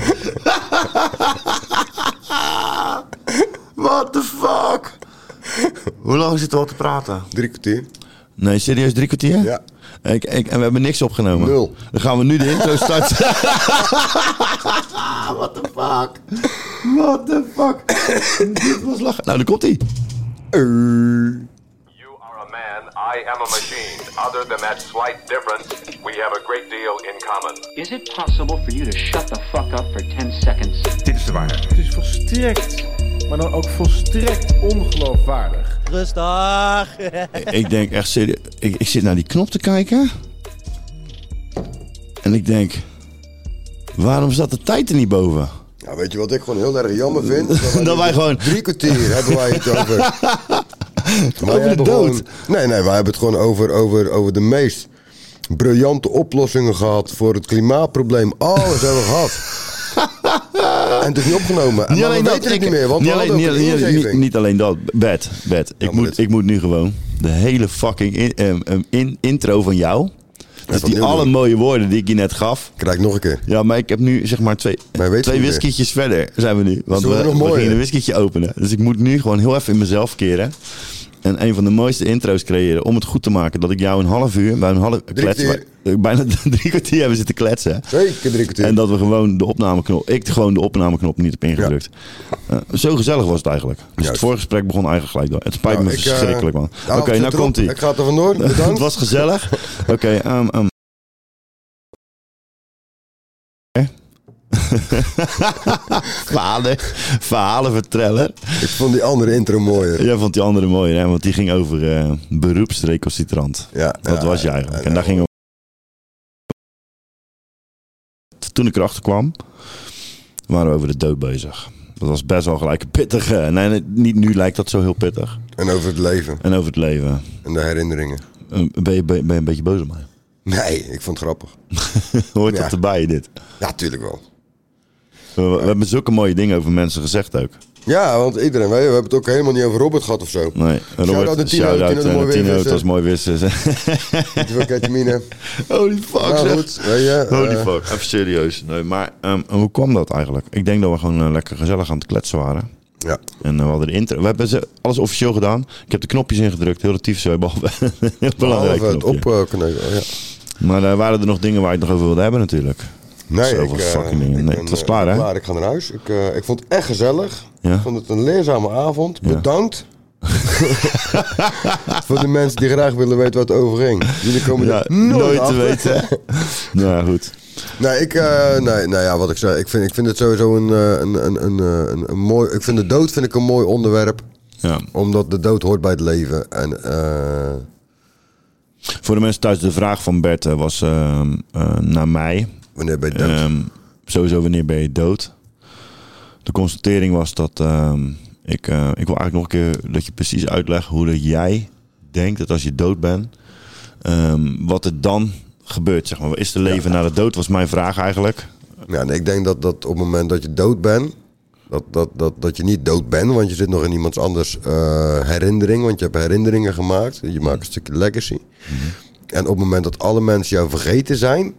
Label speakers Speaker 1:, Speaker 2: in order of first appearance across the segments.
Speaker 1: Hoe lang zitten we al te praten?
Speaker 2: Drie kwartier.
Speaker 3: Nee, serieus, drie kwartier?
Speaker 2: Ja.
Speaker 3: Ik, ik, en we hebben niks opgenomen.
Speaker 2: Nul.
Speaker 3: Dan gaan we nu de intro starten.
Speaker 1: Ah, what the fuck? What the fuck? Dit was lachen.
Speaker 3: nou, daar komt hij.
Speaker 4: You are a man, I am a machine. Other than that slight difference, we have a great deal in common.
Speaker 5: Is it possible for you to shut the fuck up for 10 seconds?
Speaker 6: Dit is de waarheid.
Speaker 7: Het is volstrekt, maar dan ook volstrekt ongeloofwaardig.
Speaker 3: ik denk echt serieus. Ik, ik zit naar die knop te kijken. En ik denk. Waarom staat de tijd er niet boven?
Speaker 2: Nou, weet je wat ik gewoon heel erg jammer vind?
Speaker 3: Dat wij gewoon-
Speaker 2: Drie kwartier hebben wij het over. Wij
Speaker 3: Over de
Speaker 2: hebben
Speaker 3: dood.
Speaker 2: gewoon- nee, nee, wij hebben het gewoon over, over, over de meest briljante oplossingen gehad voor het klimaatprobleem. Alles hebben we gehad. en het is niet opgenomen. En
Speaker 3: Niet
Speaker 2: maar we
Speaker 3: alleen
Speaker 2: weten
Speaker 3: dat.
Speaker 2: het
Speaker 3: ik-
Speaker 2: niet meer, want
Speaker 3: niet
Speaker 2: we
Speaker 3: alleen,
Speaker 2: hadden
Speaker 3: niet,
Speaker 2: ook een
Speaker 3: alleen- niet-
Speaker 2: ingeving.
Speaker 3: niet alleen dat. Bed, bed. Ik,
Speaker 2: maar
Speaker 3: moet,
Speaker 2: dit-
Speaker 3: ik moet nu gewoon de hele fucking in, em, em, in- intro van jou. Dus
Speaker 2: van
Speaker 3: die
Speaker 2: heel
Speaker 3: alle
Speaker 2: doen.
Speaker 3: mooie woorden die ik je net gaf.
Speaker 2: Krijg ik nog een keer.
Speaker 3: Ja, maar ik heb nu zeg maar twee,
Speaker 2: Maar je weet
Speaker 3: twee
Speaker 2: het niet
Speaker 3: whiskietjes verder zijn we nu. Want
Speaker 2: Zullen we
Speaker 3: we, we
Speaker 2: nog mooier?
Speaker 3: gingen een whiskietje openen. Dus ik moet nu gewoon heel even in mezelf keren. En een van de mooiste intro's creëren om het goed te maken. Dat ik jou een half uur, bij een half klets,
Speaker 2: kwartier.
Speaker 3: bij- bijna drie kwartier hebben zitten kletsen.
Speaker 2: Zeker drie kwartier.
Speaker 3: En dat we gewoon de opnameknop, ik gewoon de opnameknop niet heb ingedrukt. Eh, zo gezellig was het eigenlijk. Dus het
Speaker 2: Juist.
Speaker 3: voorgesprek begon eigenlijk gelijk door. Het spijt
Speaker 2: Nou,
Speaker 3: me dus
Speaker 2: ik, eh,
Speaker 3: verschrikkelijk man.
Speaker 2: nou,
Speaker 3: Oké,
Speaker 2: zit
Speaker 3: nou
Speaker 2: erop.
Speaker 3: komt hij.
Speaker 2: Ik ga er vandoor.
Speaker 3: Het
Speaker 2: Bedankt.
Speaker 3: was gezellig. Oké, ehm, ehm. Hè? Eh? Verhalen, verhalen vertellen.
Speaker 2: Ik vond die andere intro mooier.
Speaker 3: Jij vond die andere mooi, hè? Want die ging over eh, beroepsreconsitrant.
Speaker 2: Ja,
Speaker 3: Dat
Speaker 2: ja,
Speaker 3: was je
Speaker 2: ja,
Speaker 3: eigenlijk.
Speaker 2: ja,
Speaker 3: En daar
Speaker 2: ja.
Speaker 3: ging Toen ik erachter kwam, waren we over de dood bezig. Dat was best wel gelijk een pittige. Nee, nee, niet nu lijkt dat zo heel pittig.
Speaker 2: eh, En over het leven
Speaker 3: En over het leven.
Speaker 2: en de herinneringen.
Speaker 3: Eh, Ben je, ben je- ben je een beetje boos op mij?
Speaker 2: Nee, ik vond het grappig.
Speaker 3: Hoort
Speaker 2: Ja.
Speaker 3: dat erbij, dit?
Speaker 2: Ja, tuurlijk wel.
Speaker 3: We, we hebben zulke mooie dingen over mensen gezegd ook.
Speaker 2: Ja, want iedereen, wij, we hebben het ook helemaal niet over Robert gehad of zo.
Speaker 3: Nee,
Speaker 2: Shout-out naar Tino,
Speaker 3: shout-out,
Speaker 2: Tino de
Speaker 3: eh,
Speaker 2: Mooi
Speaker 3: Tino,
Speaker 2: Weer
Speaker 3: het was mooi wissen.
Speaker 2: Niet veel ketamine.
Speaker 3: Holy fuck,
Speaker 2: Nou,
Speaker 3: zeg.
Speaker 2: goed, weet je,
Speaker 3: Holy
Speaker 2: eh,
Speaker 3: fuck, even serieus. Nee, maar ehm, hoe kwam dat eigenlijk? Ik denk dat we gewoon eh, lekker gezellig aan het kletsen waren.
Speaker 2: Ja.
Speaker 3: En eh, we hadden de intro. We hebben ze- alles officieel gedaan. Ik heb de knopjes ingedrukt, heel relatief zo. Behalve een heel belangrijk
Speaker 2: Behalve Oh, het
Speaker 3: knopje.
Speaker 2: opkneuken. oh, ja.
Speaker 3: Maar daar waren er nog dingen waar je het nog over wilde hebben natuurlijk. Zoveel
Speaker 2: eh,
Speaker 3: fucking dingen. Nee,
Speaker 2: ik ben,
Speaker 3: het was
Speaker 2: eh,
Speaker 3: klaar, hè?
Speaker 2: Klaar, ik ga naar huis. Ik, eh, ik vond het echt gezellig.
Speaker 3: Ja.
Speaker 2: Ik vond het een leerzame avond. Bedankt. Voor de mensen die graag willen weten waar het over ging. Jullie komen
Speaker 3: Ja,
Speaker 2: er nooit,
Speaker 3: nooit te
Speaker 2: achter.
Speaker 3: weten. nou ja, goed.
Speaker 2: Nee, ik, eh, nee, nou ja, wat ik zei. Ik vind, ik vind het sowieso een, eh, een, een, een, eh, een, een mooi... Ik vind de dood vind ik een mooi onderwerp.
Speaker 3: Ja.
Speaker 2: Omdat de dood hoort bij het leven. En eh,
Speaker 3: Voor de mensen thuis, de vraag van Bert eh, was ehm, eh, naar mij.
Speaker 2: wanneer ben je dood?
Speaker 3: Ehm, sowieso, wanneer ben je dood? De constatering was dat ehm, ik, eh, ik wil eigenlijk nog een keer dat je precies uitlegt hoe dat jij denkt dat als je dood bent, ehm, wat er dan gebeurt. Zeg maar. Is er leven na de dood? Was mijn vraag eigenlijk.
Speaker 2: Ja, en ik denk dat, dat op het moment dat je dood bent, dat, dat, dat, dat je niet dood bent, want je zit nog in iemands anders eh, herinnering, want je hebt herinneringen gemaakt. Je maakt een stukje legacy. En op het moment dat alle mensen jou vergeten zijn,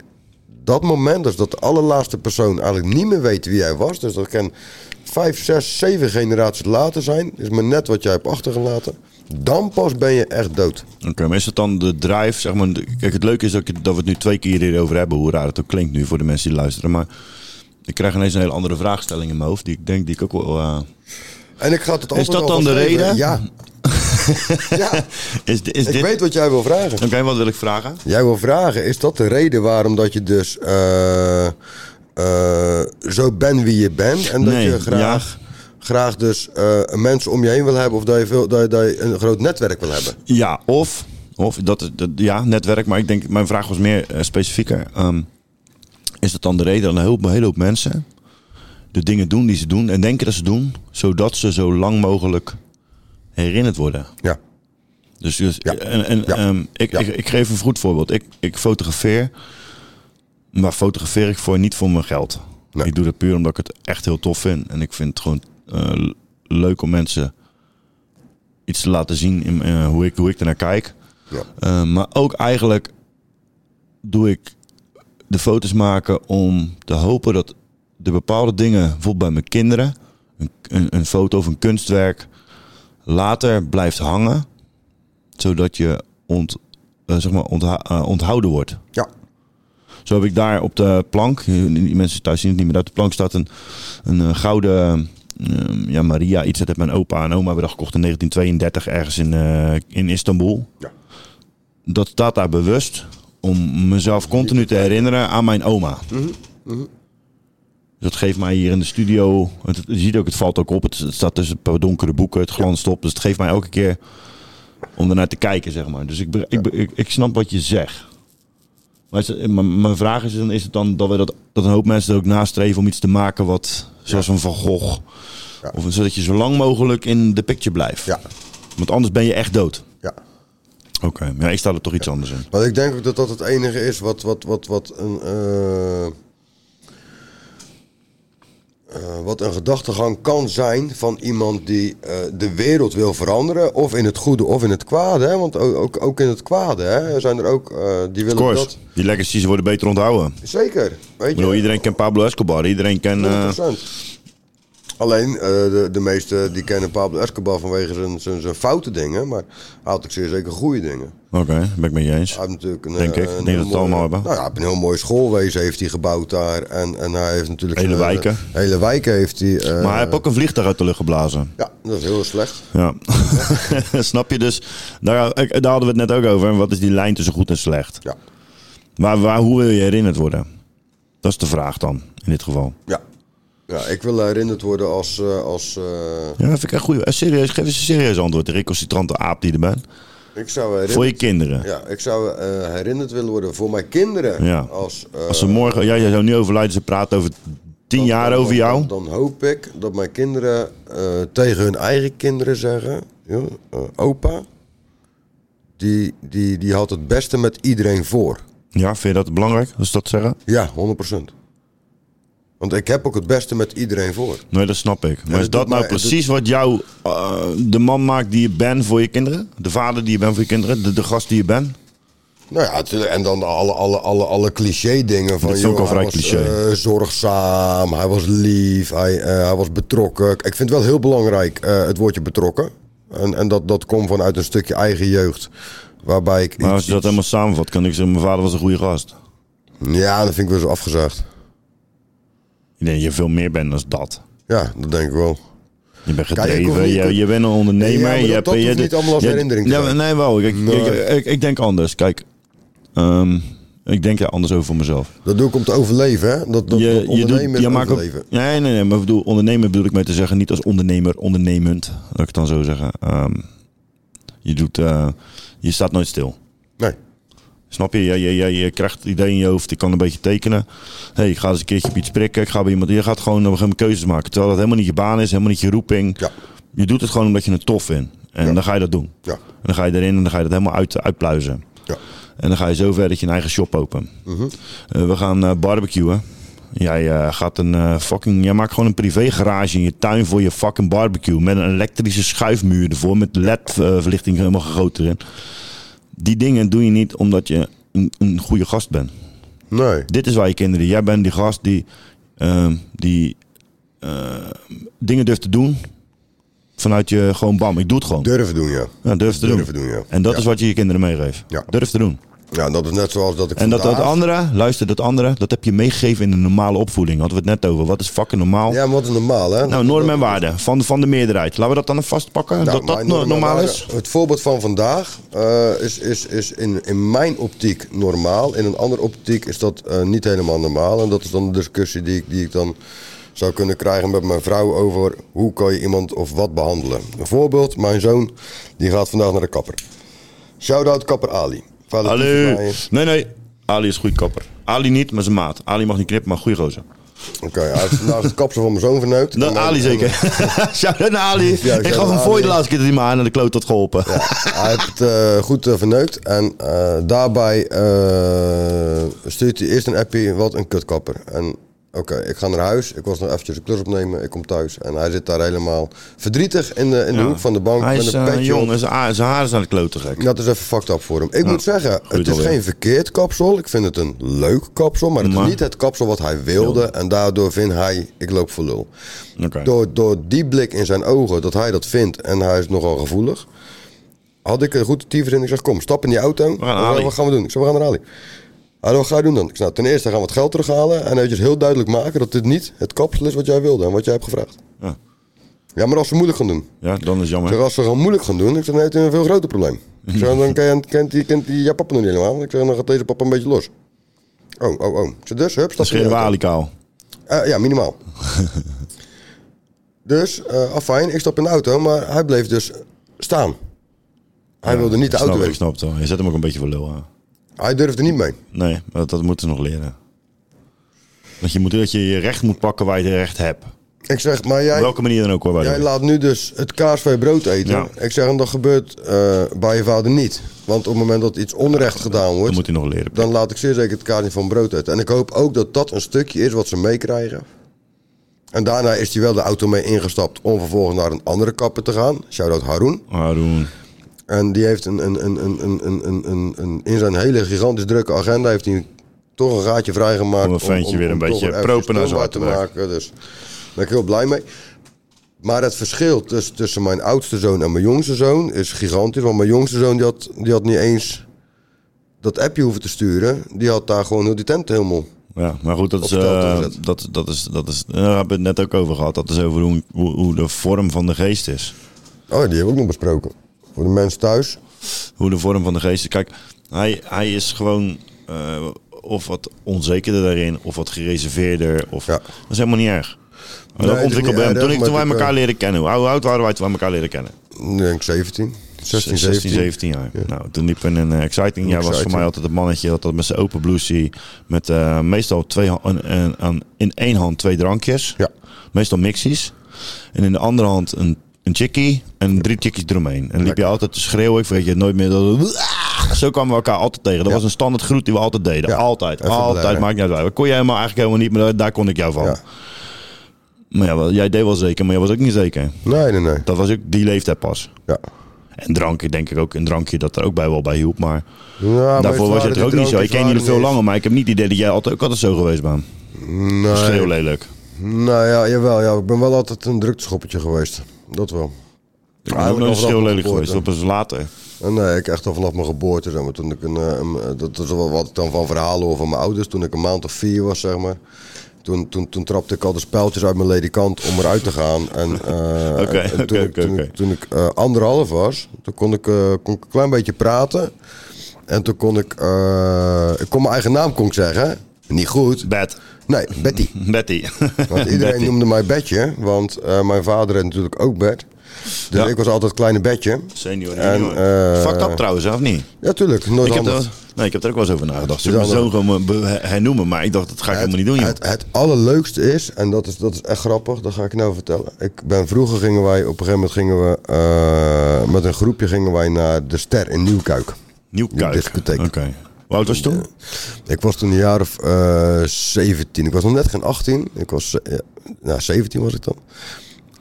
Speaker 2: dat moment, dus dat de allerlaatste persoon eigenlijk niet meer weet wie jij was, dus dat kan vijf, zes, zeven generaties later zijn, is maar net wat jij hebt achtergelaten, dan pas ben je echt dood.
Speaker 3: Oké, maar is dat dan de drive? Zeg maar, de- kijk, het leuke is dat, ik- dat we het nu twee keer hierover hebben, hoe raar het ook klinkt nu voor de mensen die luisteren. Maar ik krijg ineens een hele andere vraagstelling in mijn hoofd, die ik denk die ik ook wel. eh,
Speaker 2: En ik ga het antwoord
Speaker 3: dat dan
Speaker 2: alvast
Speaker 3: de
Speaker 2: geven.
Speaker 3: reden?
Speaker 2: Ja. ja,
Speaker 3: is, di- is
Speaker 2: ik
Speaker 3: dit.
Speaker 2: weet wat jij wil vragen.
Speaker 3: Oké, wat wil ik vragen?
Speaker 2: Jij wil vragen, is dat de reden waarom dat je dus eh, eh, zo bent wie je bent? En dat
Speaker 3: Nee,
Speaker 2: je graag, graag dus eh, mensen om je heen wil hebben of dat je, veel, dat, je, dat je een groot netwerk wil hebben?
Speaker 3: Ja, of, of dat, dat, ja, netwerk, maar ik denk, mijn vraag was meer eh, specifieker. Ehm, is dat dan de reden dat een hele, hele hoop mensen de dingen doen die ze doen en denken dat ze doen, zodat ze zo lang mogelijk herinnerd worden?
Speaker 2: Ja.
Speaker 3: Dus, dus-
Speaker 2: Ja.
Speaker 3: en, en,
Speaker 2: Ja.
Speaker 3: ehm, ik,
Speaker 2: Ja.
Speaker 3: Ik, ik geef een goed voorbeeld. Ik, ik fotografeer, maar fotografeer ik voor, niet voor mijn geld.
Speaker 2: Nee.
Speaker 3: Ik doe dat puur omdat ik het echt heel tof vind. En ik vind het gewoon eh, l- leuk om mensen iets te laten zien in, eh, hoe, ik, hoe ik ernaar kijk.
Speaker 2: Ja.
Speaker 3: Eh, maar ook eigenlijk doe ik de foto's maken om te hopen dat de bepaalde dingen, bijvoorbeeld bij mijn kinderen, een, een, een foto of een kunstwerk, later blijft hangen, zodat je ont, eh, zeg maar ontha- eh, onthouden wordt.
Speaker 2: Ja.
Speaker 3: Zo heb ik daar op de plank, eh, die mensen thuis zien het niet meer, op de plank staat een, een eh, gouden eh, ja, Maria, iets dat heeft mijn opa en oma hebben dat gekocht in 1932 ergens in, eh, in Istanbul.
Speaker 2: Ja.
Speaker 3: Dat staat daar bewust om mezelf continu te herinneren aan mijn oma.
Speaker 2: Mhm,
Speaker 3: Dus dat geeft mij hier in de studio, het, je ziet ook, het valt ook op, het, het staat tussen een paar donkere boeken, het glanst op. Dus het geeft mij elke keer om ernaar te kijken, zeg maar. Dus ik, be- ik, be- ik, ik snap wat je zegt. Maar is het- eh, m- mijn vraag is, dan, is het dan dat, we dat, dat een hoop mensen er ook nastreven om iets te maken wat, zoals een Van Gogh,
Speaker 2: Ja.
Speaker 3: of, een- zodat je zo lang mogelijk in de picture blijft.
Speaker 2: Ja.
Speaker 3: Want anders ben je echt dood.
Speaker 2: Ja.
Speaker 3: Oké, ja, ik sta er toch iets anders in.
Speaker 2: Maar ik denk ook dat dat het enige is wat, wat, wat, wat een. eh, eh, wat een gedachtegang kan zijn van iemand die eh, de wereld wil veranderen. Of in het goede of in het kwade. Hè? Want ook, ook, ook in het kwade hè? zijn er ook. eh, die
Speaker 3: Of
Speaker 2: willen
Speaker 3: course,
Speaker 2: dat.
Speaker 3: die legacies worden beter onthouden.
Speaker 2: Zeker. Weet
Speaker 3: Ik bedoel,
Speaker 2: je?
Speaker 3: iedereen kent Pablo Escobar, iedereen kent... eh,
Speaker 2: 100%. Alleen, eh, de, de meesten die kennen Pablo Escobar vanwege zijn, zijn, zijn foute dingen. Maar hij had ook zeer zeker goede dingen.
Speaker 3: Oké, ben ik met je eens.
Speaker 2: Hij heeft natuurlijk een,
Speaker 3: Denk ik.
Speaker 2: eh,
Speaker 3: Ik
Speaker 2: een
Speaker 3: denk
Speaker 2: heel
Speaker 3: dat we het allemaal hebben.
Speaker 2: Nou ja, hij heeft een heel mooi schoolwezen heeft hij gebouwd daar. En, en hij heeft natuurlijk...
Speaker 3: Hele
Speaker 2: eh,
Speaker 3: wijken.
Speaker 2: hele wijken heeft hij... eh,
Speaker 3: Maar hij heeft ook een vliegtuig uit de lucht geblazen.
Speaker 2: Ja, dat is heel slecht.
Speaker 3: Ja. Snap je dus? Daar, ik- daar hadden we het net ook over. Wat is die lijn tussen goed en slecht?
Speaker 2: Ja,
Speaker 3: Waar, waar, hoe wil je herinnerd worden? Dat is de vraag dan, in dit geval.
Speaker 2: ja. Ja, ik wil herinnerd worden als... eh, als eh,
Speaker 3: Ja, dat vind ik echt goed. Eh, Serieus, geef eens een serieus antwoord. De reconcitrante aap die er bent.
Speaker 2: ik zou herinnerd...
Speaker 3: Voor je kinderen.
Speaker 2: Ja, ik zou eh, herinnerd willen worden voor mijn kinderen.
Speaker 3: Ja.
Speaker 2: Als, eh,
Speaker 3: Als ze morgen... Ja, jij zou nu overlijden. Ze praten over tien jaar
Speaker 2: dan-
Speaker 3: over jou.
Speaker 2: Dan, dan hoop ik dat mijn kinderen eh, tegen hun eigen kinderen zeggen... joh, eh, opa, die, die, die had het beste met iedereen voor.
Speaker 3: Ja, vind je dat belangrijk? Als ze dat zeggen?
Speaker 2: Ja, 100%. Want ik heb ook het beste met iedereen voor.
Speaker 3: Nee, dat snap ik. Maar
Speaker 2: dat
Speaker 3: is
Speaker 2: doet
Speaker 3: dat nou
Speaker 2: mij- dat-
Speaker 3: precies wat jou eh, de man maakt die je bent voor je kinderen? De vader die je bent voor je kinderen? De, de gast die je bent?
Speaker 2: Nou ja, natuurlijk. En dan alle, alle, alle, alle cliché-dingen van
Speaker 3: Dat is ook
Speaker 2: joh,
Speaker 3: al
Speaker 2: hij
Speaker 3: vrij
Speaker 2: was,
Speaker 3: cliché.
Speaker 2: eh, zorgzaam, hij was lief, hij, eh, hij was betrokken. Ik vind wel heel belangrijk eh, het woordje betrokken. En, en dat, dat komt vanuit een stukje eigen jeugd. Waarbij ik.
Speaker 3: Maar
Speaker 2: iets-
Speaker 3: als je dat helemaal samenvat, kan ik zeggen, mijn vader was een goede gast.
Speaker 2: Ja, dat vind ik wel zo afgezaagd.
Speaker 3: Ik denk dat je veel meer bent dan dat.
Speaker 2: Ja, dat denk ik wel.
Speaker 3: Je bent
Speaker 2: Kijk, ik
Speaker 3: gedreven,
Speaker 2: hoef niet-
Speaker 3: je, je bent een
Speaker 2: Ja,
Speaker 3: ondernemer.
Speaker 2: maar
Speaker 3: je
Speaker 2: dat-
Speaker 3: hebt,
Speaker 2: dat
Speaker 3: je,
Speaker 2: hoeft niet allemaal als
Speaker 3: je-
Speaker 2: herinnering te
Speaker 3: Ja,
Speaker 2: zijn.
Speaker 3: Nee, wel. Ik, ik-
Speaker 2: Nee.
Speaker 3: Ik, ik, ik denk anders. Kijk, ehm, ik denk ja, anders over voor mezelf.
Speaker 2: Dat doe ik om te overleven, hè? Dat, dat, dat
Speaker 3: Je, je, doet,
Speaker 2: ondernemen is
Speaker 3: je maakt ook,
Speaker 2: overleven.
Speaker 3: nee, nee, nee. Maar ik bedoel, ondernemer bedoel ik mee te zeggen, niet als ondernemer, ondernemend. Laat ik het dan zo zeggen. Ehm, je, doet, eh, je staat nooit stil.
Speaker 2: Nee.
Speaker 3: Snap je? Je, je, je, je krijgt het idee in je hoofd, ik kan een beetje tekenen. hey, ik ga eens een keertje op iets prikken. Ik ga bij iemand, je gaat gewoon op een gegeven moment keuzes maken. Terwijl dat helemaal niet je baan is, helemaal niet je roeping.
Speaker 2: Ja.
Speaker 3: Je doet het gewoon omdat je het tof vindt. En dan ga je dat doen.
Speaker 2: Ja.
Speaker 3: En dan ga je erin en dan ga je dat helemaal uit, uitpluizen.
Speaker 2: Ja.
Speaker 3: En dan ga je zo ver dat je een eigen shop opent.
Speaker 2: Mhm.
Speaker 3: Eh, we gaan eh, barbecuen. Jij eh, gaat een eh, fucking. Jij maakt gewoon een privé garage in je tuin voor je fucking barbecue. Met een elektrische schuifmuur ervoor. Met LED-verlichting helemaal gegoten erin. Die dingen doe je niet omdat je een, een goede gast bent.
Speaker 2: Nee.
Speaker 3: Dit is waar je kinderen. Jij bent die gast die, ehm, die eh, dingen durft te doen. Vanuit je gewoon bam, ik doe het gewoon.
Speaker 2: Durven doen, ja.
Speaker 3: Ja, durf te doen.
Speaker 2: Durven doen, ja.
Speaker 3: En dat
Speaker 2: Ja.
Speaker 3: is wat je je kinderen meegeeft.
Speaker 2: Ja.
Speaker 3: Durf te doen.
Speaker 2: Ja, dat is net zoals dat ik
Speaker 3: En dat, dat
Speaker 2: vandaag-
Speaker 3: andere, luister, dat andere, dat heb je meegegeven in een normale opvoeding. Hadden we het net over. Wat is fucking normaal?
Speaker 2: Ja, maar wat is normaal, hè?
Speaker 3: nou, normen en waarden van, de- van de meerderheid. Laten we dat dan even vastpakken, dat dat
Speaker 2: mijn
Speaker 3: no-
Speaker 2: normen en
Speaker 3: normaal
Speaker 2: waarden.
Speaker 3: is.
Speaker 2: Het voorbeeld van vandaag eh, is, is, is in, in mijn optiek normaal. In een andere optiek is dat eh, niet helemaal normaal. En dat is dan de discussie die ik, die ik dan zou kunnen krijgen met mijn vrouw over hoe kan je iemand of wat behandelen. Een voorbeeld, mijn zoon die gaat vandaag naar de kapper. Shout-out kapper Ali. Valentijn
Speaker 3: Hallo.
Speaker 2: Verwaaien.
Speaker 3: Nee, nee. Ali is goed kapper. Ali niet, maar zijn maat. Ali mag niet knippen, maar goede gozer.
Speaker 2: Oké, hij heeft vandaag het kapsel van mijn zoon verneukt.
Speaker 3: Dat
Speaker 2: En eh, mijn-
Speaker 3: Nou, Ali zeker. Shout-out naar Ali.
Speaker 2: shout-out
Speaker 3: ik gaf hem
Speaker 2: naar
Speaker 3: voor je de
Speaker 2: Ali.
Speaker 3: laatste keer dat hij me aan en de kloot had geholpen.
Speaker 2: Hij heeft het eh, goed eh, verneukt en eh, daarbij eh, stuurt hij eerst een appje, wat een kutkapper. En Oké, ik ga naar huis. Ik was nog eventjes een klus opnemen. Ik kom thuis. En hij zit daar helemaal verdrietig in de, in de
Speaker 3: Ja.
Speaker 2: hoek van de bank.
Speaker 3: Hij
Speaker 2: met
Speaker 3: is
Speaker 2: een
Speaker 3: eh,
Speaker 2: petje op.
Speaker 3: jong en zijn a- zijn haar is aan het kloten gek.
Speaker 2: Dat is even fucked up voor hem. Ik moet zeggen, het is
Speaker 3: alweer.
Speaker 2: geen verkeerd kapsel. Ik vind het een leuk kapsel, maar het
Speaker 3: Maar-
Speaker 2: is niet het kapsel wat hij wilde. En daardoor vindt hij, ik loop voor lul.
Speaker 3: Oké.
Speaker 2: Door, door die blik in zijn ogen, dat hij dat vindt en hij is nogal gevoelig. Had ik een goed tyfus in. Ik zeg, kom, stap in die auto.
Speaker 3: naar
Speaker 2: Hij zei,
Speaker 3: Ali.
Speaker 2: Wat gaan we doen? Ik zeg, we gaan naar Ali. Hij zei, wat ga je doen dan? Ik zei, nou, ten eerste gaan we het geld terughalen. En eventjes heel duidelijk maken dat dit niet het kapsel is wat jij wilde en wat jij hebt gevraagd.
Speaker 3: Ja.
Speaker 2: Ja, maar als we moeilijk gaan doen.
Speaker 3: Ja, dan is het
Speaker 2: Ik zeg,
Speaker 3: jammer.
Speaker 2: als ze gaan moeilijk gaan doen, ik zeg, dan heeft hij een veel groter probleem. Ik zeg, dan kent, kent, die, kent die jouw papa nog niet helemaal. Ik zeg, dan gaat deze papa een beetje los. Oh, oh, oh. Ik zeg, dus, hup,
Speaker 3: Dan
Speaker 2: stap in
Speaker 3: scheren
Speaker 2: de
Speaker 3: we
Speaker 2: auto.
Speaker 3: Ali kaal.
Speaker 2: Eh, ja, minimaal. dus, eh afijn, ik stap in de auto, maar hij bleef dus staan. Hij wilde niet de
Speaker 3: Ik snap-
Speaker 2: auto
Speaker 3: Ik
Speaker 2: weg.
Speaker 3: snap het wel. Je zet hem ook een beetje voor lul aan.
Speaker 2: Hij durfde niet mee.
Speaker 3: Nee, maar dat, dat moeten ze nog leren. Dat je, moet, dat je je recht moet pakken waar je het recht hebt. Op
Speaker 2: Ik zeg, maar jij...
Speaker 3: welke manier dan ook hoor. by the
Speaker 2: Jij
Speaker 3: way.
Speaker 2: laat nu dus het kaarsvrij brood eten.
Speaker 3: Ja.
Speaker 2: Ik zeg hem, dat gebeurt eh, bij je vader niet. Want op het moment dat iets onrecht gedaan wordt...
Speaker 3: Dat moet hij nog leren.
Speaker 2: dan laat ik zeer zeker het kaartje van brood uit. En ik hoop ook dat dat een stukje is wat ze meekrijgen. En daarna is hij wel de auto mee ingestapt om vervolgens naar een andere kapper te gaan. Shout-out Haroon.
Speaker 3: Haroon.
Speaker 2: En die heeft een, een, een, een, een, een, een, een, een- in zijn hele gigantisch drukke agenda heeft hij toch een gaatje vrijgemaakt.
Speaker 3: Om een ventje weer een
Speaker 2: toch
Speaker 3: beetje
Speaker 2: ergens
Speaker 3: proper naar zijn
Speaker 2: standaard
Speaker 3: hart
Speaker 2: te
Speaker 3: te werken.
Speaker 2: maken. Dus daar ben ik heel blij mee. Maar het verschil tussen, tussen mijn oudste zoon en mijn jongste zoon is gigantisch. Want mijn jongste zoon die had, die had niet eens dat appje hoeven te sturen. Die had daar gewoon heel die tent helemaal.
Speaker 3: Ja, maar goed, dat is,
Speaker 2: Op stel
Speaker 3: eh,
Speaker 2: gezet.
Speaker 3: dat, dat is, dat is, daar hebben we het net ook over gehad. Dat is over hoe, hoe, hoe de vorm van de geest is.
Speaker 2: Oh, die heb ik nog besproken. Voor de mensen thuis.
Speaker 3: Hoe de vorm van de geest is. Kijk, hij, hij is gewoon eh, of wat onzekerder daarin, of wat gereserveerder. Of,
Speaker 2: Ja.
Speaker 3: Dat is helemaal niet erg.
Speaker 2: Nee, dat
Speaker 3: dat
Speaker 2: is
Speaker 3: ontwikkelde
Speaker 2: niet
Speaker 3: hem.
Speaker 2: erg,
Speaker 3: Toen, ik,
Speaker 2: maar
Speaker 3: toen wij
Speaker 2: dat,
Speaker 3: elkaar
Speaker 2: eh,
Speaker 3: leren kennen. Hoe oud waren wij toen wij elkaar leren kennen?
Speaker 2: Ik denk 17. 16, 17.
Speaker 3: 16, 17 jaar. Nou, toen liep in een eh, exciting jaar was voor
Speaker 2: Exciting.
Speaker 3: mij altijd het mannetje dat dat met zijn open blousie met eh, meestal twee ha- een, een- een- in één hand twee drankjes.
Speaker 2: Ja.
Speaker 3: Meestal mixies. En in de andere hand een, een chickie en drie chickies eromheen. En dan liep je altijd te schreeuwen. Ik vergeet je nooit meer. dat- Ah! Zo kwamen we elkaar altijd tegen. Dat was een standaard groet die we altijd deden.
Speaker 2: Ja.
Speaker 3: Altijd,
Speaker 2: Even
Speaker 3: altijd.
Speaker 2: blij,
Speaker 3: Maakt niet uit. waar. Dat kon jij helemaal eigenlijk helemaal niet, maar daar kon ik jou van.
Speaker 2: Ja.
Speaker 3: Maar ja, wel- jij deed wel zeker, maar jij was ook niet zeker.
Speaker 2: Nee, nee, nee.
Speaker 3: Dat was ook die leeftijd pas.
Speaker 2: Ja.
Speaker 3: En drank, ik denk ik ook een drankje dat er ook bij wel bij hielp. Maar
Speaker 2: Ja, maar
Speaker 3: daarvoor was
Speaker 2: waren
Speaker 3: het
Speaker 2: die
Speaker 3: er ook niet zo. Ik
Speaker 2: drankjes
Speaker 3: ken jullie
Speaker 2: waren
Speaker 3: veel
Speaker 2: niet-
Speaker 3: langer, maar ik heb niet het idee dat jij altijd ook altijd zo geweest bent.
Speaker 2: Nee.
Speaker 3: Schreeuw lelijk.
Speaker 2: Nou ja, jawel. Ja. Ik ben wel altijd een drukteschoppetje geweest. Dat wel.
Speaker 3: Ik ben ook
Speaker 2: Eigenlijk
Speaker 3: nooit
Speaker 2: nog wel
Speaker 3: schreeuw
Speaker 2: gehoord,
Speaker 3: geweest,
Speaker 2: hè.
Speaker 3: dat is later.
Speaker 2: En nee, ik echt al vanaf mijn geboorte, zeg maar. Toen ik een, eh, een- dat is wel wat ik dan van verhalen hoor van mijn ouders. Toen ik een maand of vier was, zeg maar. Toen, toen, toen trapte ik al de spijltjes uit mijn ledikant om eruit te gaan. En, eh,
Speaker 3: Oké,
Speaker 2: en- en toen,
Speaker 3: oké,
Speaker 2: ik- toen,
Speaker 3: oké,
Speaker 2: ik, toen ik eh, anderhalf was, toen kon ik, eh, kon ik een klein beetje praten. En toen kon ik, eh, ik kon mijn eigen naam kon ik zeggen. Niet goed.
Speaker 3: Bed.
Speaker 2: Nee, Betty.
Speaker 3: Betty.
Speaker 2: Want iedereen
Speaker 3: Betty.
Speaker 2: noemde mij Betje, want eh, mijn vader en natuurlijk ook Bert. Dus
Speaker 3: Ja.
Speaker 2: ik was altijd kleine Betje.
Speaker 3: Senior.
Speaker 2: En,
Speaker 3: junior.
Speaker 2: eh,
Speaker 3: Fucked up trouwens, hè, of niet?
Speaker 2: Ja, tuurlijk. Nooit
Speaker 3: Ik heb,
Speaker 2: handig.
Speaker 3: er, nee, ik heb er ook wel eens over nagedacht. Zullen we
Speaker 2: Is
Speaker 3: mijn zoon gewoon be- hernoemen? Maar ik dacht, dat ga ik helemaal niet doen, joh.
Speaker 2: Het, het allerleukste is, en dat is, dat is echt grappig, dat ga ik nou vertellen. Ik ben, vroeger gingen wij, op een gegeven moment gingen we, eh, met een groepje gingen wij naar De Ster in Nieuwkuik.
Speaker 3: Nieuwkuik.
Speaker 2: discotheek.
Speaker 3: Oké. Hoe oud was je toen?
Speaker 2: Ik was toen een jaar of eh 17. Ik was nog net geen 18. Ik was, eh, ja, nou, 17 was ik dan.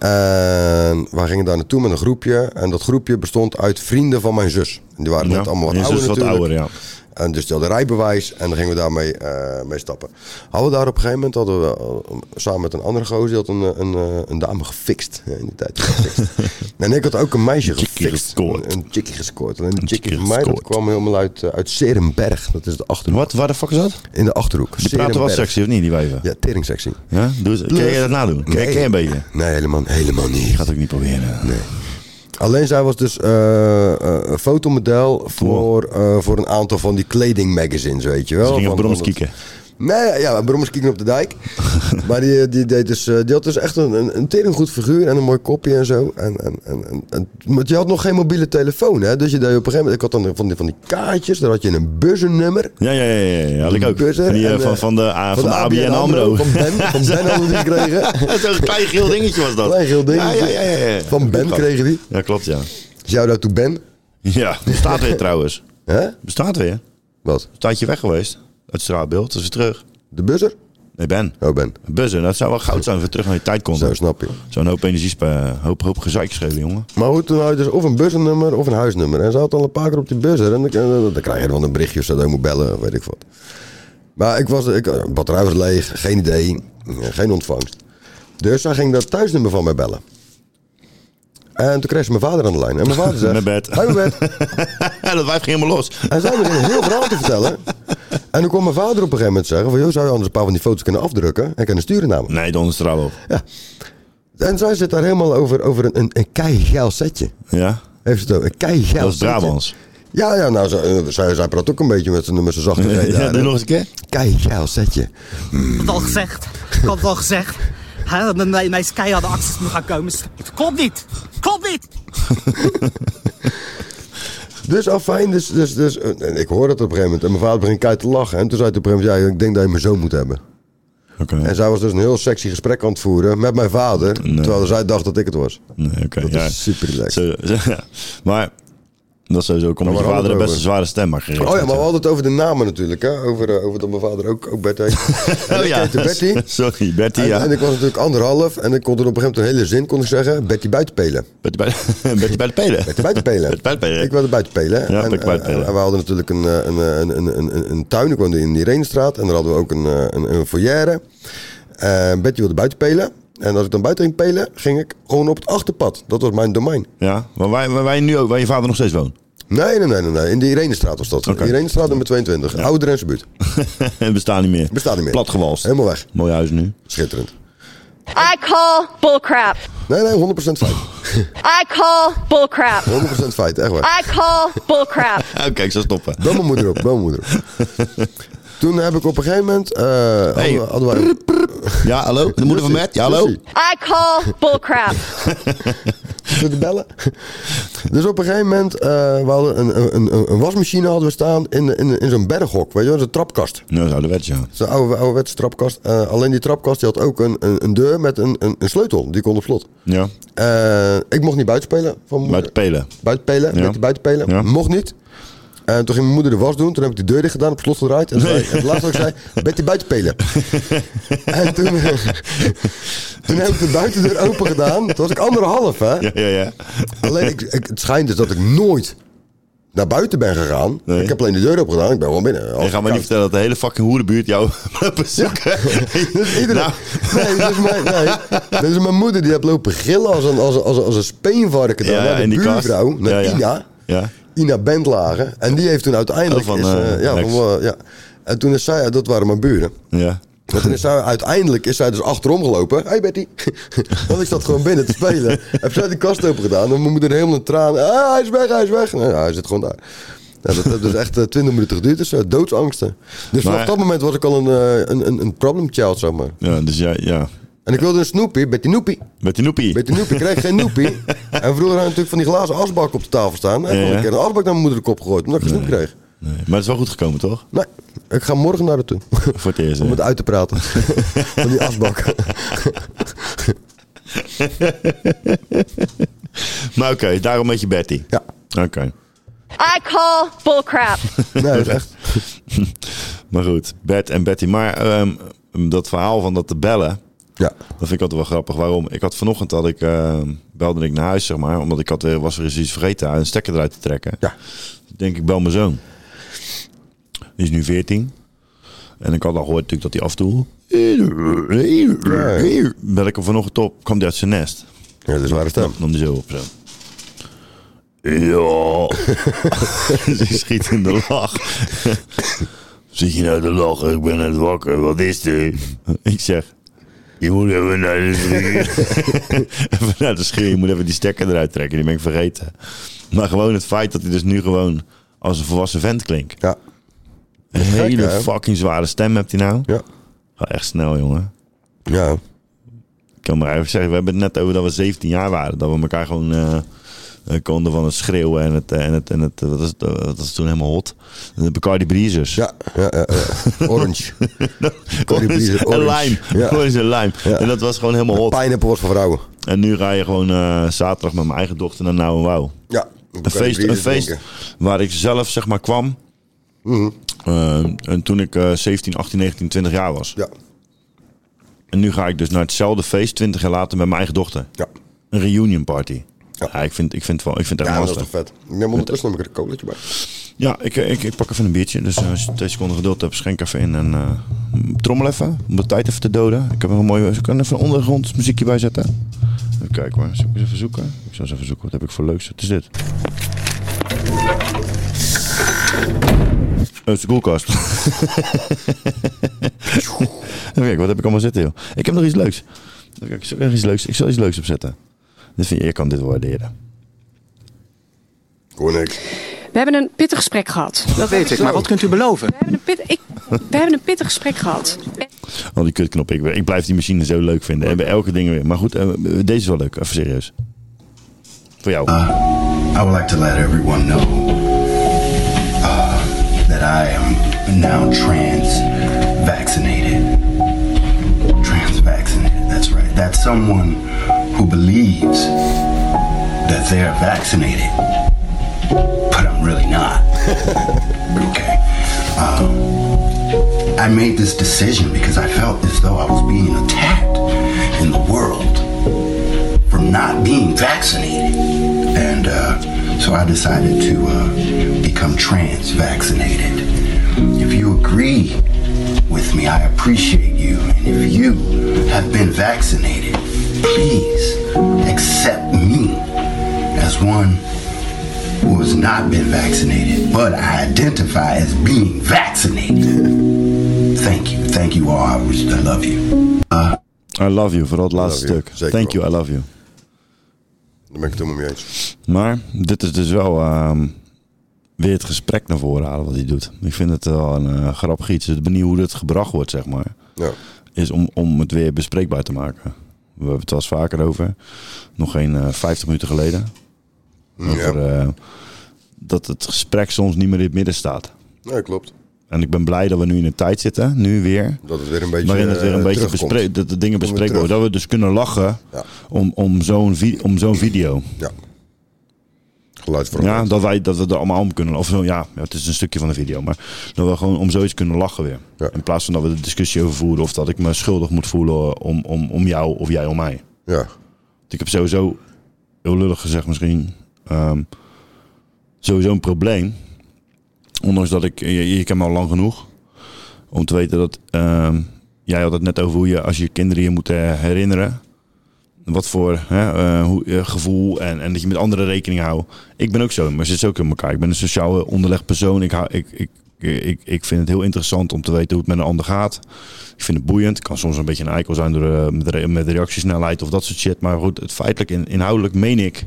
Speaker 2: En wij gingen daar naartoe met een groepje. En dat groepje bestond uit vrienden van mijn zus. En die waren net allemaal wat
Speaker 3: je
Speaker 2: ouder
Speaker 3: zus wat
Speaker 2: natuurlijk.
Speaker 3: ouder, ja.
Speaker 2: En dus die hadden rijbewijs en dan gingen we daarmee eh, mee stappen. Hadden we daar op een gegeven moment, hadden we, eh, samen met een andere gozer, die had een, eh, een, eh, een dame gefixt. eh, In die tijd gefixt. en ik had ook een meisje
Speaker 3: chickie
Speaker 2: gefixt.
Speaker 3: gescoord.
Speaker 2: Een, een chickie gescoord. Alleen die chickie
Speaker 3: chickie
Speaker 2: van mij, dat
Speaker 3: gescoord.
Speaker 2: kwam helemaal uit, eh, uit Serenberg. Dat is de Achterhoek.
Speaker 3: Wat? Waar de fuck is dat?
Speaker 2: In de Achterhoek.
Speaker 3: Die praten wel sexy, of niet, die wijven?
Speaker 2: Ja, teringsectie.
Speaker 3: Ja? Doe het- Kun je dat nadoen? Ken ken je een beetje?
Speaker 2: Nee, helemaal, helemaal niet.
Speaker 3: Gaat ook niet proberen.
Speaker 2: Alleen zij was dus eh, eh, een fotomodel voor, eh, voor een aantal van die kledingmagazines, weet je wel.
Speaker 3: Ze gingen
Speaker 2: Oh, Van-
Speaker 3: brommers
Speaker 2: van dat-
Speaker 3: kieken.
Speaker 2: Nee, ja, brommers kieken op de dijk. maar die, die, deed dus, eh, die had dus echt een, een, een tering goed figuur en een mooi kopje en zo. En, en, en, en, en, want je had nog geen mobiele telefoon, hè. Dus je deed op een gegeven moment... Ik had dan van die, van die kaartjes, daar had je een buzzernummer.
Speaker 3: Ja, ja, ja, ja, ja. Had ik ook.
Speaker 2: Buzzer
Speaker 3: Van, die, eh,
Speaker 2: en, eh,
Speaker 3: van, van de, ah, van de ABN AMRO.
Speaker 2: Van Ben, van Ben hadden we die gekregen.
Speaker 3: Zo'n klein geel dingetje was dat.
Speaker 2: Klein geel dingetje.
Speaker 3: Ja, ja, ja, ja, ja.
Speaker 2: Van Ben kregen die.
Speaker 3: Ja, klopt, ja.
Speaker 2: Shout-out to Ben.
Speaker 3: Ja, bestaat weer trouwens.
Speaker 2: Hè?
Speaker 3: Bestaat weer.
Speaker 2: Wat?
Speaker 3: Een tijdje weg geweest. Uit straatbeeld. Dus weer terug.
Speaker 2: De buzzer?
Speaker 3: Nee, Ben.
Speaker 2: Oh, Ben.
Speaker 3: Buzzer, dat zou wel goud zijn als we terug naar die tijd
Speaker 2: Zo
Speaker 3: konden.
Speaker 2: snap je.
Speaker 3: Zo'n hoop energie, hoop, hoop gezeik schelen, jongen.
Speaker 2: Maar goed, toen had je dus of een buzzennummer of een huisnummer. En ze had al een paar keer op die buzzer. En dan, dan, dan krijg je dan een berichtje of zo dat je moet bellen, of weet ik wat. Maar ik was, ik, batterij was leeg, geen idee, eh, geen ontvangst. Dus zij ging dat thuisnummer van mij bellen. En toen kreeg ze mijn vader aan de lijn. En mijn vader zegt...
Speaker 3: Mijn bed.
Speaker 2: Hij mijn bed.
Speaker 3: dat wijf ging helemaal los.
Speaker 2: En zij begon een heel verhaal te vertellen. En toen kwam mijn vader op een gegeven moment zeggen... Van, joh, zou je anders een paar van die foto's kunnen afdrukken en kunnen sturen naar me?
Speaker 3: Nee, dan is het er al op.
Speaker 2: En zij zit daar helemaal over, over een, een, een keigeil setje.
Speaker 3: Ja?
Speaker 2: Heeft ze het ook? Een keigeil setje.
Speaker 3: Dat is Brabants.
Speaker 2: Ja, ja, nou, zij, eh, zij, zij praat ook een beetje met zijn met zijn zachte
Speaker 3: Ja,
Speaker 2: G daar,
Speaker 3: doe
Speaker 2: hè.
Speaker 3: nog eens een keer.
Speaker 2: Keigeil setje.
Speaker 6: Ik had al gezegd. Ik had al gezegd. Hè, dat mijn, mijn Sky hadden acties moeten gaan komen. Het klopt niet. Klopt niet.
Speaker 2: Dus afijn, dus, dus, dus, eh, en ik hoor dat op een gegeven moment. En mijn vader begint keihard te lachen. En toen zei hij op een gegeven moment, ja, ik denk dat je mijn zoon moet hebben.
Speaker 3: Oké.
Speaker 2: En zij was dus een heel sexy gesprek aan het voeren met mijn vader. Terwijl zij dacht dat ik het was.
Speaker 3: Nee, oké.
Speaker 2: Dat
Speaker 3: ja.
Speaker 2: is super relaxed.
Speaker 3: Zo, zo- ja. Maar dat sowieso komt je
Speaker 2: waar hadden
Speaker 3: vader
Speaker 2: we
Speaker 3: een best
Speaker 2: over?
Speaker 3: een zware stem maar gereden.
Speaker 2: Oh ja, maar we hadden het over de namen natuurlijk. Hè? Over, eh, over dat mijn vader ook, ook Bertie heet.
Speaker 3: Oh
Speaker 2: En ik heette Bertie.
Speaker 3: Sorry, Betty,
Speaker 2: En,
Speaker 3: ja.
Speaker 2: en ik was natuurlijk anderhalf. En ik kon er op een gegeven moment een hele zin kon ik zeggen. Bertie buitenpelen.
Speaker 3: Betty bij, Betty bij de pelen.
Speaker 2: De buitenpelen.
Speaker 3: Het buitenpelen.
Speaker 2: Ik wilde buitenpelen.
Speaker 3: Ja,
Speaker 2: en, eh,
Speaker 3: ik buitenpelen.
Speaker 2: en- en we hadden natuurlijk een, eh, een, eh, een, een, een, een, een tuin. Ik woonde in die Reenstraat. En daar hadden we ook een, eh, een, een foyer. Eh Betty wilde buitenpelen. En als ik dan buiten ging pelen, ging ik gewoon op het achterpad. Dat was mijn domein.
Speaker 3: Ja, maar waar, waar, waar je nu ook, waar je vader nog steeds woont.
Speaker 2: Nee, nee, nee, nee. nee. In de Irenestraat was dat.
Speaker 3: Oké.
Speaker 2: Irenestraat nummer 22. Oude Drentse buurt.
Speaker 3: Het bestaat niet meer.
Speaker 2: Bestaat niet meer.
Speaker 3: Platgewalst.
Speaker 2: Helemaal weg.
Speaker 3: Mooi huis nu.
Speaker 2: Schitterend.
Speaker 8: I call bullcrap.
Speaker 2: Nee, nee, 100% feit.
Speaker 8: I call bullcrap.
Speaker 2: 100% feit, echt waar.
Speaker 8: I call bullcrap.
Speaker 3: Oké, ik zal stoppen.
Speaker 2: Bel mijn moeder op, bel mijn moeder op. Toen heb ik op een gegeven moment... eh hadden
Speaker 3: Hey.
Speaker 2: we- hadden wij-
Speaker 3: Ja, hallo? De moeder van Matt? Ja, hallo?
Speaker 2: Jussie.
Speaker 8: I call bullcrap.
Speaker 2: Zullen we bellen? dus op een gegeven moment, eh, we hadden een, een, een, een wasmachine hadden we staan in, in, in zo'n berghok, weet je wel, zo'n trapkast.
Speaker 3: Nou, dat ouderwets, ja.
Speaker 2: Zo'n oude, ouderwetse trapkast. Eh, alleen die trapkast die had ook een, een, een deur met een, een, een sleutel, die kon op slot.
Speaker 3: Ja,
Speaker 2: Eh, ik mocht niet buitenspelen van mijn
Speaker 3: bij de
Speaker 2: moeder.
Speaker 3: pelen.
Speaker 2: Buitenpelen,
Speaker 3: Ja.
Speaker 2: met die buitenpelen.
Speaker 3: Ja.
Speaker 2: Mocht niet. En toen ging mijn moeder de was doen. Toen heb ik de deur dicht gedaan, op slot gedraaid. En toen zei- en het laatste wat ik zei, Betty buitenpelen. en toen, toen heb ik de buitendeur open gedaan. Toen was ik anderhalf, hè.
Speaker 3: Ja, ja, ja.
Speaker 2: Alleen, ik, ik- het schijnt dus dat ik nooit naar buiten ben gegaan.
Speaker 3: Nee.
Speaker 2: Ik heb alleen de deur opgedaan. Ik ben wel binnen.
Speaker 3: Je gaat mij niet vertellen dat de hele fucking hoerenbuurt jou bezoeken.
Speaker 2: Dus iedereen-
Speaker 3: Nou,
Speaker 2: nee, dus mijn, nee, dus mijn moeder die heeft lopen gillen als een, als een, als een, als een speenvarken. Dan,
Speaker 3: ja,
Speaker 2: naar de
Speaker 3: in die kast.
Speaker 2: buurvrouw, naar
Speaker 3: Ja, ja.
Speaker 2: Ina.
Speaker 3: Ja.
Speaker 2: Ina Bentlagen. En die heeft toen uiteindelijk...
Speaker 3: Oh, van,
Speaker 2: is, eh,
Speaker 3: eh,
Speaker 2: ja,
Speaker 3: Lex.
Speaker 2: van, eh, ja. En toen is zij... eh, Dat waren mijn buren.
Speaker 3: ja.
Speaker 2: En toen is zij, uiteindelijk is zij dus achterom gelopen. Hé hey Betty. Want ik zat gewoon binnen te spelen. Heb zij die kast open gedaan. En mijn moeder helemaal in tranen. Ah, hij is weg, hij is weg. Nou, ja, hij zit gewoon daar. Nou, dat heeft dus echt eh, 20 minuten geduurd. Dus eh, doodsangsten. Dus vanaf
Speaker 3: Maar-
Speaker 2: dat moment was ik al een, eh, een, een, een problem child, zeg maar.
Speaker 3: Ja, dus ja, ja.
Speaker 2: En ik wilde een snoepie. Betty Noepie.
Speaker 3: Met die noepie.
Speaker 2: Betty Noepie. Ik kreeg geen noepie. En vroeger had natuurlijk van die glazen asbak op de tafel staan. En
Speaker 3: Ja,
Speaker 2: ik
Speaker 3: ja.
Speaker 2: heb een asbak naar mijn moeder de kop gegooid. Omdat ik een snoep kreeg.
Speaker 3: Nee, maar het is wel goed gekomen, toch?
Speaker 2: Nee, ik ga morgen naar haar toe.
Speaker 3: Voor het eerst.
Speaker 2: Om
Speaker 3: hè?
Speaker 2: het uit te praten. Van die asbak.
Speaker 3: Maar oké, daarom met je Betty.
Speaker 2: Ja.
Speaker 3: Oké.
Speaker 8: I call bullcrap.
Speaker 2: Nee, dat is echt.
Speaker 3: Maar goed, Bert en Betty. Maar ehm, dat verhaal van dat te bellen,
Speaker 2: Ja.
Speaker 3: dat vind ik altijd wel grappig. Waarom? Ik had vanochtend, had ik, ehm, belde ik naar huis, zeg maar. Omdat ik had weer, was er eens iets vergeten, een stekker eruit te trekken.
Speaker 2: Ja.
Speaker 3: Ik denk ik bel mijn zoon. Die is nu 14. En ik had al gehoord natuurlijk dat hij af en toe... Bel ik hem vanochtend op, kwam hij uit zijn nest.
Speaker 2: Ja, dat is een ware stem.
Speaker 3: Nam die zo op zo. Ja. Ze schiet in de lach. Zit je nou te lachen? Ik ben net wakker. Wat is dit? Ik zeg... Je moet even naar de schuur. even naar de schuur. Je moet even die stekker eruit trekken. Die ben ik vergeten. Maar gewoon het feit dat hij dus nu gewoon als een volwassen vent klinkt.
Speaker 2: Ja.
Speaker 3: Een hele
Speaker 2: hè?
Speaker 3: fucking zware stem hebt hij nou.
Speaker 2: Ja.
Speaker 3: Ga echt snel, jongen.
Speaker 2: Ja.
Speaker 3: Ik kan maar eigenlijk zeggen, we hebben het net over dat we 17 jaar waren. Dat we elkaar gewoon eh, eh, konden van het schreeuwen en het, eh, en het, en het eh, wat is het, eh, wat was toen helemaal hot? Eh, De Bacardi Breezers.
Speaker 2: Ja. ja, ja, ja. Orange. Bacardi Breezer,
Speaker 3: en
Speaker 2: orange.
Speaker 3: lijm.
Speaker 2: Ja.
Speaker 3: Orange en lijm.
Speaker 2: Ja.
Speaker 3: En dat was gewoon helemaal hot.
Speaker 2: Pineapple was voor vrouwen.
Speaker 3: En nu ga je gewoon eh, zaterdag met mijn eigen dochter naar Nou en Wauw.
Speaker 2: Ja.
Speaker 3: Een feest, een feest waar ik zelf zeg maar kwam.
Speaker 2: Mhm.
Speaker 3: Eh, en toen ik eh 17, 18, 19, 20 jaar was.
Speaker 2: Ja.
Speaker 3: En nu ga ik dus naar hetzelfde feest 20 jaar later met mijn eigen dochter.
Speaker 2: Ja.
Speaker 3: Een reunion party.
Speaker 2: Ja.
Speaker 3: Ja, ik, vind, ik, vind het wel, ik vind het echt
Speaker 2: Ja, dat is
Speaker 3: lastig.
Speaker 2: toch vet. Ik neem ondertussen namelijk een colaatje bij.
Speaker 3: Ja, ik, eh, ik, ik pak even een biertje. Dus eh, als je twee seconden geduld hebt, schenk even in en eh, trommel even. Om de tijd even te doden. Ik heb een mooie... Ik kan even een ondergrondmuziekje bij zetten. Even kijken hoor. Zal ik eens even zoeken? Ik zal eens even zoeken. Wat heb ik voor leuks? Wat is dit? Oh, het is de koelkast. Even kijken, wat heb ik allemaal zitten joh. Ik heb nog iets leuks. Even kijken, zal ik er iets leuks? Ik zal iets leuks opzetten. Dit vind je, je kan dit waarderen.
Speaker 2: Gewoon niks.
Speaker 9: We hebben een pittig gesprek gehad. We
Speaker 10: Dat weet ik, maar wat kunt u beloven?
Speaker 9: hebben een, pit, ik, we hebben een pittig gesprek gehad.
Speaker 3: Al die kutknop. Ik, ik blijf die machine zo leuk vinden. En bij elke ding weer. Maar goed, eh, deze is wel leuk. Even serieus. Voor jou.
Speaker 2: Ah.
Speaker 10: I would like to let everyone know uh, that I am now trans vaccinated. Trans vaccinated, that's right. That's someone who believes that they're vaccinated, but I'm really not. okay. Um, I made this decision because I felt as though I was being attacked in the world from not being vaccinated. And uh, so I decided to uh, become trans vaccinated. If you agree with me, I appreciate you. And if you have been vaccinated, please accept me as one who has not been vaccinated, but I identify as being vaccinated. Thank you. Thank you all. I, wish- I love you.
Speaker 3: I love you. Vooral het laatste
Speaker 2: Love you.
Speaker 3: stuk.
Speaker 2: Zeker
Speaker 3: Thank
Speaker 2: wel.
Speaker 3: you, I love you.
Speaker 2: Daar ben ik het helemaal mee eens.
Speaker 3: Maar dit is dus wel ehm, weer het gesprek naar voren halen wat hij doet. Ik vind het wel een eh, grappig iets. Ik ben benieuwd hoe dat gebracht wordt, zeg maar.
Speaker 2: Ja.
Speaker 3: Is om, om het weer bespreekbaar te maken. We hebben het wel eens vaker over. Nog geen eh 50 minuten geleden. Over
Speaker 2: Ja.
Speaker 3: eh, dat het gesprek soms niet meer in het midden staat.
Speaker 2: ja, klopt.
Speaker 3: En ik ben blij dat we nu in een tijd zitten, nu weer.
Speaker 2: Dat het weer een beetje
Speaker 3: Waarin het weer een
Speaker 2: eh,
Speaker 3: beetje
Speaker 2: terugkomt.
Speaker 3: bespreek, dat de dingen
Speaker 2: Komt weer
Speaker 3: bespreekbaar worden. Dat we dus kunnen lachen
Speaker 2: Ja.
Speaker 3: om, om zo'n vi- om zo'n video.
Speaker 2: Ja. Geluid voor
Speaker 3: Ja, dat, wij, dat we er allemaal om kunnen. Of zo, ja, ja, het is een stukje van de video. Maar dat we gewoon om zoiets kunnen lachen weer.
Speaker 2: Ja.
Speaker 3: In plaats van dat we de discussie over voeren. Of dat ik me schuldig moet voelen om, om, om jou of jij om mij.
Speaker 2: Ja.
Speaker 3: Want ik heb sowieso, heel lullig gezegd misschien, ehm, sowieso een probleem. Ondanks dat ik, je, je kent me al lang genoeg. Om te weten dat, ehm, jij had het net over hoe je als je kinderen je moet eh, herinneren. Wat voor hè, eh, hoe, eh, gevoel en, en dat je met anderen rekening houdt. Ik ben ook zo, maar ze zit ook in elkaar. Ik ben een sociaal eh, onderlegd persoon. Ik, hou- ik, ik, ik, ik vind het heel interessant om te weten hoe het met een ander gaat. Ik vind het boeiend. Ik kan soms een beetje een eikel zijn door, eh, met, re- met reactiesnelheid of dat soort shit. Maar goed, het feitelijk in, inhoudelijk meen ik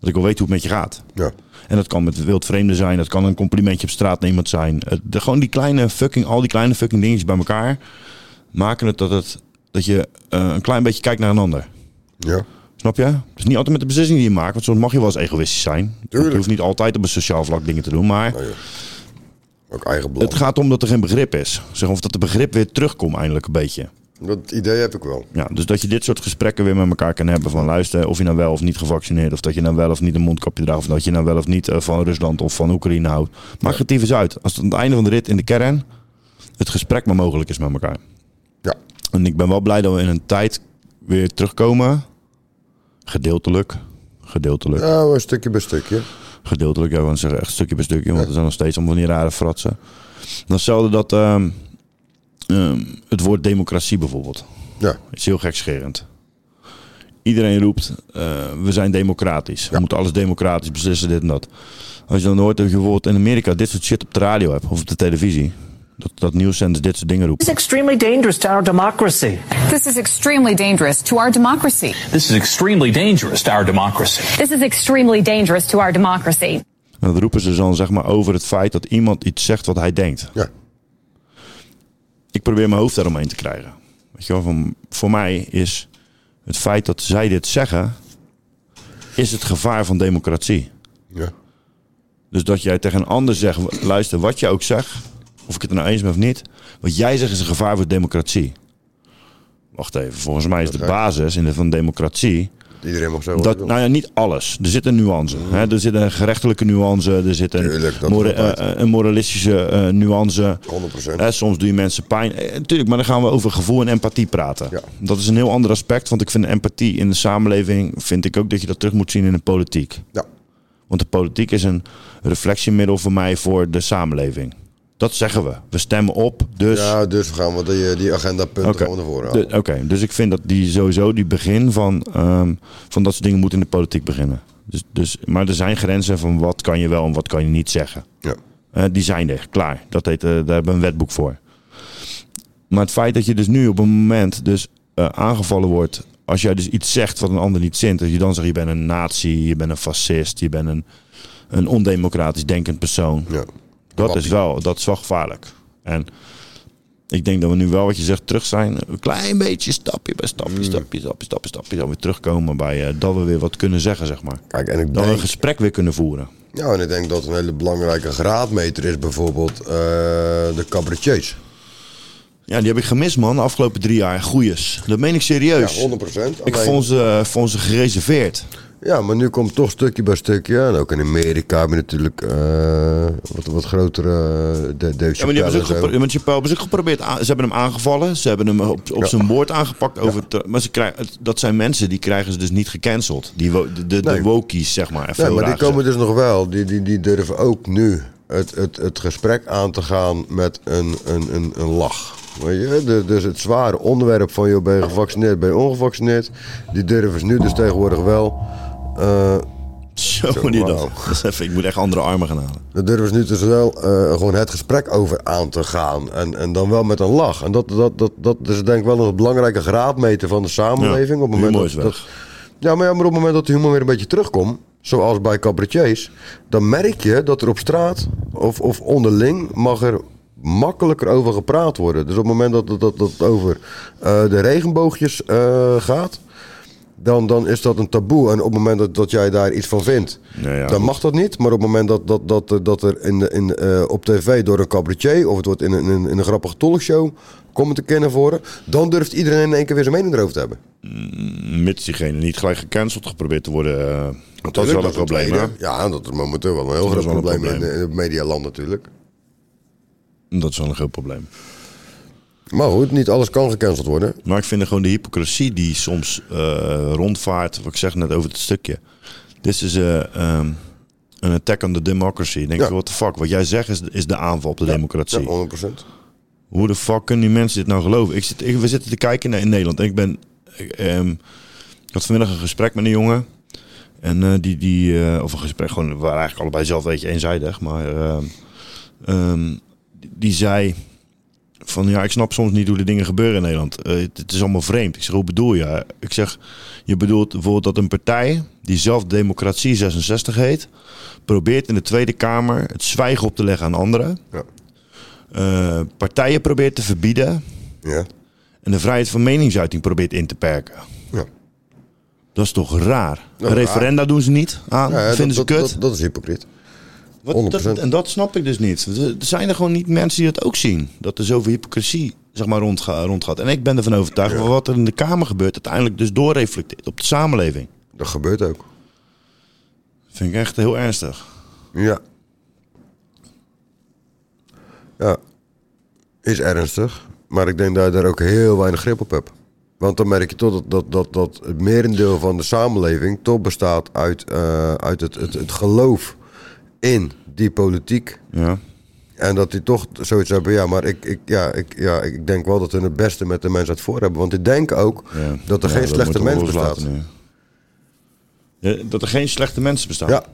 Speaker 3: dat ik wel weet hoe het met je gaat.
Speaker 2: Ja.
Speaker 3: En dat kan met wildvreemden zijn. Dat kan een complimentje op straat naar iemand zijn. Het, de, gewoon die kleine fucking, al die kleine fucking dingetjes bij elkaar maken het dat, het, dat je eh, een klein beetje kijkt naar een ander.
Speaker 2: Ja.
Speaker 3: Snap je? Het is niet altijd met de beslissing die je maakt. Want soms mag je wel eens egoïstisch zijn.
Speaker 2: Tuurlijk.
Speaker 3: Je hoeft niet altijd op een sociaal vlak dingen te doen. Maar
Speaker 2: Nou ja. Ook eigen belang.
Speaker 3: het gaat om dat er geen begrip is. Zeg, of dat de begrip weer terugkomt eindelijk een beetje.
Speaker 2: Dat idee heb ik wel.
Speaker 3: Ja, dus dat je dit soort gesprekken weer met elkaar kan hebben van luister, of je nou wel of niet gevaccineerd, of dat je nou wel of niet een mondkapje draagt, of dat je nou wel of niet eh, van Rusland of van Oekraïne houdt. Maak het even uit. Als het aan het einde van de rit in de kern het gesprek maar mogelijk is met elkaar.
Speaker 2: Ja.
Speaker 3: En ik ben wel blij dat we in een tijd weer terugkomen. Gedeeltelijk. Gedeeltelijk.
Speaker 2: Nou, een stukje bij stukje.
Speaker 3: Gedeeltelijk, ja, want zeggen echt stukje bij stukje, want er zijn nog steeds allemaal van die rare fratsen. Dan stelde dat ehm, ehm, het woord democratie bijvoorbeeld.
Speaker 2: Ja.
Speaker 3: Het is heel gekscherend. Iedereen roept, eh, we zijn democratisch. We moeten alles democratisch beslissen, dit en dat. Als je dan hoort dat je bijvoorbeeld in Amerika dit soort shit op de radio hebt of op de televisie. Dat, dat nieuwszenders dit soort dingen roepen.
Speaker 10: extremely dangerous to our democracy.
Speaker 9: This is extremely dangerous to our democracy.
Speaker 10: This is extremely dangerous to our democracy.
Speaker 8: This is extremely dangerous to our democracy.
Speaker 3: En dat roepen ze dan zeg maar over het feit dat iemand iets zegt wat hij denkt.
Speaker 2: Ja.
Speaker 3: Ik probeer mijn hoofd daaromheen te krijgen. Weet je wel, van, voor mij is het feit dat zij dit zeggen, is het gevaar van democratie.
Speaker 2: Ja.
Speaker 3: Dus dat jij tegen een ander zegt, w- luister, wat je ook zegt, of ik het er nou eens ben of niet, wat jij zegt is een gevaar voor democratie. Wacht even, volgens mij is de basis in de, van democratie
Speaker 2: iedereen mag zo wat
Speaker 3: Dat,
Speaker 2: wil.
Speaker 3: nou ja, niet alles. Er zit een nuance. Hè? Er zit een gerechtelijke nuance. Er zit een,
Speaker 2: Mm. Tuurlijk, dat
Speaker 3: mora-
Speaker 2: altijd.
Speaker 3: eh, eh, een moralistische eh, nuance.
Speaker 2: 100%.
Speaker 3: Hè, soms doe je mensen pijn. Eh, tuurlijk, maar dan gaan we over gevoel en empathie praten.
Speaker 2: Ja.
Speaker 3: Dat is een heel ander aspect. Want ik vind empathie in de samenleving... vind ik ook dat je dat terug moet zien in de politiek.
Speaker 2: Ja.
Speaker 3: Want de politiek is een reflectiemiddel voor mij voor de samenleving. Dat zeggen we. We stemmen op, dus...
Speaker 2: ja, dus we gaan we die, die agendapunten
Speaker 3: Oké.
Speaker 2: gewoon naar voren
Speaker 3: De-
Speaker 2: halen.
Speaker 3: Oké, dus ik vind dat die sowieso die begin van, ehm, van dat soort dingen moet in de politiek beginnen. Dus, dus, maar er zijn grenzen van wat kan je wel en wat kan je niet zeggen.
Speaker 2: Ja.
Speaker 3: Eh, die zijn er, klaar. Dat heet, eh, daar hebben we een wetboek voor. Maar het feit dat je dus nu op een moment dus, eh, aangevallen wordt... als jij dus iets zegt wat een ander niet zint... dat je dan zegt je bent een nazi, je bent een fascist... je bent een, een ondemocratisch denkend persoon.
Speaker 2: Ja.
Speaker 3: Dat
Speaker 2: Wappie.
Speaker 3: is wel, dat is wel gevaarlijk. En ik denk dat we nu wel wat je zegt terug zijn. Een klein beetje stapje bij
Speaker 2: Mm.
Speaker 3: stapje, stapje, stapje, stapje, stapje. Dan weer terugkomen bij eh, dat we weer wat kunnen zeggen, zeg maar.
Speaker 2: Kijk, en ik
Speaker 3: Dat we een
Speaker 2: denk,
Speaker 3: gesprek weer kunnen voeren.
Speaker 2: ja, en ik denk dat een hele belangrijke graadmeter is bijvoorbeeld eh, de cabaretiers.
Speaker 3: Ja, die heb ik gemist, man. De afgelopen drie jaar. Goeies. Dat meen ik
Speaker 2: Ja,
Speaker 3: serieus.
Speaker 2: 100%.
Speaker 3: Dus ik
Speaker 2: Alleen-
Speaker 3: vond ze, eh, vond ze gereserveerd.
Speaker 2: Ja, maar nu komt toch stukje bij stukje. En ook in Amerika hebben we natuurlijk eh, wat, wat grotere eh, de,
Speaker 3: Ja,
Speaker 2: Dave
Speaker 3: maar die
Speaker 2: Chappelle
Speaker 3: hebben ze ook,
Speaker 2: en zo.
Speaker 3: gepro- want Chappelle hebben ze ook geprobeerd. aan- Ze hebben hem aangevallen. Ze hebben hem op, op
Speaker 2: Ja.
Speaker 3: zijn woord aangepakt. Over te- maar ze krijgen, het- dat zijn mensen die krijgen ze dus niet gecanceld. Die wo- de, de, de
Speaker 2: Nee.
Speaker 3: wokies, zeg maar. even
Speaker 2: Nee,
Speaker 3: heel
Speaker 2: maar die
Speaker 3: raar gezegd.
Speaker 2: komen dus nog wel. Die, die, die durven ook nu het, het, het gesprek aan te gaan met een, een, een, een lach. Weet je? Dus, dus het zware onderwerp van joh, ben je gevaccineerd, ben je ongevaccineerd. Die durven ze nu dus tegenwoordig wel. eh,
Speaker 3: Zo, die
Speaker 2: wauw.
Speaker 3: dat. Dat is even, ik moet echt andere armen gaan halen.
Speaker 2: daar durven ze nu dus wel eh, gewoon het gesprek over aan te gaan. En, en dan wel met een lach. En dat, dat, dat, dat is denk ik wel een belangrijke graadmeter van de samenleving.
Speaker 3: Ja,
Speaker 2: op het moment
Speaker 3: humor
Speaker 2: dat,
Speaker 3: is weg.
Speaker 2: dat- ja, maar ja, maar op het moment dat de humor weer een beetje terugkomt, zoals bij cabaretiers, dan merk je dat er op straat of, of onderling mag er makkelijker over gepraat worden. Dus op het moment dat dat, dat, dat het over eh, de regenboogjes eh, gaat, dan, dan is dat een taboe. En op het moment dat, dat jij daar iets van vindt,
Speaker 3: Nou ja,
Speaker 2: dan
Speaker 3: goed.
Speaker 2: mag dat niet. Maar op het moment dat, dat, dat, eh, dat er in, de- in, de, eh, op tv door een cabaretier of het wordt in een, in een, in een grappige talkshow komen te kennen voor, dan durft iedereen in één keer weer zijn mening erover te hebben.
Speaker 3: Mits diegene niet gelijk gecanceld geprobeerd te worden. eh, want dat is wel
Speaker 2: Tuurlijk,
Speaker 3: een probleem,
Speaker 2: tweede.
Speaker 3: hè?
Speaker 2: Ja, dat is momenteel wel een heel
Speaker 3: Dat
Speaker 2: groot
Speaker 3: is wel een
Speaker 2: probleem,
Speaker 3: probleem.
Speaker 2: in eh, het medialand natuurlijk.
Speaker 3: Dat is wel een groot probleem.
Speaker 2: Maar goed, niet alles kan gecanceld worden.
Speaker 3: Maar ik vind er gewoon de hypocrisie die soms eh, rondvaart. Wat ik zeg net over het stukje. Dit is eh, ehm, een attack on the democracy. Ik denk
Speaker 2: Ja.
Speaker 3: je, what the fuck? Wat jij zegt is, is de aanval op de
Speaker 2: Ja,
Speaker 3: democratie.
Speaker 2: 100%.
Speaker 3: Hoe de fuck kunnen die mensen dit nou geloven? Ik zit, ik- we zitten te kijken naar in Nederland. En ik ben. Ik, ehm, ik had vanmiddag een gesprek met een jongen. En eh, die. die eh, of een gesprek, gewoon. We waren eigenlijk allebei zelf een beetje eenzijdig. Maar. ehm, ehm, die, die zei. Van ja, ik snap soms niet hoe de dingen gebeuren in Nederland. Eh, het, het is allemaal vreemd. Ik zeg, hoe bedoel je? Ik zeg, je bedoelt bijvoorbeeld dat een partij die zelf Democratie 66 heet, probeert in de Tweede Kamer het zwijgen op te leggen aan anderen.
Speaker 2: Ja.
Speaker 3: Eh, partijen probeert te verbieden
Speaker 2: Ja.
Speaker 3: en de vrijheid van meningsuiting probeert in te perken.
Speaker 2: Ja.
Speaker 3: Dat is toch raar?
Speaker 2: is
Speaker 3: Een referenda doen ze niet aan,
Speaker 2: Oh, Ja, ja,
Speaker 3: vinden
Speaker 2: dat,
Speaker 3: ze
Speaker 2: dat,
Speaker 3: kut.
Speaker 2: Dat, dat is hypocriet.
Speaker 3: Wat-
Speaker 2: 100%.
Speaker 3: dat- en dat snap ik dus niet. Er zijn er gewoon niet mensen die dat ook zien. Dat er zoveel hypocrisie zeg maar, rondga- rondgaat. En ik ben ervan overtuigd dat wat er in de Kamer gebeurt... uiteindelijk dus doorreflecteert op de samenleving.
Speaker 2: Dat gebeurt ook.
Speaker 3: Vind ik echt heel ernstig.
Speaker 2: Ja. Ja. Is ernstig. Maar ik denk dat je daar ook heel weinig grip op hebt. Want dan merk je toch dat, dat, dat, dat het merendeel van de samenleving toch bestaat uit, eh, uit het, het, het geloof in die politiek.
Speaker 3: Ja.
Speaker 2: En dat die toch zoiets hebben, ja, maar ik, ik, ja, ik, ja, ik denk wel dat we het beste met de mensheid voor hebben. Want ik denk ook
Speaker 3: Ja.
Speaker 2: dat er
Speaker 3: Ja,
Speaker 2: geen slechte
Speaker 3: moeten we
Speaker 2: mens
Speaker 3: loslaten
Speaker 2: bestaat.
Speaker 3: nu. Ja, dat er geen slechte mensen bestaan.
Speaker 2: Ja.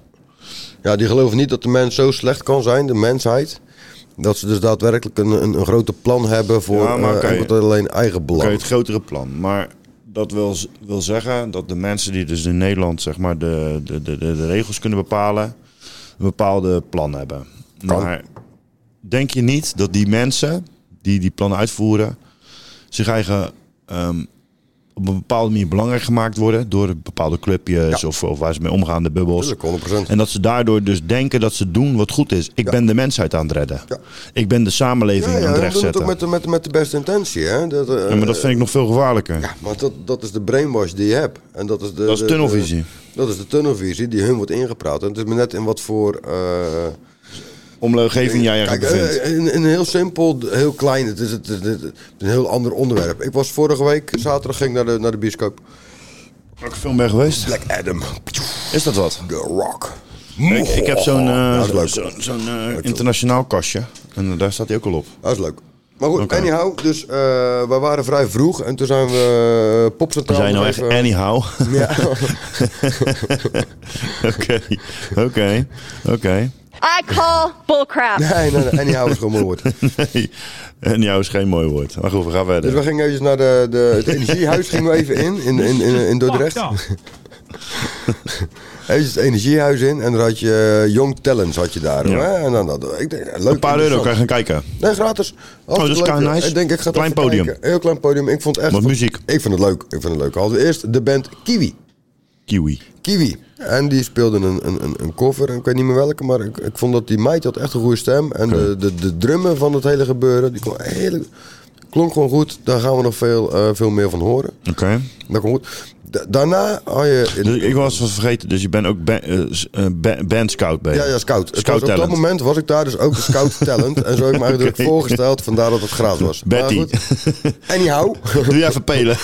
Speaker 2: ja, die geloven niet dat de mens zo slecht kan zijn, de mensheid. Dat ze dus daadwerkelijk een, een, een grote plan hebben voor
Speaker 3: Ja,
Speaker 2: eh
Speaker 3: maar oké.
Speaker 2: enkel en alleen eigen belang.
Speaker 3: Oké, het grotere plan. Maar dat wil, z- wil zeggen dat de mensen die dus in Nederland zeg maar, de, de, de, de, de regels kunnen bepalen, een bepaalde plan hebben. Maar denk je niet dat die mensen die die plannen uitvoeren, zich eigen ehm, op een bepaalde manier belangrijk gemaakt worden door de bepaalde clubjes
Speaker 2: Ja.
Speaker 3: of, of waar ze mee omgaan, de bubbels.
Speaker 2: Tuurlijk, 100%.
Speaker 3: En dat ze daardoor dus denken dat ze doen wat goed is. Ik ben de mensheid aan het redden.
Speaker 2: Ja.
Speaker 3: Ik ben de samenleving
Speaker 2: Ja,
Speaker 3: aan
Speaker 2: ja,
Speaker 3: het
Speaker 2: we
Speaker 3: recht
Speaker 2: doen het
Speaker 3: zetten.
Speaker 2: ook met de, met, de- met de beste intentie. Hè? Dat, eh,
Speaker 3: Ja, maar dat vind ik nog veel gevaarlijker.
Speaker 2: Ja, maar dat, dat is de brainwash die je hebt. En dat is de,
Speaker 3: Dat is
Speaker 2: de-
Speaker 3: tunnelvisie.
Speaker 2: de- dat is de tunnelvisie die hun wordt ingepraat. En het is maar net in wat voor... eh,
Speaker 3: Omgeving jij je
Speaker 2: Kijk,
Speaker 3: bevindt.
Speaker 2: eh, een, een heel simpel, heel klein. Het is, het, is- het is een heel ander onderwerp. Ik was vorige week, zaterdag, ging ik naar de, naar de bioscoop. eh,
Speaker 3: Welke film ben je geweest?
Speaker 2: Black Adam,
Speaker 3: Is dat wat?
Speaker 2: The Rock.
Speaker 3: Ik, ik heb zo'n eh,
Speaker 2: Ja, Oh, dat is leuk.
Speaker 3: zo'n- zo'n, eh, internationaal kastje. En eh, daar staat hij ook al op.
Speaker 2: Dat is leuk. Maar goed,
Speaker 3: Oké.
Speaker 2: anyhow, dus eh we waren vrij vroeg en toen zijn we uh, popcentraal.
Speaker 3: Zijn nou
Speaker 2: nog
Speaker 3: echt
Speaker 2: even-
Speaker 3: anyhow?
Speaker 2: Ja.
Speaker 3: Oké, oké, oké.
Speaker 11: I call bullcrap.
Speaker 2: nee, nee, nee, anyhow is gewoon mooi woord.
Speaker 3: Nee, Anyhow is geen mooi woord. Maar goed, we gaan
Speaker 2: Dus we
Speaker 3: verder.
Speaker 2: gingen even naar de, de, het energiehuis gingen we even in, in, in, in, in Dordrecht. Even het energiehuis in en dan had je eh, Young Talents had je daar.
Speaker 3: Ja.
Speaker 2: Hè? En dan dat, ik denk, eh, leuk,
Speaker 3: Een paar euro kan je gaan kijken.
Speaker 2: Nee, gratis. Hartstikke
Speaker 3: Oh, dat is
Speaker 2: leuk.
Speaker 3: kei nice.
Speaker 2: Ik denk, ik ga het
Speaker 3: Klein
Speaker 2: even
Speaker 3: podium.
Speaker 2: kijken. Heel klein podium. Ik vond het echt...
Speaker 3: Wat muziek.
Speaker 2: Ik vond het leuk. Ik vond het leuk. Hadden we eerst de band Kiwi.
Speaker 3: Kiwi.
Speaker 2: Kiwi. En die speelden een, een, een, een cover. En ik weet niet meer welke, maar ik, ik vond dat die meid had echt een goede stem. En de, de, de drummen van het hele gebeuren, die klonk, hele, klonk gewoon goed. Daar gaan we nog veel, eh, veel meer van horen.
Speaker 3: Oké.
Speaker 2: Dat komt goed. Da- daarna had je... in-
Speaker 3: Dus ik was wat vergeten, dus je bent ook ba- eh, s- eh, ba- band scout bij.
Speaker 2: ja, ja, scout. Het was
Speaker 3: Scout
Speaker 2: op dat
Speaker 3: talent.
Speaker 2: moment was ik daar dus ook de scout talent. En zo heb ik me eigenlijk
Speaker 3: Oké.
Speaker 2: voorgesteld, vandaar dat het gratis was. Maar
Speaker 3: Betty.
Speaker 2: goed. Anyhow,
Speaker 3: Doe jij even pelen.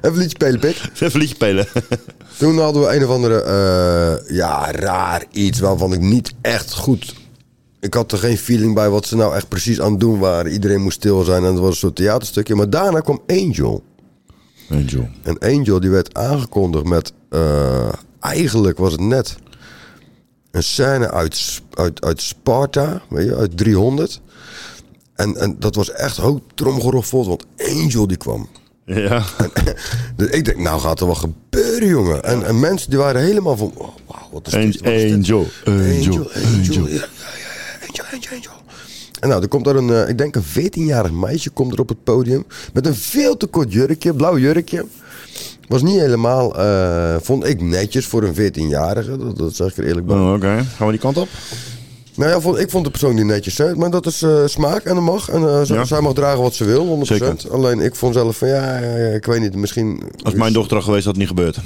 Speaker 2: even liedje spelen, pik.
Speaker 3: even liedje pelen.
Speaker 2: Toen hadden we een of andere, eh, ja, raar iets waarvan ik niet echt goed... Ik had er geen feeling bij wat ze nou echt precies aan het doen waren. Iedereen moest stil zijn en het was een soort theaterstukje. Maar daarna kwam Angel.
Speaker 3: Angel.
Speaker 2: En Angel die werd aangekondigd met... eh, eigenlijk was het net een scène uit, Sp- uit, uit Sparta, weet je, uit 300. En, en dat was echt hoog tromgeroffeld, want Angel die kwam.
Speaker 3: Ja.
Speaker 2: Dus ik denk, nou gaat er wat gebeuren, jongen. En, en mensen die waren helemaal van, oh, wauw, wat is dit?
Speaker 3: Angel.
Speaker 2: Wat is dit?
Speaker 3: Angel.
Speaker 2: Angel,
Speaker 3: Angel.
Speaker 2: Angel, ja, ja, ja, Angel, Angel, Angel. En nou, er komt daar een, eh, ik denk een 14-jarig meisje komt er op het podium. Met een veel te kort jurkje, blauw jurkje. Was niet helemaal, eh, vond ik netjes voor een 14-jarige. Dat, dat zeg ik er eerlijk bij.
Speaker 3: Oh, Oké, gaan we die kant op?
Speaker 2: Nou ja, vond, ik vond de persoon die netjes hè. Maar dat is eh, smaak en dat mag. En eh, zij-
Speaker 3: Ja.
Speaker 2: zij mag dragen wat ze wil, 100%.
Speaker 3: Zeker.
Speaker 2: Alleen ik vond zelf van, ja, ja, ja, ik weet niet, misschien...
Speaker 3: Als mijn dochter had geweest, had het niet gebeurd.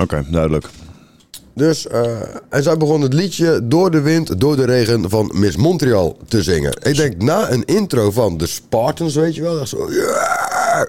Speaker 3: Oké,
Speaker 2: Nee.
Speaker 3: duidelijk.
Speaker 2: Dus, eh, en zij begon het liedje Door de wind, door de regen van Miss Montreal te zingen. Ik denk, na een intro van de Spartans, weet je wel, echt zo... ja,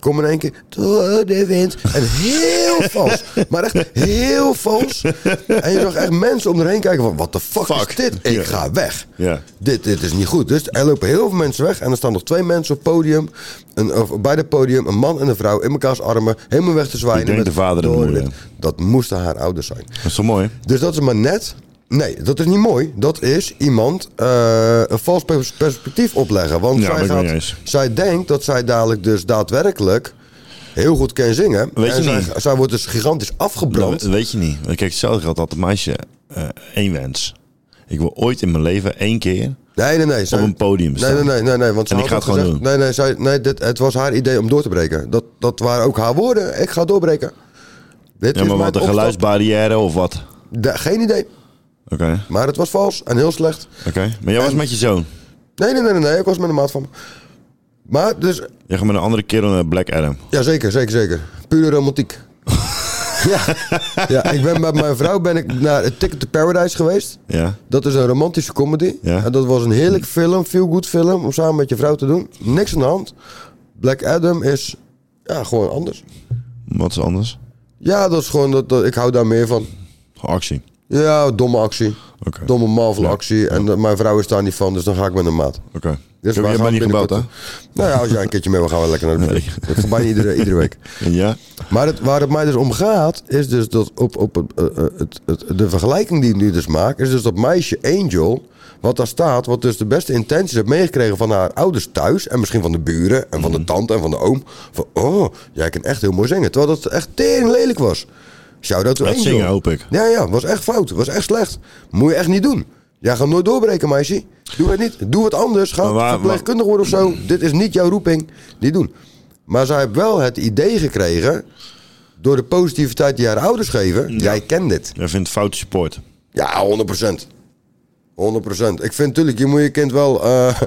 Speaker 2: Kom in één keer door de wind. En heel vals. Maar echt heel vals. En je zag echt mensen om erheen kijken van... Wat de fuck,
Speaker 3: Fuck.
Speaker 2: is dit? Ik
Speaker 3: Ja.
Speaker 2: ga weg.
Speaker 3: Ja.
Speaker 2: Dit, dit is niet goed. Dus er lopen heel veel mensen weg. En er staan nog twee mensen op het podium. Een, of bij het podium. Een man en een vrouw in mekaars armen. Helemaal weg te zwaaien.
Speaker 3: Ik denk
Speaker 2: met
Speaker 3: de vader en de
Speaker 2: door
Speaker 3: moeder.
Speaker 2: wind. Dat moesten haar ouders zijn.
Speaker 3: Dat is toch mooi?
Speaker 2: Dus dat is maar net. Nee, dat is niet mooi. Dat is iemand eh, een vals pers- perspectief opleggen. Want
Speaker 3: Ja, ben
Speaker 2: zij,
Speaker 3: ik
Speaker 2: gaat-
Speaker 3: mee eens.
Speaker 2: zij denkt dat zij dadelijk dus daadwerkelijk heel goed kan zingen.
Speaker 3: Weet
Speaker 2: en
Speaker 3: je
Speaker 2: zij,
Speaker 3: niet.
Speaker 2: zij wordt dus gigantisch afgebrand.
Speaker 3: Dat weet je niet. Want Kijk, hetzelfde geldt dat een meisje eh, één wens. Ik wil ooit in mijn leven één keer.
Speaker 2: Nee, nee, nee. zij-
Speaker 3: een podium
Speaker 2: Nee,
Speaker 3: staan.
Speaker 2: nee, nee. nee, nee want ze
Speaker 3: En
Speaker 2: had
Speaker 3: ik ga het
Speaker 2: al
Speaker 3: gewoon
Speaker 2: gezegd- Nee, nee, zij, nee dit, het was haar idee om door te breken. Dat, dat waren ook haar woorden. Ik ga doorbreken. Dit
Speaker 3: Ja, maar
Speaker 2: is mijn
Speaker 3: wat, een
Speaker 2: opstap.
Speaker 3: geluidsbarrière of wat?
Speaker 2: Da- Geen idee.
Speaker 3: Oké, oké.
Speaker 2: Maar het was vals en heel slecht.
Speaker 3: Maar jij was met je zoon.
Speaker 2: Nee, nee, nee, nee, nee. Ik was met een maat van me. Maar dus
Speaker 3: Jij gaat met een andere kerel naar Black Adam.
Speaker 2: Ja, zeker, zeker, zeker. Pure romantiek. ja. ja, ik ben met mijn vrouw ben ik naar het Ticket to Paradise geweest.
Speaker 3: Ja.
Speaker 2: Dat is een romantische comedy.
Speaker 3: Ja.
Speaker 2: En dat was een heerlijk film, feel good film, om samen met je vrouw te doen. Niks aan de hand. Black Adam is ja, gewoon anders.
Speaker 3: Wat is anders?
Speaker 2: Ja, dat is gewoon, dat, dat- ik hou daar meer van.
Speaker 3: Actie.
Speaker 2: Ja, domme actie.
Speaker 3: Oké.
Speaker 2: Domme Marvel
Speaker 3: Ja.
Speaker 2: actie. En eh, mijn vrouw is daar niet van, dus dan ga ik met een maat.
Speaker 3: Oké.
Speaker 2: Dus
Speaker 3: Heb
Speaker 2: wij
Speaker 3: je
Speaker 2: gaan
Speaker 3: mij niet gebeld,
Speaker 2: binnenkort-
Speaker 3: hè?
Speaker 2: Nou ja, als jij een keertje mee wil, gaan we lekker naar de
Speaker 3: Nee.
Speaker 2: bioscoop. Dat is bijna iedere, iedere week.
Speaker 3: Ja.
Speaker 2: Maar het, waar het mij dus om gaat, is dus dat op, op het, eh, eh, het, het- de vergelijking die ik nu dus maak, is dus dat meisje Angel, wat daar staat, wat dus de beste intenties heeft meegekregen van haar ouders thuis en misschien van de buren en van
Speaker 3: Mhm.
Speaker 2: de tante en van de oom. Van, oh, jij kan echt heel mooi zingen. Terwijl dat echt tering lelijk was. Shout-out to
Speaker 3: Dat
Speaker 2: Angel.
Speaker 3: zingen hoop ik.
Speaker 2: Ja, ja, was echt fout. Was echt slecht. Moet je echt niet doen. Jij gaat nooit doorbreken, meisje. Doe het niet. Doe wat anders. Ga
Speaker 3: Maar waar-
Speaker 2: verpleegkundig worden of zo. Dit is niet jouw roeping. Niet doen. Maar zij heeft wel het idee gekregen, door de positiviteit die haar ouders geven, jij kent dit.
Speaker 3: Jij vindt foute support.
Speaker 2: Ja, 100%. 100%. Ik vind natuurlijk, je moet je kind wel eh,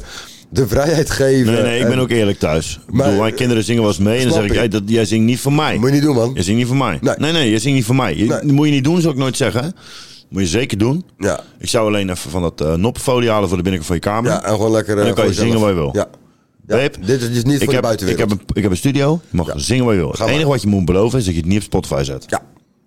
Speaker 2: de vrijheid geven.
Speaker 3: Nee, nee, ik ben
Speaker 2: En-
Speaker 3: ook eerlijk thuis. ik bedoel, mijn kinderen zingen wel eens mee en dan
Speaker 2: snap
Speaker 3: zeg ik,
Speaker 2: ik.
Speaker 3: hey, dat, jij zingt niet voor mij. Moet
Speaker 2: je niet doen, man.
Speaker 3: Jij zingt niet voor mij. Nee, nee, jij zingt niet voor mij. Je, Dat moet je niet doen, zou ik nooit zeggen. hè. Moet je zeker doen.
Speaker 2: Ja.
Speaker 3: Ik zou alleen even van dat eh noppenfolie halen voor de binnenkant van je kamer.
Speaker 2: Ja, en gewoon lekker,
Speaker 3: En
Speaker 2: eh,
Speaker 3: dan kan je
Speaker 2: voor
Speaker 3: zingen waar je
Speaker 2: jezelf.
Speaker 3: wil.
Speaker 2: Ja. Ja,
Speaker 3: Babe,
Speaker 2: dit is dus niet
Speaker 3: ik
Speaker 2: voor de
Speaker 3: heb,
Speaker 2: buitenwereld.
Speaker 3: Ik heb, een, ik heb een studio, je mag zingen waar je wil. Het
Speaker 2: Ga maar.
Speaker 3: enige wat je moet beloven is dat je het niet op Spotify zet.
Speaker 2: Ja,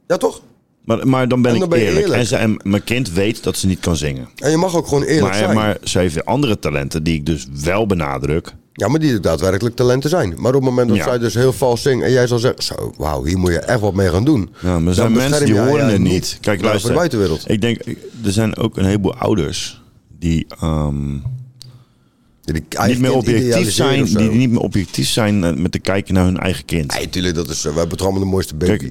Speaker 2: ja toch?
Speaker 3: Maar, maar dan ben
Speaker 2: En
Speaker 3: ik
Speaker 2: dan ben je
Speaker 3: eerlijk.
Speaker 2: eerlijk.
Speaker 3: En, ze, en mijn kind weet dat ze niet kan zingen.
Speaker 2: En je mag ook gewoon eerlijk
Speaker 3: Maar,
Speaker 2: zijn.
Speaker 3: maar ze heeft weer andere talenten die ik dus wel benadruk.
Speaker 2: Ja, maar die ook daadwerkelijk talenten zijn. Maar op het moment dat
Speaker 3: Ja.
Speaker 2: zij dus heel vals zingt en jij zal zeggen... Zo, wauw, hier moet je echt wat mee gaan doen.
Speaker 3: Ja, maar er
Speaker 2: Dan
Speaker 3: zijn mensen
Speaker 2: bescherm
Speaker 3: die
Speaker 2: jij
Speaker 3: horen
Speaker 2: je
Speaker 3: het niet.
Speaker 2: naar
Speaker 3: Kijk, luister.
Speaker 2: De buitenwereld.
Speaker 3: Ik denk, ik- er zijn ook een heleboel ouders die, ehm, niet
Speaker 2: eigen
Speaker 3: meer
Speaker 2: kind
Speaker 3: objectief
Speaker 2: idealiseren
Speaker 3: zijn,
Speaker 2: of zo.
Speaker 3: die niet meer objectief zijn eh, met te kijken naar hun eigen kind.
Speaker 2: Nee, tuurlijk, dat is... eh, wij betrammen de mooiste baby.
Speaker 3: Kijk,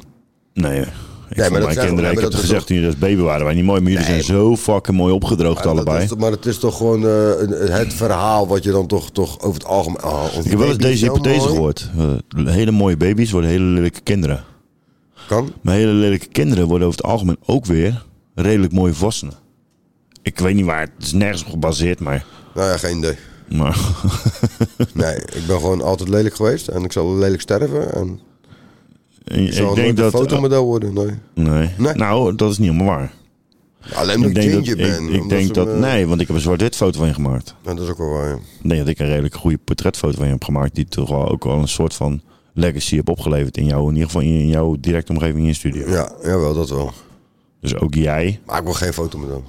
Speaker 3: nee, ik
Speaker 2: maar
Speaker 3: vond
Speaker 2: dat
Speaker 3: mijn
Speaker 2: zeggen we,
Speaker 3: kinderen,
Speaker 2: maar
Speaker 3: ik heb
Speaker 2: dat
Speaker 3: het
Speaker 2: is
Speaker 3: gezegd toen jullie als baby waren, wij niet mooi, maar jullie zijn zo fucking mooi opgedroogd
Speaker 2: Maar dat
Speaker 3: allebei.
Speaker 2: is toch- maar het is toch gewoon eh, een- het verhaal wat je dan toch, toch over het algemeen... ah, onze
Speaker 3: Ik heb wel eens
Speaker 2: baby is
Speaker 3: deze
Speaker 2: zo
Speaker 3: hypothese
Speaker 2: mooi.
Speaker 3: gehoord. Eh, hele mooie baby's worden hele lelijke kinderen.
Speaker 2: Kan.
Speaker 3: Maar hele lelijke kinderen worden over het algemeen ook weer redelijk mooie volwassenen. Ik weet niet waar, het is nergens op gebaseerd, maar...
Speaker 2: Nou ja, geen idee.
Speaker 3: maar
Speaker 2: Nee, ik ben gewoon altijd lelijk geweest en ik zal lelijk sterven. En ik zal
Speaker 3: ik
Speaker 2: nooit
Speaker 3: denk
Speaker 2: een
Speaker 3: dat...
Speaker 2: fotomodel worden, nee.
Speaker 3: nee. Nou, dat is niet helemaal waar.
Speaker 2: Alleen omdat ik
Speaker 3: denk dat, ik-
Speaker 2: ginger ben.
Speaker 3: Ik,
Speaker 2: omdat ze
Speaker 3: denk dat...
Speaker 2: me-
Speaker 3: Nee, want ik heb een zwart-wit foto van je gemaakt.
Speaker 2: Ja, dat is ook wel waar, ja.
Speaker 3: Ik denk dat ik een redelijk goede portretfoto van je heb gemaakt... die toch wel ook al een soort van legacy heb opgeleverd... in, jou, in ieder geval in, in jouw directe omgeving in je studio.
Speaker 2: Ja, jawel, dat wel.
Speaker 3: Dus ook jij...
Speaker 2: Maar ik wil geen fotomodel.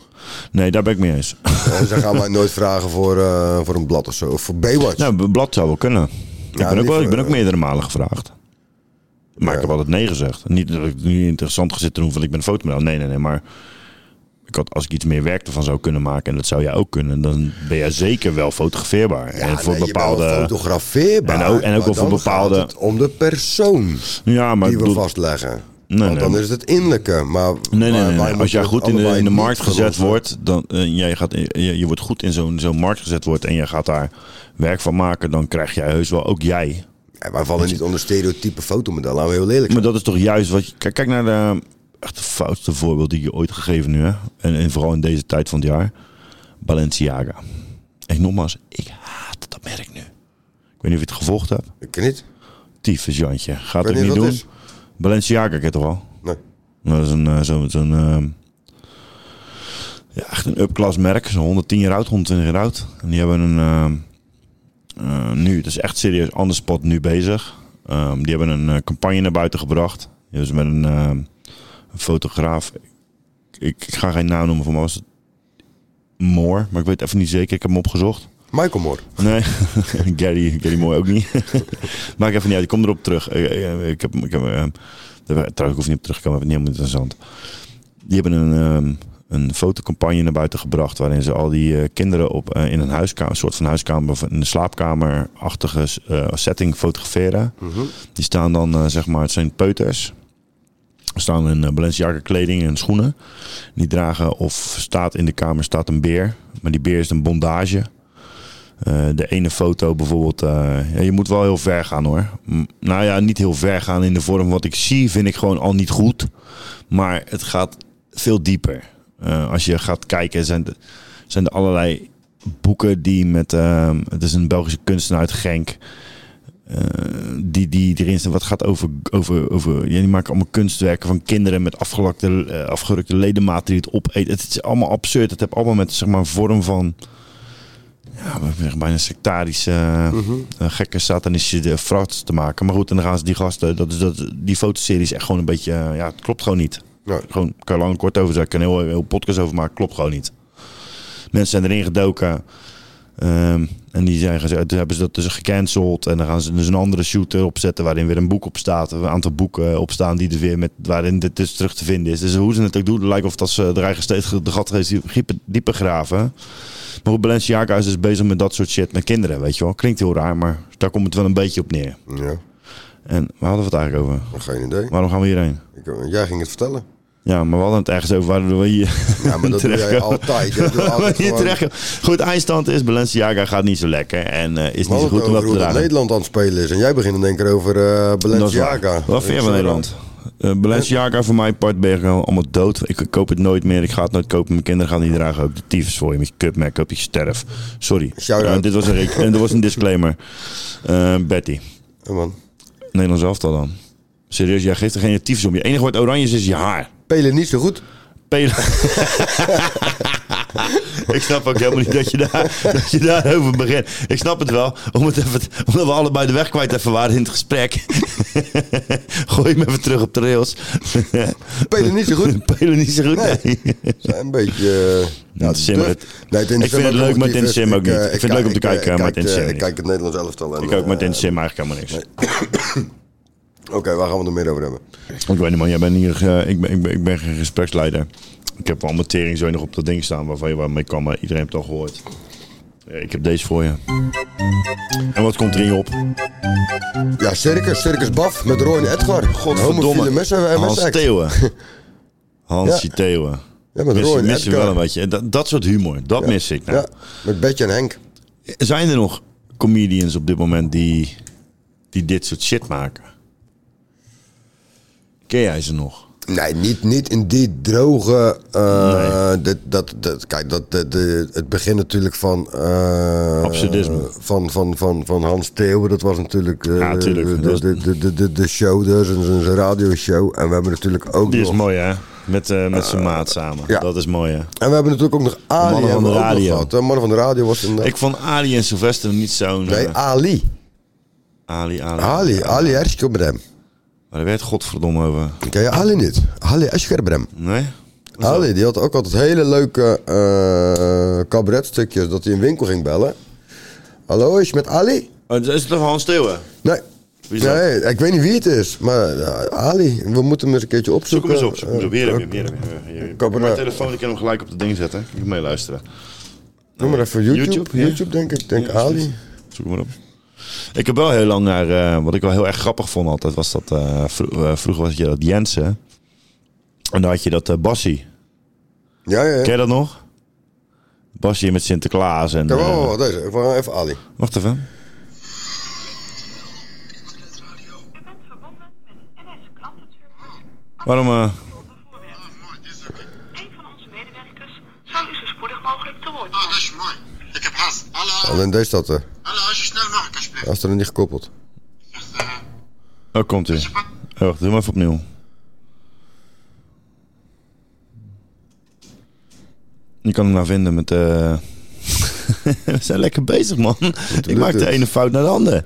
Speaker 3: Nee, daar ben ik mee eens.
Speaker 2: En ze gaan mij nooit vragen voor, eh, voor een blad of zo. Of voor Baywatch.
Speaker 3: Nou, een blad zou wel kunnen. Ik, ben, ook wel, ik ben
Speaker 2: eh,
Speaker 3: ook meerdere malen gevraagd. Maar ik heb altijd nee gezegd. Niet dat ik nu interessant gezit te doen van ik ben een fotomodel. Nee, nee, nee. Maar ik had, als ik iets meer werk ervan zou kunnen maken... en dat zou jij ook kunnen... dan ben jij zeker wel fotografeerbaar. en voor
Speaker 2: nee, je bent wel
Speaker 3: bepaalde...
Speaker 2: fotografeerbaar.
Speaker 3: En ook, en ook
Speaker 2: maar
Speaker 3: wel voor
Speaker 2: dan gaat
Speaker 3: bepaalde...
Speaker 2: het om de persoon
Speaker 3: Ja, maar...
Speaker 2: die we
Speaker 3: ik bedoel-
Speaker 2: vastleggen.
Speaker 3: Nee,
Speaker 2: Want
Speaker 3: nee.
Speaker 2: dan is het het innerlijke. Maar
Speaker 3: Nee, nee, nee,
Speaker 2: maar wij
Speaker 3: nee. Als
Speaker 2: moeten
Speaker 3: jij
Speaker 2: het
Speaker 3: goed in de,
Speaker 2: allebei
Speaker 3: in de
Speaker 2: niet
Speaker 3: markt gezet
Speaker 2: geloven.
Speaker 3: wordt, dan eh, jij gaat, in- je, je wordt goed in zo'n zo'n markt gezet wordt en je gaat daar werk van maken, dan krijg jij heus wel ook jij.
Speaker 2: Ja, wij vallen niet onder stereotype fotomodel. Laten we heel lelijk
Speaker 3: Maar dat is toch juist wat je. Kijk, kijk naar de echt de foutste voorbeeld die je ooit gegeven nu, hè? En, en vooral in deze tijd van het jaar. Balenciaga. En nogmaals, ik haat dat merk nu. Ik weet niet of je het gevolgd hebt.
Speaker 2: Ik ken niet.
Speaker 3: Tyfus Jantje. Gaat
Speaker 2: Ik
Speaker 3: het
Speaker 2: weet
Speaker 3: niet
Speaker 2: niet wat
Speaker 3: doen.
Speaker 2: het is.
Speaker 3: Balenciaga, ik het toch al?
Speaker 2: Nee.
Speaker 3: Dat is een, eh, zo'n... zo'n, ehm, ja, echt een upclass merk. Zo'n 110 jaar oud, 120 jaar oud. En die hebben een... ehm, eh, nu, het is echt serieus, Anderspot nu bezig. Ehm, die hebben een eh, campagne naar buiten gebracht. Dus met een, ehm, een fotograaf. Ik, ik ga geen naam noemen van mij. Was het Moore? Maar ik weet even niet zeker. Ik heb hem opgezocht.
Speaker 2: Michael Moore.
Speaker 3: Nee, Gary, Gary Moore ook niet. Maak even niet uit, ik kom erop terug. Eh, eh, eh, Ik heb, ik heb, eh, daar- trouwens, ik hoef niet op terug te komen, ik vind het niet helemaal interessant. Die hebben een, ehm, een fotocampagne naar buiten gebracht... waarin ze al die eh, kinderen op, eh, in een, huiskamer, een soort van huiskamer... of een slaapkamerachtige eh, setting fotograferen. Die staan dan, eh, zeg maar, het zijn peuters... Er staan in eh, Balenciaga kleding en schoenen. Die dragen of staat in de kamer staat een beer. Maar die beer is een bondage. Eh, de ene foto bijvoorbeeld. eh, ja, je moet wel heel ver gaan hoor. M- nou ja, niet heel ver gaan in de vorm. Wat ik zie vind ik gewoon al niet goed. Maar het gaat veel dieper. Eh, als je gaat kijken zijn, de- zijn er allerlei boeken die met... eh, het is een Belgische kunstenaar uit Genk. Eh, die, die erin staan. Wat gaat over... over, over ja, die maken allemaal kunstwerken van kinderen met afgelakte, eh, afgerukte ledematen die het opeten. Het is allemaal absurd. Het heeft allemaal met zeg maar, een vorm van... Ja, we zeggen bijna sectarische, eh, eh, gekke satanistische eh, frauds te maken. Maar goed, en dan gaan ze die gasten... Dat is, dat, die fotoserie is echt gewoon een beetje... eh, ja, het klopt gewoon niet. Gewoon, kan je lang en kort over zeggen. kan heel, heel podcast over maken. Klopt gewoon niet. Mensen zijn erin gedoken. Ehm, en die zijn gezegd, toen hebben ze dat dus gecanceld. En dan gaan ze dus een andere shooter opzetten waarin weer een boek op staat. Een aantal boeken op staan die er weer met, waarin dit dus terug te vinden is. Dus hoe ze het ook doen, het lijkt of dat ze er eigen steeds de gat steeds dieper, dieper graven. Maar hoe Balenciaga is dus bezig met dat soort shit met kinderen, weet je wel. Klinkt heel raar, maar daar komt het wel een beetje op neer.
Speaker 2: Ja.
Speaker 3: En waar hadden we het eigenlijk over?
Speaker 2: Geen idee.
Speaker 3: Waarom gaan we hierheen?
Speaker 2: Ik, jij ging het vertellen.
Speaker 3: Ja, maar we hadden het ergens over waardoor we hier
Speaker 2: Ja, maar dat doe jij
Speaker 3: terechtkomen.
Speaker 2: altijd. Je doet altijd
Speaker 3: hier
Speaker 2: gewoon-
Speaker 3: terechtkomen. Goed, eindstand is Balenciaga gaat niet zo lekker en eh, is
Speaker 2: We
Speaker 3: niet zo
Speaker 2: hadden
Speaker 3: goed
Speaker 2: het
Speaker 3: om
Speaker 2: over
Speaker 3: dat te
Speaker 2: hoe dat
Speaker 3: dragen.
Speaker 2: Nederland aan het spelen is. En jij begint in één keer over eh
Speaker 3: Dat is waar.
Speaker 2: Balenciaga.
Speaker 3: Wat vind jij van Nederland? Eh Balenciaga voor mij, part ben ik gewoon allemaal dood. Ik koop het nooit meer. Ik ga het nooit kopen. Mijn kinderen gaan het niet dragen. Ook de tyfus voor je. Met je kutmerk koop je sterf. Sorry.
Speaker 2: Shout-out.
Speaker 3: Eh, dit, was een rec- en dit was een disclaimer. Eh, Betty.
Speaker 2: Ja, man.
Speaker 3: Nederlands elftal dan. Serieus, jij geeft er geen tyfus om. Je enige wat oranje is, is je haar.
Speaker 2: Pelen niet zo goed.
Speaker 3: Pelen. ik snap ook helemaal niet dat je, daar, dat je daarover begint. Ik snap het wel, om het even, te- omdat we allebei de weg kwijt even waren in het gesprek. Gooi me even terug op de rails.
Speaker 2: Pelen niet zo goed.
Speaker 3: Pelen niet zo goed,
Speaker 2: Nee.
Speaker 3: nee.
Speaker 2: Zijn een beetje... eh,
Speaker 3: Nou, het is helemaal
Speaker 2: durf-
Speaker 3: het-
Speaker 2: Nee, Tim
Speaker 3: Ik vind
Speaker 2: Sim
Speaker 3: het
Speaker 2: ook
Speaker 3: leuk,
Speaker 2: nog
Speaker 3: maar
Speaker 2: niet
Speaker 3: Tim Sim
Speaker 2: best.
Speaker 3: ook niet.
Speaker 2: eh,
Speaker 3: Ik vind het leuk om te
Speaker 2: eh,
Speaker 3: kijken, maar
Speaker 2: kijk,
Speaker 3: Tim Sim
Speaker 2: eh, Ik
Speaker 3: niet.
Speaker 2: kijk het Nederlands elftal. en,
Speaker 3: Ik ook, maar
Speaker 2: eh,
Speaker 3: Tim Sim eigenlijk helemaal niks.
Speaker 2: Oké, waar gaan we het meer over hebben?
Speaker 3: Ik weet niet man, jij bent hier, eh, ik, ben, ik, ben, ik ben geen gespreksleider. Ik heb allemaal tering zo nog op dat ding staan waarvan je waarmee kan, maar iedereen heeft het al gehoord. Eh, Ik heb deze voor je. En wat komt er in je op?
Speaker 2: Ja, Circus, Circus Baf met Roy en Edgar. Homofiele
Speaker 3: Godverdomme.
Speaker 2: messen eh, en
Speaker 3: Hans
Speaker 2: messen.
Speaker 3: Theeuwen. Hans Theeuwen.
Speaker 2: Ja, met
Speaker 3: mis,
Speaker 2: Roy en
Speaker 3: mis je
Speaker 2: Edgar.
Speaker 3: wel een beetje. En Dat, dat soort humor, dat mis ik. Nou,
Speaker 2: Ja, met Betje en Henk.
Speaker 3: Zijn er nog comedians op dit moment die, die dit soort shit maken? Ken jij ze nog?
Speaker 2: Nee, niet, niet in die droge. eh, dit- dat, dat, kijk, dat, de- de- het begin natuurlijk van. eh,
Speaker 3: Absurdisme.
Speaker 2: Van, van, van, van Hans Theeuwen, dat was natuurlijk. eh,
Speaker 3: Ja, tuurlijk. Dat
Speaker 2: de,
Speaker 3: is-
Speaker 2: de, de, de, de, de show, dus, zijn- zijn zijn radioshow. En we hebben natuurlijk ook.
Speaker 3: Die is
Speaker 2: nog,
Speaker 3: mooi hè? Met, eh, met zijn maat samen.
Speaker 2: ja.
Speaker 3: Dat is mooi hè?
Speaker 2: en we hebben natuurlijk ook nog Ali.
Speaker 3: Mannen van
Speaker 2: hebben we
Speaker 3: de
Speaker 2: ook nog
Speaker 3: radio.
Speaker 2: gehad, hè. Mannen van de radio was een.
Speaker 3: Ik vond Ali en Sylvester niet zo'n...
Speaker 2: nee,
Speaker 3: eh,
Speaker 2: Ali.
Speaker 3: Ali, Ali.
Speaker 2: Ali, Ali Eschkerbrem.
Speaker 3: Maar daar werd godverdomme over.
Speaker 2: Ken je Ali niet? Ali Eschkerbrem.
Speaker 3: Nee?
Speaker 2: Ali, die had ook altijd hele leuke eh cabaretstukjes dat hij een winkel ging bellen. Hallo, is je met Ali?
Speaker 3: Oh, dat is toch Hans Theeuwen?
Speaker 2: Nee.
Speaker 3: Wie is dat?
Speaker 2: Nee, ik weet niet wie het is, maar eh, Ali, we moeten hem eens een keertje
Speaker 3: Zoek
Speaker 2: opzoeken.
Speaker 3: hem eens op. Zoek hem eens op. Hier heb
Speaker 2: Eh,
Speaker 3: je hem, hier heb je hem, hier heb je hem.
Speaker 2: Ik hoop er
Speaker 3: Mijn
Speaker 2: nou-
Speaker 3: telefoon, ik kan hem gelijk op het ding zetten. Ik kan meeluisteren.
Speaker 2: Noem maar even YouTube. YouTube,
Speaker 3: YouTube, ja.
Speaker 2: denk ik. Ik denk
Speaker 3: Ja,
Speaker 2: Ali.
Speaker 3: Zoek hem maar op. Ik heb wel heel lang naar, eh, wat ik wel heel erg grappig vond altijd, was dat, eh, vro- eh, vroeger was je dat Jensen. En dan had je dat eh, Bassie.
Speaker 2: Ja, ja.
Speaker 3: Ken
Speaker 2: ja.
Speaker 3: je dat nog? Bassie met Sinterklaas en...
Speaker 2: Kijk,
Speaker 3: eh,
Speaker 2: wacht, wacht, deze. Even, even Ali.
Speaker 3: wacht even. Waarom... eh,
Speaker 2: Alleen deze staat er. eh, Hij is er nog niet gekoppeld.
Speaker 12: eh,
Speaker 3: Oh, komt ie. Oh, wacht, doe maar even opnieuw. Je kan hem nou vinden met... eh We zijn lekker bezig, man. Ik maak de
Speaker 2: het.
Speaker 3: ene fout naar de andere.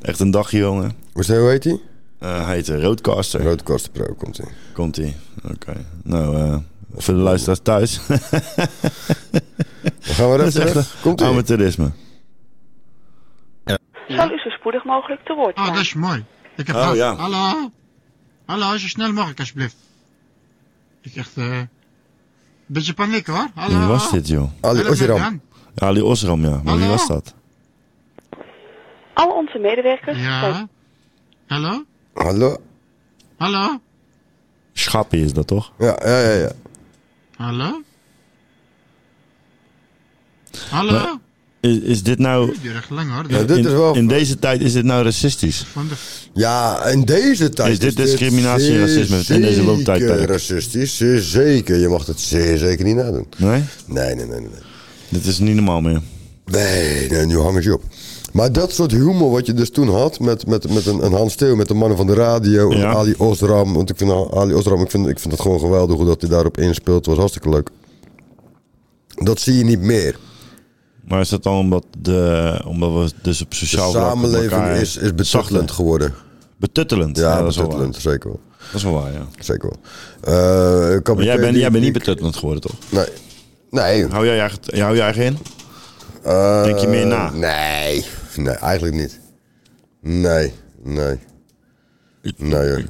Speaker 3: Echt een dagje, jongen.
Speaker 2: Hoe zei- hoe heet hij?
Speaker 3: Eh, hij heet eh, Roadcaster.
Speaker 2: Roodkasten Pro komt hij.
Speaker 3: Komt ie. Oké. Nou, eh, voor de luisteraars thuis.
Speaker 2: Dan gaan we
Speaker 3: Dat is
Speaker 2: even
Speaker 3: echt
Speaker 2: terug. eh, Komt
Speaker 3: een
Speaker 2: hij?
Speaker 3: amateurisme.
Speaker 11: Zal u zo er spoedig mogelijk te woord
Speaker 12: Ah, dat
Speaker 11: staan?
Speaker 12: is mooi. Ik heb
Speaker 3: Oh,
Speaker 12: haast.
Speaker 3: ja.
Speaker 12: Hallo. Hallo, zo snel mogelijk alsjeblieft. Ik echt... eh beetje paniek hoor. Hallo.
Speaker 3: Wie was dit, joh?
Speaker 2: Ali
Speaker 12: Hallo,
Speaker 2: Oshiram.
Speaker 12: Merdan.
Speaker 3: Ali Osram, ja. Maar wie was dat?
Speaker 11: Al onze medewerkers zijn
Speaker 12: Ja. Hallo?
Speaker 2: Hallo?
Speaker 12: Hallo?
Speaker 3: Schappie is dat, toch?
Speaker 2: Ja, ja, ja. ja.
Speaker 12: Hallo? Hallo?
Speaker 3: Is, is dit nou...
Speaker 12: Duur echt lang hoor.
Speaker 2: Ja, dit
Speaker 3: in-
Speaker 2: is wel-
Speaker 3: in deze tijd is dit nou racistisch?
Speaker 12: Van de...
Speaker 2: Ja, in deze tijd.
Speaker 3: Is dit discriminatie en
Speaker 2: zeer
Speaker 3: racisme in deze
Speaker 2: zeker
Speaker 3: woontijdperk?
Speaker 2: racistisch, zeer zeker. Je mag het zeer zeker niet nadoen.
Speaker 3: Nee?
Speaker 2: Nee, nee, nee, nee. nee.
Speaker 3: Dit is niet normaal meer.
Speaker 2: Nee, nee, nu hangen ze op. Maar dat soort humor wat je dus toen had met, met, met een, een Hans Theo, met de mannen van de radio, en
Speaker 3: Ja.
Speaker 2: Ali Osram. Want ik vind Ali Osram, ik vind, ik vind het gewoon geweldig hoe dat hij daarop inspeelt. Het was hartstikke leuk. Dat zie je niet meer.
Speaker 3: Maar is dat dan omdat, de, omdat we dus op
Speaker 2: De
Speaker 3: sociaal vlak met
Speaker 2: samenleving
Speaker 3: elkaar
Speaker 2: is, is betuttelend
Speaker 3: zachter-
Speaker 2: geworden.
Speaker 3: Betuttelend?
Speaker 2: Ja,
Speaker 3: dat is wel
Speaker 2: betuttelend, zeker wel.
Speaker 3: waar. Dat is wel waar, ja.
Speaker 2: Zeker wel. Eh, ik had
Speaker 3: Maar jij
Speaker 2: meteen
Speaker 3: bent,
Speaker 2: die-
Speaker 3: jij bent niet
Speaker 2: die-
Speaker 3: betuttelend geworden, toch?
Speaker 2: Nee. Nee,
Speaker 3: Hou jij je eigen, hou je eigen in?
Speaker 2: Eh,
Speaker 3: Denk je meer na?
Speaker 2: Nee. Nee, eigenlijk niet. Nee, nee. nee, hoor.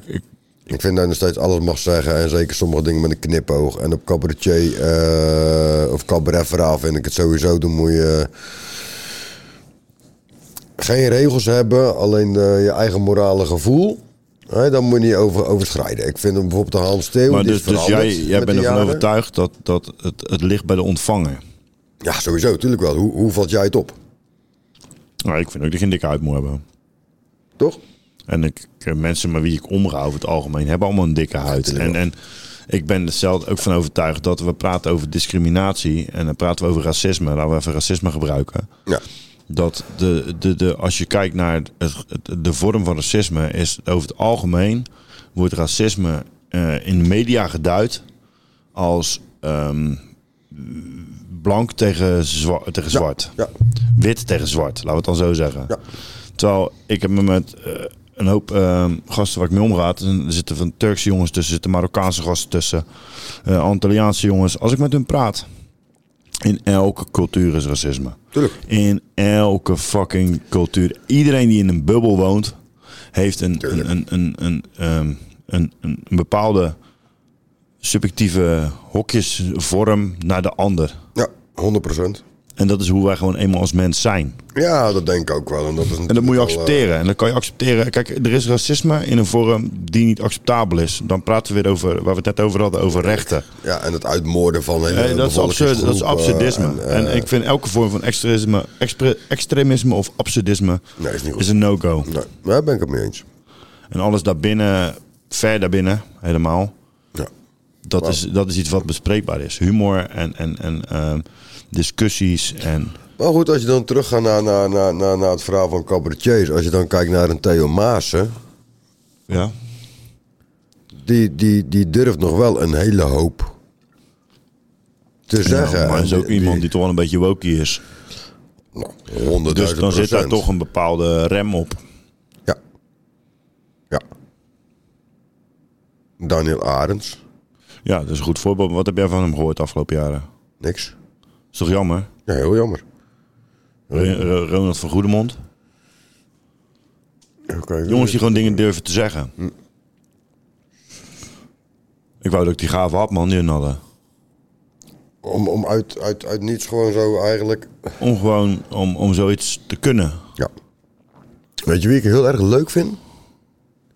Speaker 2: Ik, vind dat je nog steeds alles mag zeggen. En zeker sommige dingen met een knipoog. En op cabaretier eh of cabaretverhaal vind ik het sowieso. Dan moet je eh, geen regels hebben. Alleen eh, je eigen morale gevoel. Hè, dan moet je niet over, overschrijden. Ik vind hem bijvoorbeeld de Hans Theo.
Speaker 3: Maar
Speaker 2: die
Speaker 3: dus,
Speaker 2: is
Speaker 3: dus
Speaker 2: veranderd
Speaker 3: jij, jij
Speaker 2: met
Speaker 3: bent
Speaker 2: de
Speaker 3: ervan
Speaker 2: jaren.
Speaker 3: overtuigd dat, dat het, het ligt bij de ontvanger.
Speaker 2: Ja, sowieso, natuurlijk wel. Hoe, hoe valt jij het op?
Speaker 3: Nou, ik vind ook dat je een dikke huid moet hebben.
Speaker 2: Toch?
Speaker 3: En ik, ik- mensen met wie ik omga over het algemeen hebben allemaal een dikke huid. en, en ik ben er zelf ook van overtuigd dat we praten over discriminatie. En dan praten we over racisme. Laten we even racisme gebruiken.
Speaker 2: Ja.
Speaker 3: Dat de, de, de, als je kijkt naar het, het- de vorm van racisme, is over het algemeen wordt racisme eh, in de media geduid als ehm, blank tegen, zwa- tegen zwart. Wit tegen zwart, laten we het dan zo zeggen. Terwijl ik heb me met eh, een hoop eh, gasten waar ik mee omraad. en Er zitten van Turkse jongens tussen, zitten Marokkaanse gasten tussen, eh Antilliaanse jongens. Als ik met hun praat. In elke cultuur is racisme.
Speaker 2: Tuurlijk.
Speaker 3: In elke fucking cultuur. Iedereen die in een bubbel woont, heeft een, een, een, een, een, ehm, een, een, een bepaalde subjectieve hokjesvorm naar de ander.
Speaker 2: Ja, 100%.
Speaker 3: En dat is hoe wij gewoon eenmaal als mens zijn.
Speaker 2: Ja, dat denk ik ook wel. En dat, is
Speaker 3: En dat moet je
Speaker 2: natuurlijk wel, eh,
Speaker 3: accepteren. En dan kan je accepteren. Kijk, er is racisme in een vorm die niet acceptabel is. Dan praten we weer over waar we het net over hadden, over rechten.
Speaker 2: eh, Ja, en het uitmoorden van hele
Speaker 3: Eh, dat, is absurd, dat is
Speaker 2: bevolkingsgroepen
Speaker 3: absurdisme. En,
Speaker 2: en, eh,
Speaker 3: ik vind elke vorm van extremisme, expre- extremisme of absurdisme is, een no-go.
Speaker 2: Nee, daar ben ik het mee eens.
Speaker 3: En alles daarbinnen, ver daarbinnen, helemaal.
Speaker 2: Ja.
Speaker 3: Dat, is, dat is iets wat bespreekbaar is. Humor en, en, en ehm, discussies en...
Speaker 2: Maar goed, als je dan teruggaat naar, naar, naar, naar, naar het verhaal van cabaretiers. Als je dan kijkt naar een Theo Maassen.
Speaker 3: Ja.
Speaker 2: Die, die, die durft nog wel een hele hoop te zeggen. eh,
Speaker 3: Ja, maar is
Speaker 2: En nou,
Speaker 3: ook iemand die toch wel een beetje woky is. Dus dan zit daar
Speaker 2: 100.000%.
Speaker 3: toch een bepaalde rem op.
Speaker 2: Daniel Arends.
Speaker 3: Ja, dat is een goed voorbeeld. Wat heb jij van hem gehoord de afgelopen jaren?
Speaker 2: Niks.
Speaker 3: Is toch jammer?
Speaker 2: Ja, heel jammer.
Speaker 3: Ro- Ro- Ronald van Goedemond. Jongens die gewoon dingen durven te zeggen. Ik wou dat ik die gave had, man, die hun hadden.
Speaker 2: Om, om uit, uit, uit niets gewoon zo eigenlijk...
Speaker 3: Om gewoon, om, om zoiets te kunnen.
Speaker 2: Ja. Weet je wie ik heel erg leuk vind?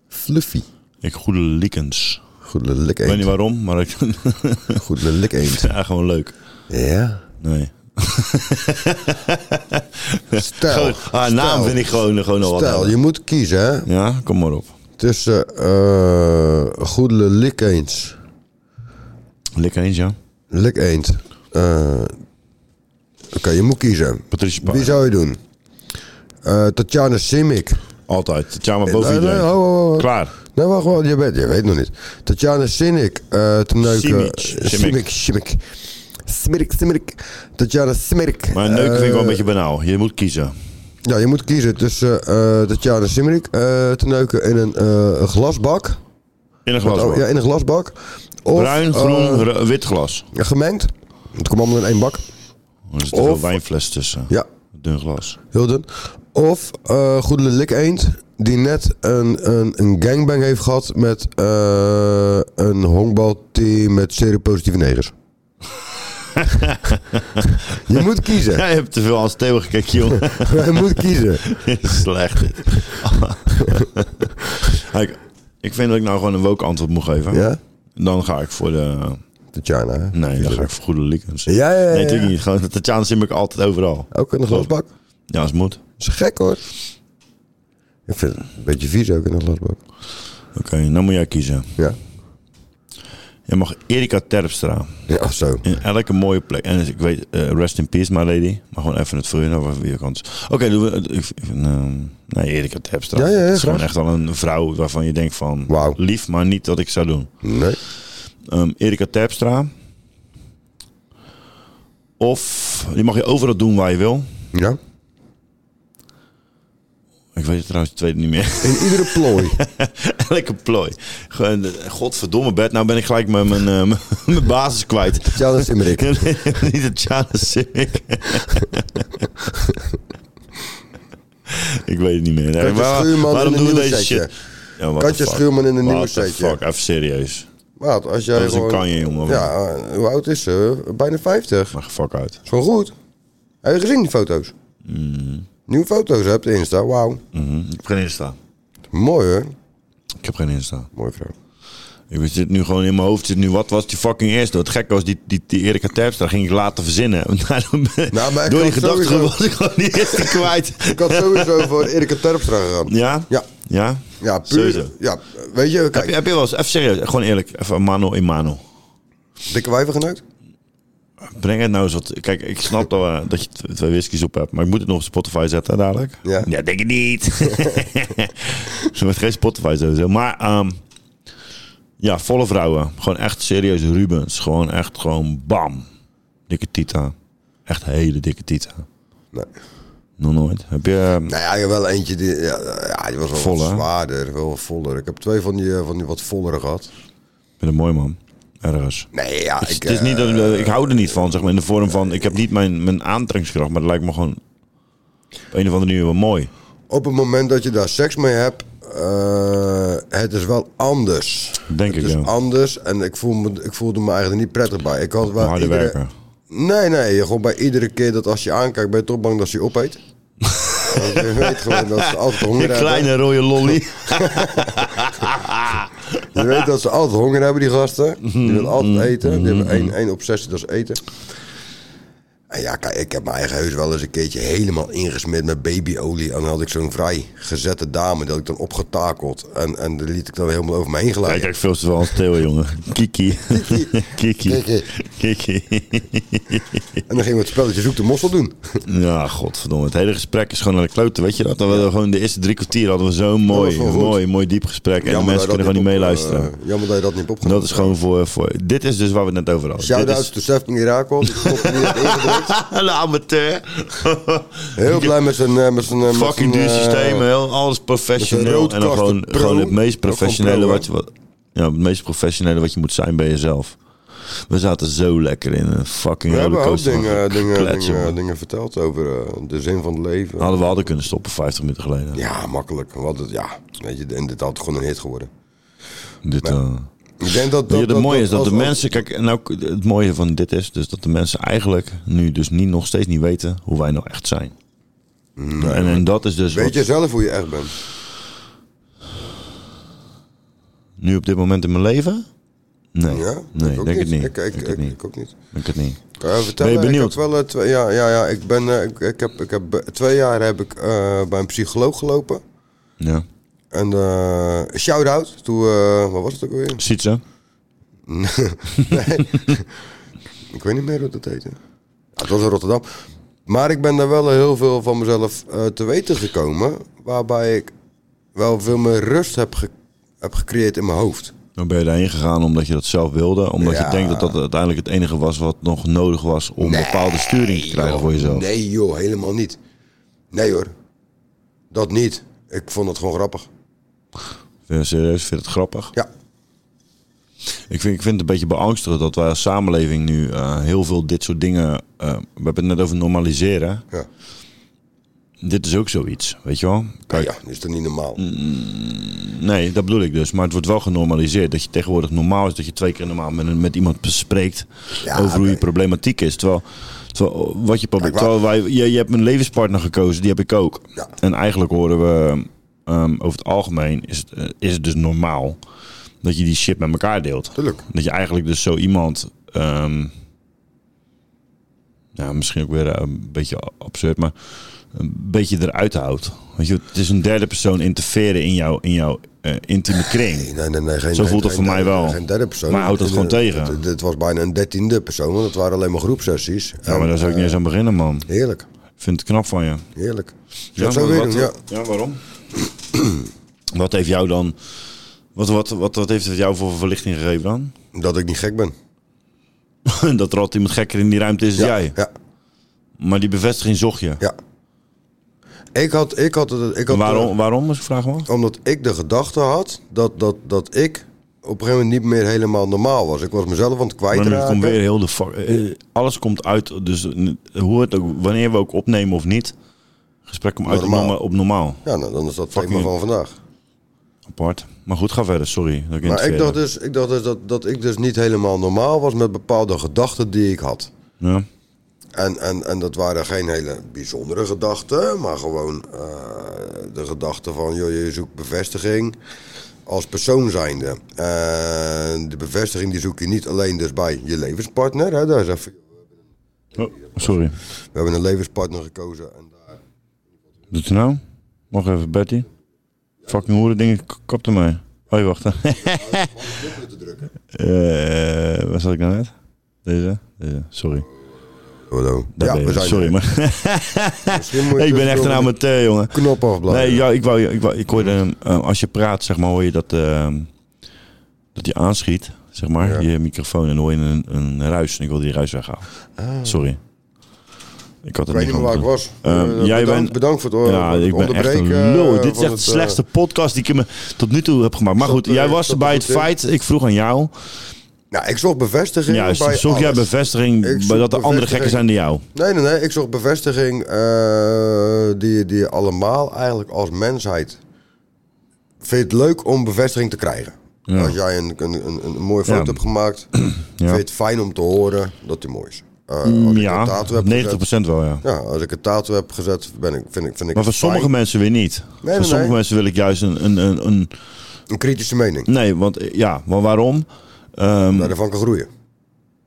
Speaker 2: Fluffy.
Speaker 3: Ik goede likens.
Speaker 2: Goede lik
Speaker 3: Ik weet niet waarom, maar ik...
Speaker 2: Goede lik eend.
Speaker 3: Ja, gewoon leuk.
Speaker 2: Ja?
Speaker 3: Nee.
Speaker 2: Stel.
Speaker 3: Gewoon- haar naam
Speaker 2: stel.
Speaker 3: vind ik gewoon, gewoon al wat
Speaker 2: Stel,
Speaker 3: hebben.
Speaker 2: je moet kiezen, hè?
Speaker 3: Ja, kom maar op.
Speaker 2: Tussen eh Goede Lik Eend.
Speaker 3: Lik Eend, ja.
Speaker 2: Lik Eend. Eh, Oké, je moet kiezen.
Speaker 3: Patricia
Speaker 2: Wie zou je doen? Eh Tatjana Simic.
Speaker 3: Altijd. Tatjana
Speaker 2: Eh,
Speaker 3: boven
Speaker 2: nee, nee,
Speaker 3: iedereen.
Speaker 2: ho, ho, ho.
Speaker 3: Klaar.
Speaker 2: Nee, Nou, wacht, wacht, je weet, je weet nog niet. Tatjana Sinik, eh te neuken.
Speaker 3: Simic,
Speaker 2: Simic, Simic. Smirik, Smirik. Tatjana Smirik.
Speaker 3: Maar neuken vind ik wel een
Speaker 2: Eh,
Speaker 3: beetje banaal. Je moet kiezen.
Speaker 2: Ja, je moet kiezen tussen eh Tatjana Simmerik eh te neuken in een eh, glasbak.
Speaker 3: In een
Speaker 2: Wat- Oh,
Speaker 3: glas.
Speaker 2: Ja, in een glasbak. Of,
Speaker 3: Bruin, groen,
Speaker 2: eh,
Speaker 3: ro- wit glas.
Speaker 2: ja, gemengd. Het komt allemaal in één bak.
Speaker 3: Er zit een
Speaker 2: of-
Speaker 3: veel wijnfles tussen.
Speaker 2: Ja,
Speaker 3: Dun glas.
Speaker 2: heel dun. Of eh Goedele Lik Eend, die net een, een, een gangbang heeft gehad met eh, een honkbalteam met seropositieve negers. je moet kiezen.
Speaker 3: Jij hebt te veel als Theo gekeken, joh.
Speaker 2: je moet kiezen.
Speaker 3: Slecht. ik, ik vind dat ik nou gewoon een woke antwoord moet geven.
Speaker 2: Ja?
Speaker 3: Dan ga ik voor de...
Speaker 2: Tatjana, hè?
Speaker 3: Nee, dan ga ik voor goede likens.
Speaker 2: Ja, ja, ja, Oh.
Speaker 3: Nee,
Speaker 2: ja.
Speaker 3: natuurlijk niet. Gewoon, Tatjana zie ik altijd overal.
Speaker 2: Ook in een glasbak.
Speaker 3: Ja, als het moet.
Speaker 2: Dat is gek hoor. Ik vind het een beetje vies ook in een glasbak.
Speaker 3: Oké, dan moet jij kiezen.
Speaker 2: Ja.
Speaker 3: Je mag Erika Terpstra.
Speaker 2: Ja, of zo.
Speaker 3: In elke mooie plek. En ik weet, eh, rest in peace, my lady. Maar gewoon even het voor je, nou, weer kans. Oké, doen we. ik- ik- ehm, nee, Erika Terpstra.
Speaker 2: Ja, ja, ja,
Speaker 3: Het is
Speaker 2: graag.
Speaker 3: gewoon echt al een vrouw waarvan je denkt van.
Speaker 2: Wauw.
Speaker 3: Lief, maar niet dat ik zou doen.
Speaker 2: Nee.
Speaker 3: Ehm, Erika Terpstra. Of die mag je overal doen waar je wil.
Speaker 2: Ja.
Speaker 3: Ik weet het trouwens het tweede niet meer.
Speaker 2: In iedere plooi.
Speaker 3: Elke plooi. Gewoon, eh, godverdomme bed. Nou ben ik gelijk mijn, mijn, eh, mijn- mijn basis kwijt.
Speaker 2: Tatjana Simmerik.
Speaker 3: Nee, nee, Niet het Charles Simic. ik weet het niet meer. Nee,
Speaker 2: Katja Schuurman in een nieuw setje.
Speaker 3: Ja, what
Speaker 2: Katja
Speaker 3: the fuck?
Speaker 2: Schuurman in een
Speaker 3: What
Speaker 2: nieuw
Speaker 3: the
Speaker 2: setje.
Speaker 3: fuck, even serieus.
Speaker 2: Maat, als jij
Speaker 3: Dat is een
Speaker 2: gewoon...
Speaker 3: kanje, jongen.
Speaker 2: Ja, hoe oud is ze? Bijna 50.
Speaker 3: Maar fuck uit.
Speaker 2: Is gewoon goed. Heb je gezien die foto's?
Speaker 3: Mm.
Speaker 2: Nieuwe foto's hebt Insta, wauw.
Speaker 3: Mhm, Ik heb geen Insta.
Speaker 2: Mooi hoor.
Speaker 3: Ik heb geen Insta.
Speaker 2: Mooi vrouw.
Speaker 3: Ik weet- zit nu gewoon in mijn hoofd. Zit nu, wat was die fucking eerste? Het gekke was die, die, die Erika Terpstra. Ging ik later verzinnen. Nou,
Speaker 2: maar
Speaker 3: Door
Speaker 2: ik
Speaker 3: die
Speaker 2: had
Speaker 3: gedachte
Speaker 2: sowieso-
Speaker 3: was ik gewoon die eerste kwijt.
Speaker 2: Ik had sowieso voor Erika Terpstra gegaan.
Speaker 3: Ja?
Speaker 2: Ja.
Speaker 3: Ja?
Speaker 2: Ja, puur.
Speaker 3: Sowieso.
Speaker 2: Ja, weet je,
Speaker 3: Heb,
Speaker 2: kijk.
Speaker 3: je- heb je wel eens, even serieus, gewoon eerlijk, even mano in mano.
Speaker 2: Dikke wijven geneukt?
Speaker 3: Breng het nou eens wat. Kijk, ik snap dat, eh, dat je tw- twee whiskies op hebt, maar ik moet het nog op Spotify zetten hè, dadelijk.
Speaker 2: Ja.
Speaker 3: denk ik niet. Ze wordt geen Spotify sowieso. Maar ehm, ja, volle vrouwen. Gewoon echt serieus Rubens. Gewoon echt gewoon bam. Dikke tita. Echt hele dikke tita.
Speaker 2: Nee.
Speaker 3: Nog nooit. Heb je... ehm,
Speaker 2: Nou ja, wel eentje die, ja, ja, die was wel
Speaker 3: Volle,
Speaker 2: wat
Speaker 3: hè?
Speaker 2: zwaarder, wel wat voller. Ik heb twee van die, eh, van die wat vollere gehad.
Speaker 3: Ik vind het mooi, man. Ergens.
Speaker 2: Nee, ja,
Speaker 3: Het, is-
Speaker 2: ik,
Speaker 3: het is
Speaker 2: eh,
Speaker 3: niet dat, ik- ik hou er niet van, zeg maar. In de vorm van, ik heb niet mijn, mijn aantrekkingskracht, maar het lijkt me gewoon op een of andere manier wel mooi.
Speaker 2: Op het moment dat je daar seks mee hebt, eh, het is wel anders.
Speaker 3: Denk
Speaker 2: het
Speaker 3: ik,
Speaker 2: is
Speaker 3: ja.
Speaker 2: anders en ik, voel me, ik voelde me eigenlijk niet prettig bij. Ik had wel
Speaker 3: Harde
Speaker 2: iedere-
Speaker 3: werken.
Speaker 2: Nee, nee, gewoon bij iedere keer dat als je aankijkt, ben je toch bang dat ze je opeet. Want je weet gewoon dat ze altijd honger
Speaker 3: Een
Speaker 2: hebben.
Speaker 3: kleine rode lolly.
Speaker 2: Je weet dat ze altijd honger hebben, die gasten. Die willen altijd eten. Die hebben één, één obsessie, dat is eten. En ja, kijk, ik heb mijn eigen huis wel eens een keertje helemaal ingesmeerd met babyolie. En dan had ik zo'n vrij gezette dame, die had ik dan opgetakeld. En, en die liet ik dan helemaal over me heen
Speaker 3: Kijk,
Speaker 2: glijden.
Speaker 3: kijk, veel te veel als Theo, jongen. Kiki. Kiki.
Speaker 2: Kiki.
Speaker 3: Kiki.
Speaker 2: En dan gingen we het spelletje zoek de mossel doen.
Speaker 3: Ja, godverdomme. Het hele gesprek is gewoon naar de kloten, weet je dat? Dat we gewoon de eerste drie kwartier hadden we zo'n
Speaker 2: was
Speaker 3: mooi,
Speaker 2: wel goed.
Speaker 3: mooi, mooi diep gesprek. En de
Speaker 2: Jammer dat
Speaker 3: mensen
Speaker 2: je
Speaker 3: kunnen
Speaker 2: dat
Speaker 3: gewoon niet
Speaker 2: niet op,
Speaker 3: meeluisteren.
Speaker 2: eh, jammer dat je dat niet hebt opgenomen.
Speaker 3: Dat is gewoon voor, voor... Dit is dus waar we het net over hadden. Dit
Speaker 2: Shout-out
Speaker 3: is
Speaker 2: to Sefkin Irakol. die klopt hier heeft ingedrukt.
Speaker 3: een amateur.
Speaker 2: Heel blij met zijn... eh, Met zijn eh, met
Speaker 3: Fucking
Speaker 2: zijn,
Speaker 3: duur
Speaker 2: eh,
Speaker 3: systeem, heel, alles
Speaker 2: met een
Speaker 3: professioneel.
Speaker 2: rood
Speaker 3: En dan
Speaker 2: kasten
Speaker 3: gewoon,
Speaker 2: pro.
Speaker 3: gewoon het meest professionele
Speaker 2: Ook
Speaker 3: wat, je-
Speaker 2: gewoon
Speaker 3: wat, ja, het meest professionele wat je moet zijn bij jezelf. We zaten zo lekker in een fucking
Speaker 2: We hebben een hoop
Speaker 3: rollercoaster.
Speaker 2: dingen, dingen,
Speaker 3: Kletsen,
Speaker 2: dingen,
Speaker 3: man. Nou,
Speaker 2: dingen verteld over eh, de zin van het leven.
Speaker 3: Hadden we hadden kunnen stoppen 50 minuten geleden.
Speaker 2: Ja, makkelijk. Wat het, ja, weet je, en dit had gewoon een hit geworden.
Speaker 3: Dit, eh,
Speaker 2: Ik denk dat...
Speaker 3: Weet
Speaker 2: dat
Speaker 3: je, het
Speaker 2: dat-
Speaker 3: mooie is dat
Speaker 2: als-
Speaker 3: de
Speaker 2: als-
Speaker 3: mensen, kijk, en ook het mooie van dit is dus dat de mensen eigenlijk nu dus niet, nog steeds niet weten hoe wij nou echt zijn. en, en dat is dus
Speaker 2: Weet
Speaker 3: wat
Speaker 2: je zelf hoe je echt bent?
Speaker 3: nu op dit moment in mijn leven? Nee,
Speaker 2: Ja?
Speaker 3: nee
Speaker 2: ik ook
Speaker 3: denk het niet.
Speaker 2: Ik, ik,
Speaker 3: denk
Speaker 2: ik,
Speaker 3: het niet.
Speaker 2: ik ook niet.
Speaker 3: Denk het niet.
Speaker 2: Kan je vertellen?
Speaker 3: Ben je benieuwd?
Speaker 2: Ik heb wel, eh, twee, ja, ja, ja. Ik ben, eh, ik, ik heb, ik heb, eh, twee jaar heb ik eh, bij een psycholoog gelopen.
Speaker 3: Ja.
Speaker 2: En eh shout-out to... eh, wat was het ook alweer?
Speaker 3: Ziet ze?
Speaker 2: nee. ik weet niet meer hoe dat heette. Ja, het was in Rotterdam. Maar ik ben daar wel heel veel van mezelf eh, te weten gekomen. Waarbij ik wel veel meer rust heb, ge- heb gecreëerd in mijn hoofd.
Speaker 3: Dan ben je daarheen gegaan omdat je dat zelf wilde. Omdat
Speaker 2: Ja.
Speaker 3: je denkt dat dat uiteindelijk het enige was wat nog nodig was om bepaalde sturing te krijgen
Speaker 2: joh,
Speaker 3: voor jezelf.
Speaker 2: Nee joh, helemaal niet. Nee hoor. Dat niet. Ik vond het gewoon grappig.
Speaker 3: Vind je serieus, vind je het grappig?
Speaker 2: Ja.
Speaker 3: Ik vind, ik vind het een beetje beangstigend dat wij als samenleving nu eh, heel veel dit soort dingen. eh, we hebben het net over normaliseren.
Speaker 2: Ja.
Speaker 3: Dit is ook zoiets, weet je wel? Kijk, Mm.
Speaker 2: Ja, dat is toch niet normaal?
Speaker 3: Nee, dat bedoel ik dus. Maar het wordt wel genormaliseerd. Dat je tegenwoordig normaal is dat je twee keer normaal met, met iemand bespreekt over hoe je problematiek is. Terwijl, terwijl, eh, wat je proble-
Speaker 2: Kijk, waar-
Speaker 3: terwijl wij, je, je hebt een levenspartner gekozen, die heb ik ook.
Speaker 2: Ja.
Speaker 3: En eigenlijk horen we ehm, over het algemeen is het, eh, is het dus normaal dat je die shit met elkaar deelt.
Speaker 2: Tuurlijk.
Speaker 3: Dat je eigenlijk dus zo iemand. ehm, ja, misschien ook weer eh, een beetje absurd, maar een beetje eruit houdt. Weet je, het is een derde persoon interfereren in jouw, in jouw eh, intieme
Speaker 2: Nee, nou,
Speaker 3: kring.
Speaker 2: nee, nee, nee, geen,
Speaker 3: Zo voelt het
Speaker 2: geen-
Speaker 3: voor mij
Speaker 2: geen-
Speaker 3: wel.
Speaker 2: Geen derde persoon.
Speaker 3: Maar houdt het gewoon
Speaker 2: Eh,
Speaker 3: tegen.
Speaker 2: Het, het was bijna een dertiende persoon, want het waren alleen maar groepsessies.
Speaker 3: Ja, maar daar
Speaker 2: eh,
Speaker 3: zou ik niet eens aan beginnen, man.
Speaker 2: Heerlijk,
Speaker 3: Ik vind het knap van je.
Speaker 2: heerlijk. Ja,
Speaker 3: Ja,
Speaker 2: dat zou
Speaker 3: maar
Speaker 2: ik weer
Speaker 3: wat-
Speaker 2: doen, ja.
Speaker 3: ja, waarom? wat heeft jou dan... Wat, wat, wat, wat heeft het jou voor verlichting gegeven dan?
Speaker 2: Dat ik niet gek ben.
Speaker 3: dat er altijd iemand gekker in die ruimte is dan
Speaker 2: ja,
Speaker 3: jij.
Speaker 2: Ja,
Speaker 3: Maar die bevestiging zocht je.
Speaker 2: ja. Ik had, ik had, het- ik had eh,
Speaker 3: En waarom, waarom, als ik vraag me?
Speaker 2: Omdat ik de gedachte had dat, dat, dat ik op een gegeven moment niet meer helemaal normaal was. Ik was mezelf aan het
Speaker 3: Maar nu komt weer
Speaker 2: kwijtraken.
Speaker 3: heel de fuck. eh, Alles komt uit, dus n- hoe het ook, wanneer we ook opnemen of niet, gesprek komt uit op
Speaker 2: Normaal.
Speaker 3: norma- op normaal.
Speaker 2: Ja, nou, dan is dat
Speaker 3: Fuck
Speaker 2: thema
Speaker 3: you.
Speaker 2: van vandaag.
Speaker 3: Apart. Maar goed, ga verder, sorry. Dat ik
Speaker 2: Maar ik
Speaker 3: interfereer.
Speaker 2: dacht dus, ik dacht dus dat, dat ik dus niet helemaal normaal was met bepaalde gedachten die ik had.
Speaker 3: Ja.
Speaker 2: En, en, en dat waren geen hele bijzondere gedachten, maar gewoon eh, de gedachte van joh, je zoekt bevestiging. als persoon zijnde. Eh, de bevestiging die zoek je niet alleen dus bij je levenspartner. Hè, daar is even-
Speaker 3: Oh, Sorry.
Speaker 2: we hebben een levenspartner gekozen. En
Speaker 3: Doet ze nou? Mag even, Betty? Fucking hoeren dingen, k- kap ermee. Hoi, wacht. Eh, waar zat ik nou net? Deze? Deze, sorry.
Speaker 2: Hallo.
Speaker 3: Daar
Speaker 2: Ja,
Speaker 3: ben je.
Speaker 2: we zijn
Speaker 3: Sorry,
Speaker 2: er.
Speaker 3: maar...
Speaker 2: Misschien moet je
Speaker 3: ik ben
Speaker 2: dus
Speaker 3: echt een
Speaker 2: wel met
Speaker 3: amateur, jongen.
Speaker 2: Knop afblazen.
Speaker 3: Nee, ja, ik, wou, ik, wou, ik hoorde hem, eh, als je praat, zeg maar, hoor je dat, ehm, dat je aanschiet, zeg maar, je microfoon. En dan hoor je een, een ruis. En ik wil die ruis weghalen. Sorry. Ik had
Speaker 2: Ah. Ik
Speaker 3: het
Speaker 2: weet niet meer waar ik
Speaker 3: goed.
Speaker 2: was.
Speaker 3: Ehm,
Speaker 2: Eh,
Speaker 3: jij
Speaker 2: bedankt-
Speaker 3: bent,
Speaker 2: bedankt voor het, eh,
Speaker 3: Ja,
Speaker 2: voor het
Speaker 3: ik ben echt een
Speaker 2: onderbreken,
Speaker 3: lul.
Speaker 2: eh,
Speaker 3: Dit is
Speaker 2: van
Speaker 3: echt de
Speaker 2: het, eh,
Speaker 3: slechtste podcast die ik in me tot nu toe heb gemaakt. Maar
Speaker 2: Zat,
Speaker 3: goed,
Speaker 2: eh,
Speaker 3: jij was
Speaker 2: zat
Speaker 3: er
Speaker 2: er
Speaker 3: bij het
Speaker 2: goed in?
Speaker 3: feit. Ik vroeg aan jou.
Speaker 2: Nou, ik zocht bevestiging
Speaker 3: Ja,
Speaker 2: bij
Speaker 3: zocht jij
Speaker 2: alles.
Speaker 3: bevestiging
Speaker 2: Ik
Speaker 3: bij
Speaker 2: zoek
Speaker 3: dat de andere
Speaker 2: bevestiging.
Speaker 3: gekken zijn dan jou?
Speaker 2: Nee, nee, nee. Ik zocht bevestiging eh, die, die je allemaal eigenlijk als mensheid vindt het leuk om bevestiging te krijgen.
Speaker 3: Ja.
Speaker 2: Als jij een, een, een, een mooie foto
Speaker 3: Ja.
Speaker 2: hebt gemaakt, vind je het fijn om te horen dat die mooi is. Eh, als
Speaker 3: Mm,
Speaker 2: ik een
Speaker 3: ja,
Speaker 2: tattoo heb
Speaker 3: 90% wel, ja.
Speaker 2: Ja, als ik een tattoo heb gezet, ben ik, vind ik, vind ik
Speaker 3: Maar voor
Speaker 2: het
Speaker 3: sommige
Speaker 2: fijn.
Speaker 3: mensen weer niet.
Speaker 2: nee,
Speaker 3: voor sommige
Speaker 2: nee.
Speaker 3: mensen wil ik juist een... Een, een, een...
Speaker 2: kritische mening.
Speaker 3: Nee, want eh, ja, maar waarom? Um,
Speaker 2: daarvan kan groeien.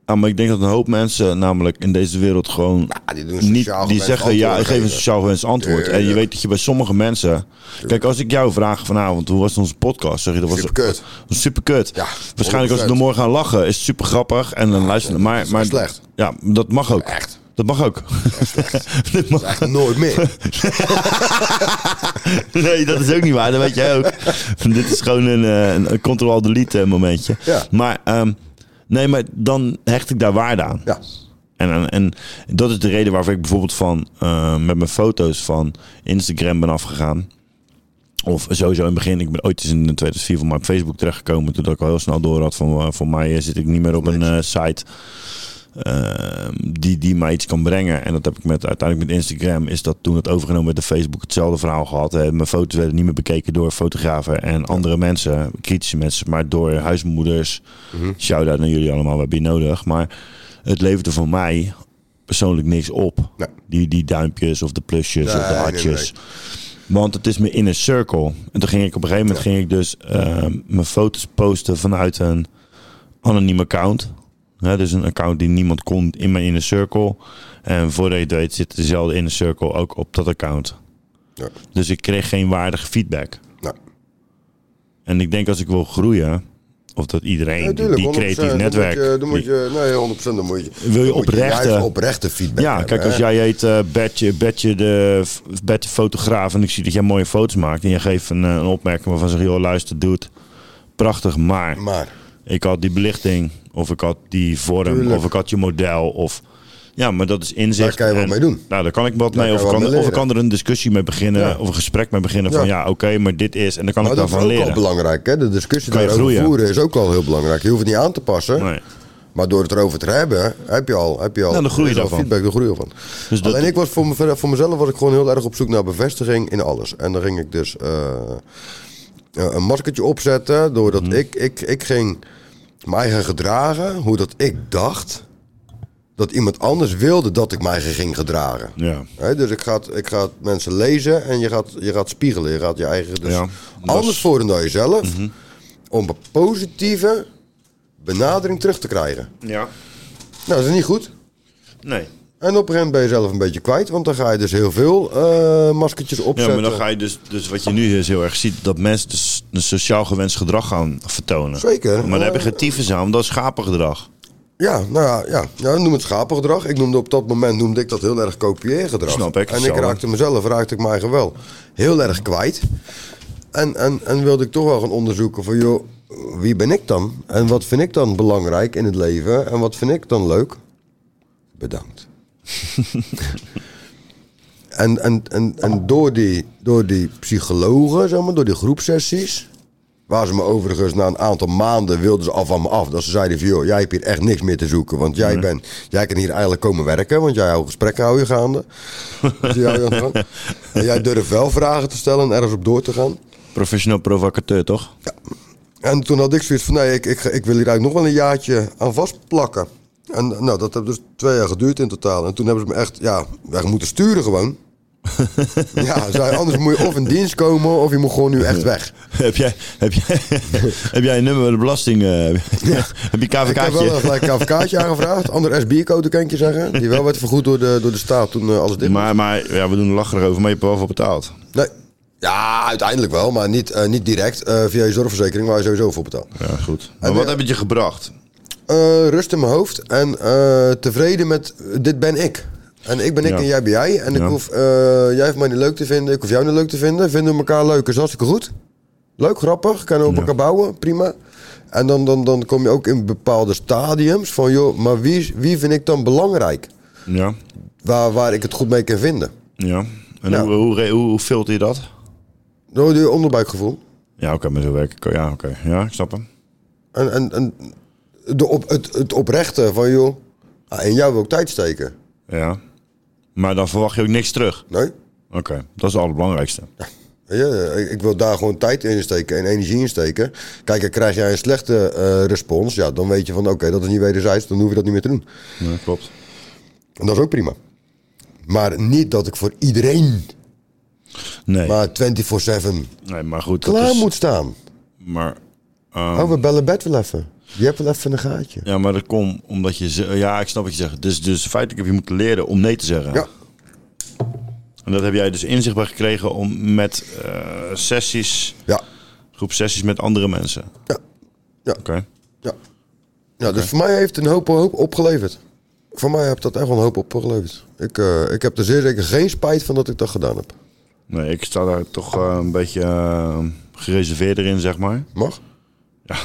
Speaker 3: Ja, maar ik denk dat een hoop mensen namelijk in deze wereld gewoon
Speaker 2: die, doen
Speaker 3: niet,
Speaker 2: sociaal
Speaker 3: die
Speaker 2: gewenst
Speaker 3: zeggen ja, ik
Speaker 2: antwoord
Speaker 3: geef een
Speaker 2: geven.
Speaker 3: sociaal gewenst antwoord. En je
Speaker 2: Tuurlijk.
Speaker 3: weet dat je bij sommige mensen... Kijk, als ik jou vraag vanavond, hoe was onze podcast? Zeg je, dat was
Speaker 2: Superkut.
Speaker 3: Was superkut. Waarschijnlijk als
Speaker 2: 100%.
Speaker 3: we er morgen aan lachen, is het super grappig en dan luisteren. Maar, maar
Speaker 2: slecht.
Speaker 3: Ja, dat mag ook. Echt. Dat mag ook. dat mag
Speaker 2: nooit meer.
Speaker 3: nee, dat is ook niet waar. Dat weet jij ook. Dit is gewoon een, eh, een control-delete eh, momentje.
Speaker 2: Ja.
Speaker 3: Maar, ehm, nee, maar dan hecht ik daar waarde aan.
Speaker 2: Ja.
Speaker 3: En, en, en dat is de reden waarvoor ik bijvoorbeeld van, eh, met mijn foto's van Instagram ben afgegaan. Of sowieso in het begin. Ik ben ooit eens in 2004 van mij op Facebook terechtgekomen. Toen dat ik al heel snel door had van... eh, voor mij eh, zit ik niet meer op een eh, site eh, die, die mij iets kan brengen. En dat heb ik met, uiteindelijk met Instagram... is dat toen het overgenomen werd door Facebook hetzelfde verhaal gehad. Eh, Mijn foto's werden niet meer bekeken door fotografen en andere mensen. Kritische mensen, maar door huismoeders. Shout-out naar jullie allemaal, we hebben je nodig. Maar het leverde voor mij persoonlijk niks op. Die, die duimpjes of de plusjes of de
Speaker 2: Nee, nee,
Speaker 3: hartjes.
Speaker 2: nee.
Speaker 3: Want het is mijn inner circle. En toen ging ik op een gegeven moment ging ik dus ehm, mijn foto's posten vanuit een anoniem account. Hè, dus een account die niemand kon in mijn inner circle. En voordat je het weet zit dezelfde inner circle ook op dat account. Dus ik kreeg geen waardige feedback.
Speaker 2: Nou.
Speaker 3: En ik denk als ik wil groeien, of dat iedereen
Speaker 2: Ja,
Speaker 3: die-
Speaker 2: tuurlijk,
Speaker 3: die
Speaker 2: 100%,
Speaker 3: creatief netwerk...
Speaker 2: Dan moet je, dan moet
Speaker 3: die-
Speaker 2: je nee, 100% dan moet je.
Speaker 3: wil je
Speaker 2: dan moet
Speaker 3: oprechte,
Speaker 2: juist oprechte feedback.
Speaker 3: Ja,
Speaker 2: hebben,
Speaker 3: kijk, als
Speaker 2: hè.
Speaker 3: jij heet eh Bertje, Bertje de Bertje fotograaf en ik zie dat jij mooie foto's maakt en je geeft een, eh, een opmerking waarvan zeg je, joh, luister, doet prachtig, maar, ik had die belichting of ik had die vorm
Speaker 2: Tuurlijk.
Speaker 3: of ik had je model of ja, maar dat is inzicht.
Speaker 2: Daar kan je wat
Speaker 3: en-
Speaker 2: mee doen.
Speaker 3: Nou, daar kan ik wat
Speaker 2: Daar
Speaker 3: mee.
Speaker 2: kan
Speaker 3: Of,
Speaker 2: je
Speaker 3: ik
Speaker 2: wat
Speaker 3: kan,
Speaker 2: mee
Speaker 3: of ik
Speaker 2: leren.
Speaker 3: kan er een discussie mee beginnen.
Speaker 2: Ja.
Speaker 3: Of een gesprek mee beginnen. Van
Speaker 2: Ja.
Speaker 3: ja, oké, maar dit is. En dan kan
Speaker 2: Maar
Speaker 3: ik
Speaker 2: dat is
Speaker 3: daarvan
Speaker 2: ook
Speaker 3: leren.
Speaker 2: al belangrijk. Hè? De discussie
Speaker 3: Kan je
Speaker 2: daarover
Speaker 3: groeien.
Speaker 2: voeren is ook al heel belangrijk. Je hoeft het niet aan te passen. Maar door het erover te hebben, heb je al, heb je al,
Speaker 3: Nou, dan groei je
Speaker 2: er is al
Speaker 3: daarvan.
Speaker 2: feedback, dan groei je ervan.
Speaker 3: Dus dat-
Speaker 2: Alleen ik was voor, me, voor mezelf was ik gewoon heel erg op zoek naar bevestiging in alles. En dan ging ik dus eh, eh, een maskertje opzetten. Doordat
Speaker 3: Mhm.
Speaker 2: ik, ik, ik ging mijn eigen gedragen, hoe dat ik dacht. Dat iemand anders wilde dat ik mij ging gedragen.
Speaker 3: Ja.
Speaker 2: Hè, dus ik ga, het- ik ga het mensen lezen en je gaat, je gaat spiegelen. Je gaat je eigen dus
Speaker 3: Ja, dat
Speaker 2: anders
Speaker 3: is- Mhm.
Speaker 2: voor dan jezelf. Om een positieve benadering terug te krijgen.
Speaker 3: Ja.
Speaker 2: Nou, dat is niet goed.
Speaker 3: Nee.
Speaker 2: En op een gegeven moment ben je zelf een beetje kwijt. Want dan ga je dus heel veel eh, maskertjes opzetten.
Speaker 3: Ja, maar dan ga je dus, dus wat je nu dus heel erg ziet, dat mensen dus een sociaal gewenst gedrag gaan vertonen.
Speaker 2: Zeker.
Speaker 3: Maar daar heb je geen tyfus aan, want dat is schapengedrag.
Speaker 2: Ja, nou ja, ja. ja noem het schapengedrag. Ik noemde op dat moment noemde ik dat heel erg kopieergedrag.
Speaker 3: Snap ik,
Speaker 2: En ik
Speaker 3: hetzelfde.
Speaker 2: raakte mezelf, raakte ik mij eigen wel heel erg kwijt. En, en, en wilde ik toch wel gaan onderzoeken van, joh, wie ben ik dan? En wat vind ik dan belangrijk in het leven? En wat vind ik dan leuk? Bedankt. en en, en, en door, die, door die psychologen, zeg maar, door die groepsessies... Waar ze me overigens na een aantal maanden wilden ze af van me af. Dat ze zeiden van, joh, jij hebt hier echt niks meer te zoeken. Want jij,
Speaker 3: Nee.
Speaker 2: bent, jij kan hier eigenlijk komen werken. Want jij houdt gesprekken, hou je gaande. Dus jij houdt je aan de gang. En jij durft wel vragen te stellen en ergens op door te gaan.
Speaker 3: Professioneel provocateur, toch?
Speaker 2: En toen had ik zoiets van, nee, ik, ik, ga- ik wil hier eigenlijk nog wel een jaartje aan vastplakken. En nou, dat heeft dus twee jaar geduurd in totaal. En toen hebben ze me echt, ja, echt moeten sturen gewoon. Ja, zou je- anders moet je of in dienst komen of je moet gewoon nu echt weg.
Speaker 3: heb, jij, heb, jij, heb jij een nummer bij de belasting? eh, heb je KVK?
Speaker 2: Ik heb wel een gelijk KVK'tje aangevraagd. Ander SB-code kan ik je zeggen. Die wel werd vergoed door de, door de staat toen eh, alles dicht
Speaker 3: Maar, maar ja, we doen er lachen erover, maar je hebt er wel voor betaald.
Speaker 2: Nee. Ja, uiteindelijk wel, maar niet, eh, niet direct eh, via je zorgverzekering, waar je sowieso voor betaalt.
Speaker 3: Ja, goed. Maar
Speaker 2: eh,
Speaker 3: wat heb het je gebracht?
Speaker 2: rust in mijn hoofd en eh, tevreden met eh, dit ben ik. En ik ben ik
Speaker 3: Ja.
Speaker 2: en jij ben jij. En ik
Speaker 3: Ja.
Speaker 2: hoef, eh, jij hoeft mij niet leuk te vinden, ik hoef jou niet leuk te vinden. Vinden we elkaar leuk, is hartstikke goed. Leuk, grappig, kunnen we op elkaar bouwen, prima. En dan, dan, dan kom je ook in bepaalde stadiums van, joh, maar wie, is- wie vind ik dan belangrijk?
Speaker 3: Ja.
Speaker 2: Waar, waar ik het goed mee kan vinden.
Speaker 3: Ja. En
Speaker 2: Ja.
Speaker 3: Hoe, hoe, re- hoe, hoe filter je dat?
Speaker 2: Door je onderbuikgevoel.
Speaker 3: Ja, oké, maar zo werk ik. Ja, oké. Ja, ik snap hem.
Speaker 2: En, en, en de op, het, het oprechte van, joh, ah, in jou wil ik tijd steken.
Speaker 3: Ja. Maar dan verwacht je ook niks terug?
Speaker 2: Nee.
Speaker 3: Oké, dat is het allerbelangrijkste.
Speaker 2: Weet je, eh, ik- ik wil daar gewoon tijd in steken en energie in steken. Kijk, en krijg jij een slechte eh, respons, ja, dan weet je van oké, dat is niet wederzijds, dan hoef je dat niet meer te doen.
Speaker 3: Ja, klopt.
Speaker 2: En dat is ook prima. Maar niet dat ik voor iedereen,
Speaker 3: Nee.
Speaker 2: maar 24-7
Speaker 3: nee, maar goed. dat
Speaker 2: klaar
Speaker 3: is-
Speaker 2: moet staan.
Speaker 3: Maar...
Speaker 2: oh, we bellen bed wel even. Je hebt wel even een gaatje.
Speaker 3: Ja, maar dat komt omdat je... ze- Ja, ik snap wat je zegt. Dus, dus feitelijk heb je moeten leren om nee te zeggen.
Speaker 2: Ja.
Speaker 3: En dat heb jij dus inzicht bij gekregen om met eh, sessies...
Speaker 2: Ja.
Speaker 3: Groep sessies met andere mensen.
Speaker 2: Ja. Ja.
Speaker 3: Oké.
Speaker 2: Ja, ja dus voor mij heeft het een hoop, hoop opgeleverd. Voor mij heeft dat echt wel een hoop opgeleverd. Ik, eh, ik heb er zeer zeker geen spijt van dat ik dat gedaan heb.
Speaker 3: Nee, ik sta daar toch eh, een beetje eh, gereserveerder in, zeg maar.
Speaker 2: Mag?
Speaker 3: Ja.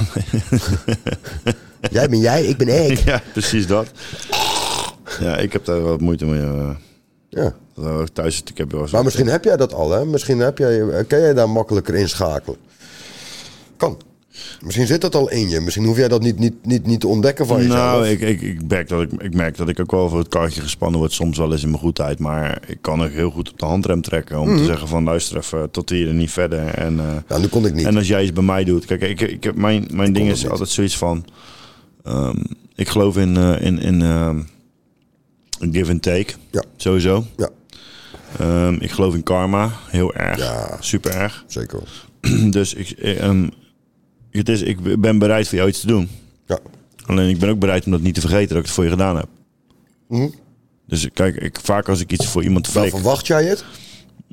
Speaker 2: jij ben jij, ik ben ik.
Speaker 3: ja, precies dat. Ja, ik heb daar wat moeite mee. eh.
Speaker 2: Ja.
Speaker 3: Dat we ook thuis zitten, ik heb wel eens-
Speaker 2: Maar misschien heb jij dat al, hè? Misschien heb jij, eh, kan jij daar makkelijker inschakelen. Kan. Misschien zit dat al in je. Misschien hoef jij dat niet, niet, niet, niet te ontdekken van jezelf.
Speaker 3: Nou, ik, ik, ik, merk dat ik, ik merk dat ik ook wel voor het karretje gespannen word, soms wel eens in mijn goedheid. Maar ik kan ook heel goed op de handrem trekken om te
Speaker 2: Mhm.
Speaker 3: zeggen van luister even, tot hier en niet verder. En, eh,
Speaker 2: nou, dat kon ik niet.
Speaker 3: En als jij iets bij mij doet. Kijk, ik, ik, heb- mijn, mijn ding is altijd zoiets van, ehm, ik geloof in, eh, in, in ehm, give and take, sowieso. Ehm,
Speaker 2: Ja.
Speaker 3: ik geloof in karma, heel erg, super erg.
Speaker 2: Zeker
Speaker 3: dus ik, eh, ehm, het is, ik ben bereid voor jou iets te doen.
Speaker 2: Ja.
Speaker 3: Alleen ik ben ook bereid om dat niet te vergeten dat ik het voor je gedaan heb.
Speaker 2: Mhm.
Speaker 3: Dus kijk, ik, vaak als ik iets voor iemand
Speaker 2: Wel,
Speaker 3: flik...
Speaker 2: verwacht jij het?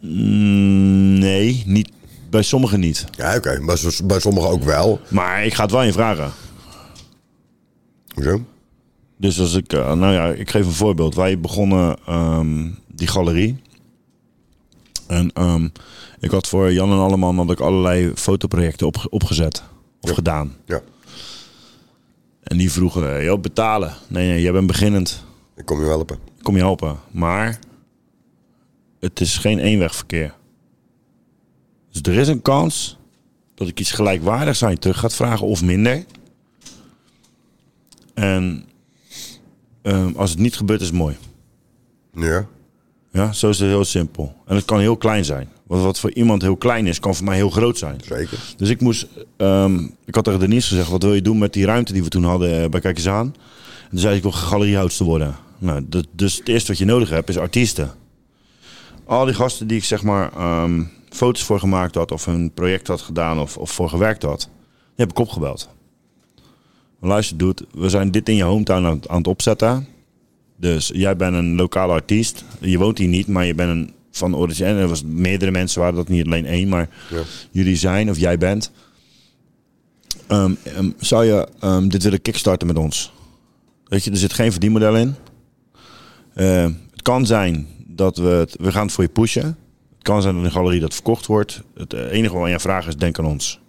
Speaker 3: Mm, nee, niet, bij sommigen niet.
Speaker 2: Ja, oké, maar bij sommigen ook wel.
Speaker 3: Maar ik ga het wel in vragen.
Speaker 2: Hoezo?
Speaker 3: Dus als ik, eh, nou ja, ik geef een voorbeeld. Wij begonnen ehm, die galerie. En ehm, ik had voor Jan en Alleman had ik allerlei fotoprojecten opge- opgezet. Of gedaan.
Speaker 2: Ja.
Speaker 3: En die vroegen, eh, joh, betalen. Nee, nee, jij bent beginnend.
Speaker 2: Ik kom je helpen.
Speaker 3: Ik kom je helpen. Maar het is geen eenwegverkeer. Dus er is een kans dat ik iets gelijkwaardigs aan je terug gaat vragen of minder. En ehm, als het niet gebeurt, is het mooi.
Speaker 2: Ja.
Speaker 3: Ja, zo is het heel simpel. En het kan heel klein zijn. Wat, wat voor iemand heel klein is, kan voor mij heel groot zijn.
Speaker 2: Zeker.
Speaker 3: Dus ik moest... ehm, ik had tegen Denise gezegd, wat wil je doen met die ruimte die we toen hadden eh, bij Kijk eens aan? En toen zei ze, ik wil galeriehoudster worden. Nou, dat, dus het eerste wat je nodig hebt, is artiesten. Al die gasten die ik zeg maar ehm, foto's voor gemaakt had... of een project had gedaan of, of voor gewerkt had... die heb ik opgebeld. Luister, dude, we zijn dit in je hometown aan, aan het opzetten. Dus jij bent een lokale artiest. Je woont hier niet, maar je bent een van origine. En Er was meerdere mensen waren dat niet alleen één, maar jullie zijn of jij bent. Ehm, ehm, zou je ehm, dit willen kickstarten met ons? Weet je, er zit geen verdienmodel in. Ehm, het kan zijn dat we het, we gaan het voor je pushen. Het kan zijn dat een galerie dat verkocht wordt. Het eh, enige wat aan je vraag is, denk aan ons.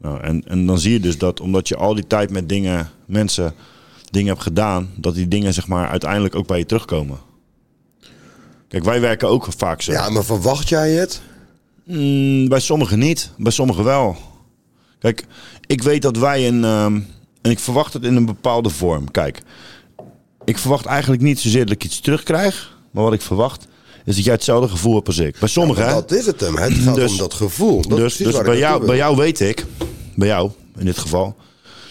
Speaker 3: Nou, en, en dan zie je dus dat omdat je al die tijd met dingen, mensen, dingen hebt gedaan, dat die dingen zeg maar uiteindelijk ook bij je terugkomen. Kijk, wij werken ook vaak zo. Ja,
Speaker 2: maar verwacht jij het?
Speaker 3: Mm, bij sommigen niet, bij sommigen wel. Kijk, ik weet dat wij een. ehm, en ik verwacht het in een bepaalde vorm. Kijk, ik verwacht eigenlijk niet zozeer dat ik iets terugkrijg, maar wat ik verwacht is dat jij hetzelfde gevoel hebt als ik. Bij sommigen.
Speaker 2: Ja,
Speaker 3: hè?
Speaker 2: maar dat is het hem. Het gaat om dat gevoel. Dat is
Speaker 3: dus
Speaker 2: precies
Speaker 3: dus
Speaker 2: waar ik
Speaker 3: bij,
Speaker 2: naartoe
Speaker 3: jou,
Speaker 2: wil.
Speaker 3: bij jou weet ik, bij jou in dit geval,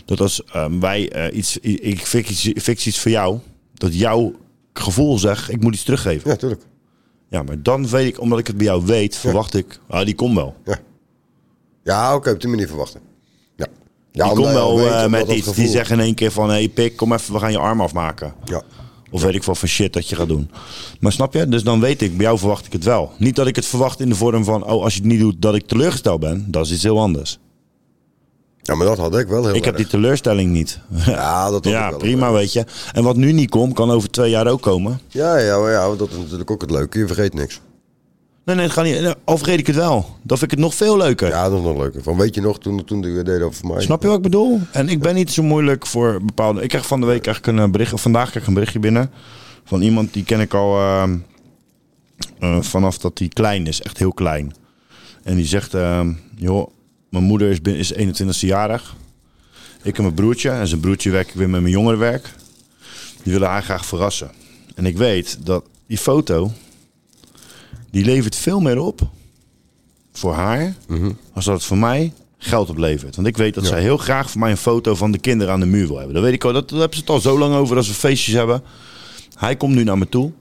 Speaker 3: dat als ehm, wij eh, iets, i- ik fix, iets- fix iets voor jou, dat jouw gevoel zegt, ik moet iets teruggeven.
Speaker 2: Ja, tuurlijk.
Speaker 3: Ja, maar dan weet ik, omdat ik het bij jou weet, verwacht ik, ah, die komt wel.
Speaker 2: Ja, ja oké, op die manier verwachten. Ja,
Speaker 3: die
Speaker 2: ja omdat
Speaker 3: komt
Speaker 2: je
Speaker 3: wel
Speaker 2: weet
Speaker 3: eh,
Speaker 2: dat
Speaker 3: met
Speaker 2: dat
Speaker 3: iets. Die
Speaker 2: gevoel-
Speaker 3: zeggen in één keer van, hé hey, pik, kom even, we gaan je arm afmaken.
Speaker 2: Ja.
Speaker 3: Of weet ik wel van shit dat je gaat doen. Maar snap je? Dus dan weet ik, bij jou verwacht ik het wel. Niet dat ik het verwacht in de vorm van, oh, als je het niet doet, dat ik teleurgesteld ben. Dat is iets heel anders.
Speaker 2: Ja, maar dat had ik wel heel
Speaker 3: Ik heb die teleurstelling niet.
Speaker 2: Ja, dat had
Speaker 3: ja
Speaker 2: ik wel.
Speaker 3: prima, weet je. En wat nu niet komt, kan over twee jaar ook komen.
Speaker 2: Ja, ja, maar ja, want dat is natuurlijk ook het leuke. Je vergeet niks.
Speaker 3: Nee, nee, het gaat niet. Al vergeet ik het wel. Dan vind ik het nog veel leuker.
Speaker 2: Ja, dat is nog leuker. Van weet je nog, toen, toen die deden over mij.
Speaker 3: Snap je wat ik bedoel? En ik ben niet zo moeilijk voor bepaalde. Ik krijg van de week eigenlijk een eh, bericht. of Vandaag krijg ik een berichtje binnen. Van iemand die ken ik al ehm, eh, vanaf dat hij klein is. Echt heel klein. En die zegt: ehm, joh, mijn moeder is, bin- is 21 jarig. Ik en mijn broertje. En zijn broertje werk ik weer met mijn jongerenwerk. Die willen haar graag verrassen. En ik weet dat die foto. Die levert veel meer op voor haar als dat het voor mij geld oplevert. Want ik weet dat zij heel graag voor mij een foto van de kinderen aan de muur wil hebben. Dat weet ik al. Dat, daar hebben ze het al zo lang over als we feestjes hebben. Hij komt nu naar me toe.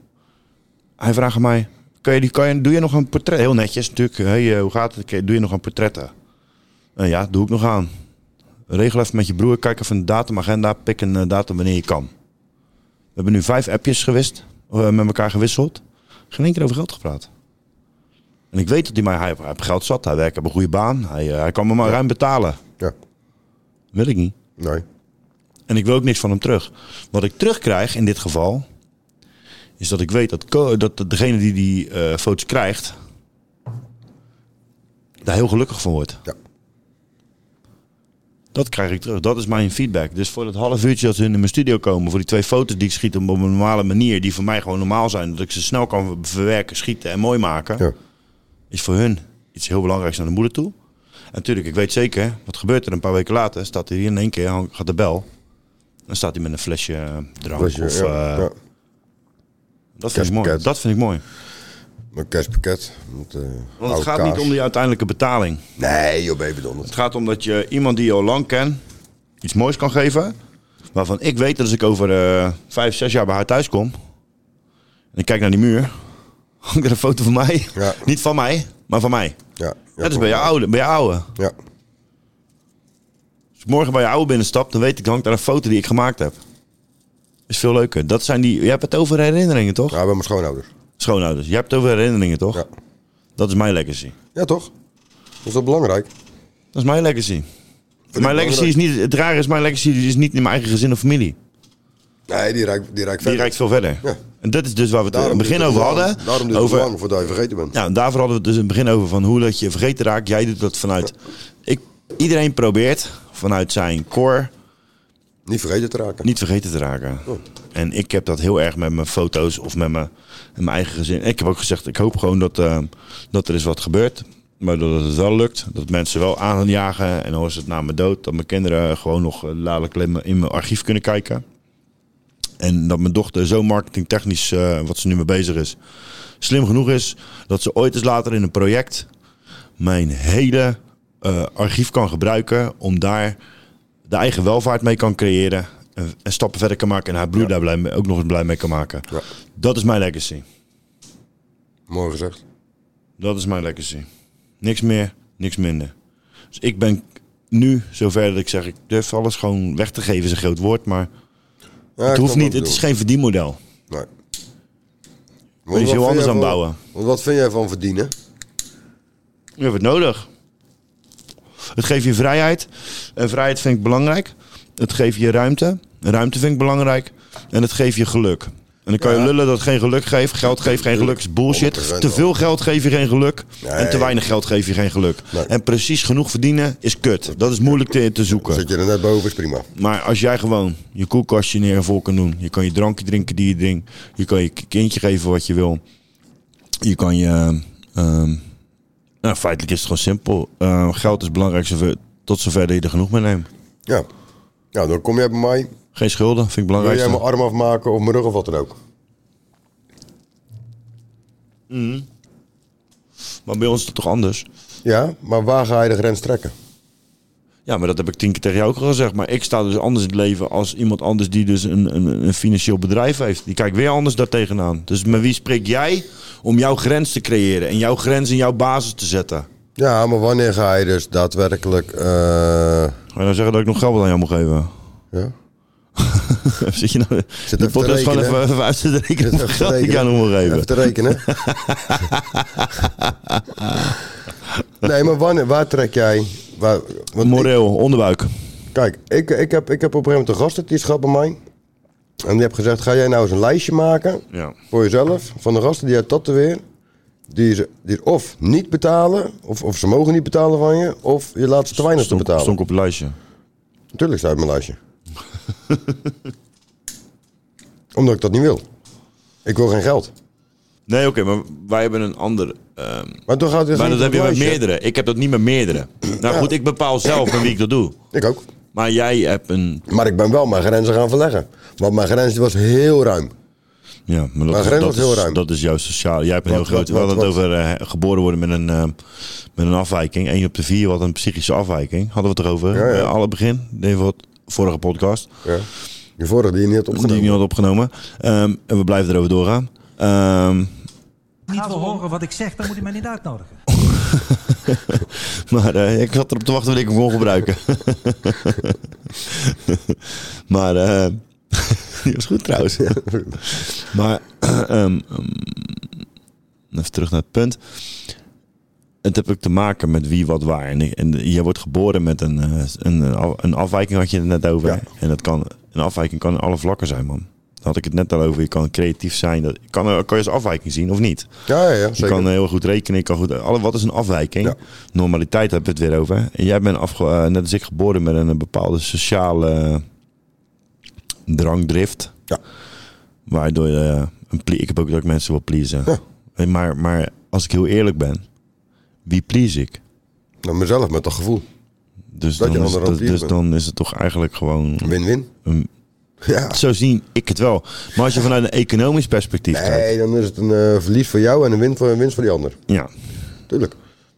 Speaker 3: Hij vraagt aan mij: kan je, die- kan je, doe je nog een portret? Heel netjes natuurlijk. Hey, eh, hoe gaat het? Doe je nog een portret? Nou ja, doe ik nog aan. Regel even met je broer. Kijk even een datumagenda. Pik een eh, datum wanneer je kan. We hebben nu vijf appjes gewist, of, eh, met elkaar gewisseld. Geen één keer over geld gepraat. En ik weet dat hij mij hij, hij heeft geld zat. Hij werkt op een goede baan. Hij, eh, hij kan me maar ruim betalen.
Speaker 2: Ja.
Speaker 3: Wil ik niet.
Speaker 2: Nee.
Speaker 3: En ik wil ook niks van hem terug. Wat ik terugkrijg in dit geval. Is dat ik weet dat, ko- dat degene die die eh, foto's krijgt. daar heel gelukkig van wordt.
Speaker 2: Ja.
Speaker 3: Dat krijg ik terug. Dat is mijn feedback. Dus voor dat half uurtje dat ze in mijn studio komen. voor die twee foto's die ik schiet op een normale manier. die voor mij gewoon normaal zijn. dat ik ze snel kan verwerken, schieten en mooi maken. is voor hun iets heel belangrijks naar de moeder toe. En natuurlijk, ik weet zeker, wat gebeurt er een paar weken later? Staat hij hier in één keer, hang- gaat de bel. Dan staat hij met een flesje eh, drank.
Speaker 2: Flesje,
Speaker 3: of,
Speaker 2: ja,
Speaker 3: eh,
Speaker 2: ja.
Speaker 3: Dat vind ik mooi. Dat vind ik mooi.
Speaker 2: Een kerstpakket. Met, eh,
Speaker 3: Want
Speaker 2: oude
Speaker 3: het gaat
Speaker 2: kaas.
Speaker 3: niet om die uiteindelijke betaling.
Speaker 2: Nee, joh, baby donder.
Speaker 3: Het gaat om dat je iemand die je al lang kent iets moois kan geven. Waarvan ik weet dat als ik over eh, vijf, zes jaar bij haar thuis kom. En ik kijk naar die muur. Hangt er een foto van mij. Niet van mij, maar van mij.
Speaker 2: Ja.
Speaker 3: dat is bij je oude. Bij je oude.
Speaker 2: Ja. Nou,
Speaker 3: Als ik morgen bij je oude binnenstap, dan weet ik, hangt daar een foto die ik gemaakt heb. Is veel leuker. Dat zijn die, je hebt het over herinneringen, toch? Ja,
Speaker 2: bij mijn schoonouders.
Speaker 3: Schoonouders. Je hebt het over herinneringen, toch? Ja. Dat is mijn legacy.
Speaker 2: Ja, toch? Dat is wel belangrijk.
Speaker 3: Dat is mijn legacy. mijn legacy
Speaker 2: belangrijk.
Speaker 3: is niet, het rare is, mijn legacy is niet in mijn eigen gezin of familie.
Speaker 2: Nee, die rijkt, die rijkt
Speaker 3: Die
Speaker 2: verder.
Speaker 3: reikt veel verder. En dat is dus waar we het in het
Speaker 2: Daarom
Speaker 3: begin
Speaker 2: duurt
Speaker 3: over
Speaker 2: lang.
Speaker 3: hadden.
Speaker 2: Daarom duurt het
Speaker 3: over,
Speaker 2: lang voordat je vergeten bent.
Speaker 3: Ja, en daarvoor hadden we het dus in het begin over van hoe dat je vergeten raakt. Jij doet dat vanuit. Ik, iedereen probeert vanuit zijn core.
Speaker 2: Niet vergeten te raken.
Speaker 3: Niet vergeten te raken. En ik heb dat heel erg met mijn foto's of met mijn, met mijn eigen gezin. Ik heb ook gezegd, ik hoop gewoon dat, eh, dat er is wat gebeurt. Maar dat het wel lukt. Dat mensen wel aan gaan jagen. En dan is het na mijn dood. Dat mijn kinderen gewoon nog eh, dadelijk in mijn- in mijn archief kunnen kijken. En dat mijn dochter zo marketingtechnisch, eh, wat ze nu mee bezig is, slim genoeg is. Dat ze ooit eens later in een project mijn hele eh, archief kan gebruiken. Om daar de eigen welvaart mee kan creëren. En, en stappen verder kan maken. En haar broer daar blij mee- ook nog eens blij mee kan maken. Dat is mijn legacy.
Speaker 2: Mooi gezegd.
Speaker 3: Dat is mijn legacy. Niks meer, niks minder. Dus ik ben nu zover dat ik zeg, ik durf alles gewoon weg te geven, is een groot woord, maar het
Speaker 2: ik
Speaker 3: hoeft
Speaker 2: snap
Speaker 3: niet,
Speaker 2: wat
Speaker 3: het is
Speaker 2: je
Speaker 3: geen verdienmodel.
Speaker 2: Nee.
Speaker 3: Moet je iets heel anders aan bouwen.
Speaker 2: Want wat vind jij van verdienen?
Speaker 3: Je hebt het nodig. Het geeft je vrijheid. En vrijheid vind ik belangrijk. Het geeft je ruimte. En Ruimte vind ik belangrijk. En het geeft je geluk. En dan kan je lullen dat het geen geluk geeft. Geld geeft geen geluk. is bullshit.
Speaker 2: 100%
Speaker 3: Te veel geld geeft je geen geluk. En te weinig geld geeft je geen geluk. En precies genoeg verdienen is kut. Dat is moeilijk te, te zoeken.
Speaker 2: Zit je er net boven, is prima.
Speaker 3: Maar als jij gewoon je koelkastje neer en vol kan doen. Je kan je drankje drinken die je drinkt. Je kan je k- kindje geven wat je wil. Je kan je... ehm, nou, feitelijk is het gewoon simpel. Eh, geld is belangrijk zover, tot zover dat je er genoeg mee neemt.
Speaker 2: Ja. Ja, dan kom jij bij mij.
Speaker 3: Geen schulden, vind ik
Speaker 2: Wil
Speaker 3: belangrijk.
Speaker 2: jij mijn arm afmaken of mijn rug of wat dan ook?
Speaker 3: Maar bij ons is het toch anders?
Speaker 2: Ja, maar waar ga je de grens trekken?
Speaker 3: Ja, maar dat heb ik tien keer tegen jou ook al gezegd. Maar ik sta dus anders in het leven als iemand anders die dus een, een, een financieel bedrijf heeft. Die kijkt weer anders daartegenaan. Dus met wie spreek jij om jouw grens te creëren en jouw grens in jouw basis te zetten?
Speaker 2: Ja, maar wanneer ga je dus daadwerkelijk... eh
Speaker 3: Ga je nou zeggen dat ik nog geld aan jou moet geven?
Speaker 2: Ja.
Speaker 3: Zit je nou... Zit de
Speaker 2: even te
Speaker 3: podcast gewoon
Speaker 2: rekenen.
Speaker 3: even, even uit te rekenen
Speaker 2: Even
Speaker 3: hoeveel
Speaker 2: te
Speaker 3: geld ik
Speaker 2: rekenen.
Speaker 3: jou nog moet geven.
Speaker 2: Even te rekenen. nee, maar wanneer, waar trek jij? Waar,
Speaker 3: Moreel, onderbuik.
Speaker 2: Kijk, ik, ik, heb, ik heb op een gegeven moment een gast die is gehad bij mij. En die heb gezegd, ga jij nou eens een lijstje maken
Speaker 3: Ja.
Speaker 2: voor jezelf van de gasten die uit Tatoeëer... Die ze, die ze of niet betalen, of, of ze mogen niet betalen van je, of je laat ze te weinig te
Speaker 3: Stond,
Speaker 2: betalen.
Speaker 3: stond ik op het lijstje.
Speaker 2: Natuurlijk staat het op mijn lijstje. Omdat ik dat niet wil. Ik wil geen geld.
Speaker 3: Nee, oké, maar wij hebben een ander. ehm,
Speaker 2: Maar toch gaat het
Speaker 3: maar
Speaker 2: geen
Speaker 3: dat heb je met
Speaker 2: lijstje.
Speaker 3: meerdere. Ik heb dat niet met meerdere. Nou goed, ik bepaal zelf met wie ik dat doe.
Speaker 2: Ik ook.
Speaker 3: Maar jij hebt een.
Speaker 2: Maar ik ben wel mijn grenzen gaan verleggen. Want mijn grens die was heel ruim.
Speaker 3: Ja, maar dat,
Speaker 2: Maar grens
Speaker 3: dat,
Speaker 2: was heel
Speaker 3: is,
Speaker 2: ruim.
Speaker 3: dat is juist sociaal. Jij hebt een
Speaker 2: Wat,
Speaker 3: heel groot.
Speaker 2: wat,
Speaker 3: We hadden het
Speaker 2: wat,
Speaker 3: over eh, geboren worden met een, ehm, met een afwijking. Eén op de vier wat een psychische afwijking. Hadden we het erover.
Speaker 2: Ja, ja.
Speaker 3: eh, alle begin. Deze wat vorige podcast.
Speaker 2: Ja. De vorige die je niet had
Speaker 3: Die
Speaker 2: opgenomen.
Speaker 3: ik niet had opgenomen. Ehm, en we blijven erover doorgaan. Ehm,
Speaker 13: niet wil horen wat ik zeg, dan moet hij mij niet uitnodigen.
Speaker 3: maar eh, ik zat erop te wachten wanneer ik hem kon gebruiken. maar eh, die was goed trouwens. maar ehm, ehm, even terug naar het punt. Het heb ik te maken met wie wat waar. En, ik- en je wordt geboren met een, eh, een, af- een afwijking, had je het net over. En dat kan, een afwijking kan in alle vlakken zijn, man. Daar had ik het net al over. Je kan creatief zijn. Dat, kan, kan je als afwijking zien of niet?
Speaker 2: Ja, ja, ja,
Speaker 3: Je
Speaker 2: zeker.
Speaker 3: kan heel goed rekenen. Je kan goed, alle, wat is een afwijking? Normaliteit hebben we het weer over. En jij bent afge, eh, net als ik geboren met een, eh, bepaalde sociale eh, drangdrift.
Speaker 2: Ja.
Speaker 3: Waardoor je... eh, Een ple- ik heb ook dat ik mensen wil pleasen. Eh, Maar, maar als ik heel eerlijk ben, wie please ik?
Speaker 2: Nou, mezelf met dat gevoel.
Speaker 3: Dus,
Speaker 2: Dat je
Speaker 3: dan is,
Speaker 2: anderen aan
Speaker 3: dat-
Speaker 2: het pleasen
Speaker 3: dus
Speaker 2: bent.
Speaker 3: dan is het toch eigenlijk gewoon...
Speaker 2: Win-win.
Speaker 3: een-
Speaker 2: Ja.
Speaker 3: Zo zie ik het wel. Maar als je vanuit een economisch perspectief kijkt...
Speaker 2: Nee, dan is het een eh, verlies voor jou en een winst voor, een winst voor die ander.
Speaker 3: Ja.
Speaker 2: Tuurlijk.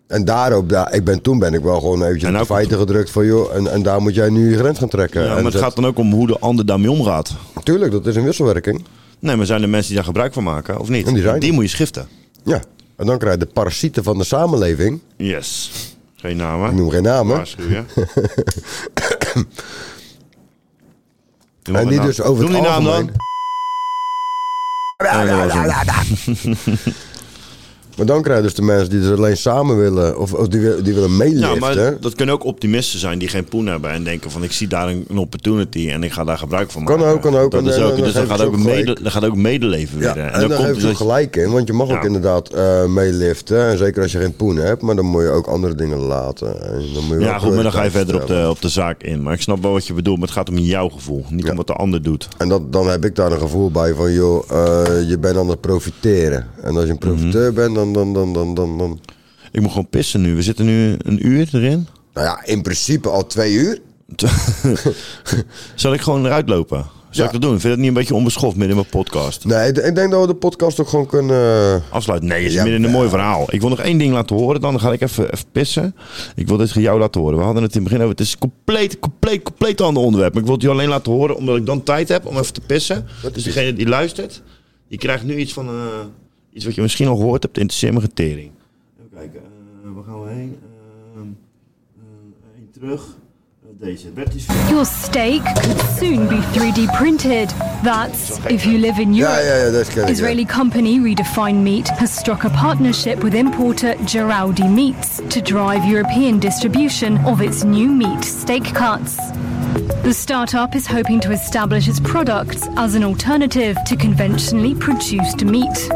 Speaker 2: En daarop, daar, ik ben, toen ben ik wel gewoon eventjes op de feiten gedrukt van joh, en, en daar moet jij nu je grens gaan trekken.
Speaker 3: Ja,
Speaker 2: En
Speaker 3: maar het
Speaker 2: dat-
Speaker 3: gaat dan ook om hoe de ander daarmee omgaat.
Speaker 2: Tuurlijk, dat is een wisselwerking.
Speaker 3: Nee, maar zijn er mensen die daar gebruik van maken of niet?
Speaker 2: En die zijn er.
Speaker 3: moet je schiften.
Speaker 2: Ja, en dan krijg je de parasieten van de samenleving.
Speaker 3: Yes. Geen namen.
Speaker 2: Ik noem geen namen.
Speaker 3: Waarschuw je. Noem
Speaker 2: en
Speaker 3: een
Speaker 2: die
Speaker 3: naam.
Speaker 2: dus over
Speaker 3: Noem
Speaker 2: het
Speaker 3: die naam
Speaker 2: algemeen...
Speaker 3: En dat was hem.
Speaker 2: Maar dan krijg je dus de mensen die dus alleen samen willen, of, of die, wil- die willen meeliften.
Speaker 3: Ja, maar dat kunnen ook optimisten zijn die geen poen hebben en denken van ik zie daar een, een opportunity en ik ga daar gebruik van
Speaker 2: Kan
Speaker 3: maken.
Speaker 2: ook, kan ook.
Speaker 3: Dat
Speaker 2: En
Speaker 3: is
Speaker 2: dan-
Speaker 3: ook
Speaker 2: dan
Speaker 3: dus dan
Speaker 2: geef
Speaker 3: gaat
Speaker 2: je
Speaker 3: ook,
Speaker 2: ze
Speaker 3: een
Speaker 2: ook
Speaker 3: mede, dan gaat ook medeleven weer.
Speaker 2: Ja, en, dan
Speaker 3: komt
Speaker 2: geeft
Speaker 3: dus
Speaker 2: het gelijk in, want je mag
Speaker 3: Ja.
Speaker 2: ook inderdaad eh meeliften. En zeker als je geen poen hebt, maar dan moet je ook andere dingen laten. En dan moet je wel
Speaker 3: Ja, goed, maar dan ga je
Speaker 2: prioriteiten
Speaker 3: verder op
Speaker 2: stellen.
Speaker 3: de, op de zaak in. Maar ik snap wel wat je bedoelt, maar het gaat om jouw gevoel, niet om wat de ander doet.
Speaker 2: En dat, dan heb ik daar een gevoel bij van, joh, eh, je bent aan het profiteren. En als je een
Speaker 3: Mhm.
Speaker 2: profiteur bent, dan, dan, dan, dan, dan, dan...
Speaker 3: Ik moet gewoon pissen nu. We zitten nu een uur erin.
Speaker 2: Nou ja, in principe al twee uur.
Speaker 3: Zal ik gewoon eruit lopen? Zal ik dat doen? Vind je dat niet een beetje onbeschoft midden in mijn podcast?
Speaker 2: Nee, ik ik denk dat we de podcast ook gewoon kunnen...
Speaker 3: Afsluiten. Nee, je zit
Speaker 2: Ja,
Speaker 3: midden in een
Speaker 2: ja.
Speaker 3: mooi verhaal. Ik wil nog één ding laten horen, dan ga ik even, even pissen. Ik wil dit van jou laten horen. We hadden het in het begin over. Het is een compleet, compleet, compleet ander onderwerp. Maar ik wil het je alleen laten horen, omdat ik dan tijd heb om even te pissen. Dus degene die luistert, die krijgt nu iets van. eh, iets wat je misschien al gehoord hebt, interesseer me getering. Even kijken, eh, waar gaan we heen? Ehm, eh, één terug. Eh, Deze. Bert is
Speaker 14: Your steak could soon be 3D printed. That's if you live in
Speaker 2: Ja,
Speaker 14: Europe.
Speaker 2: ja, ja, dat ken ik. ja.
Speaker 14: Israeli company Redefine Meat has struck a partnership with importer Geraldi Meats to drive European distribution of its new meat steak cuts. The startup is hoping to establish its products as an alternative to conventionally produced meat.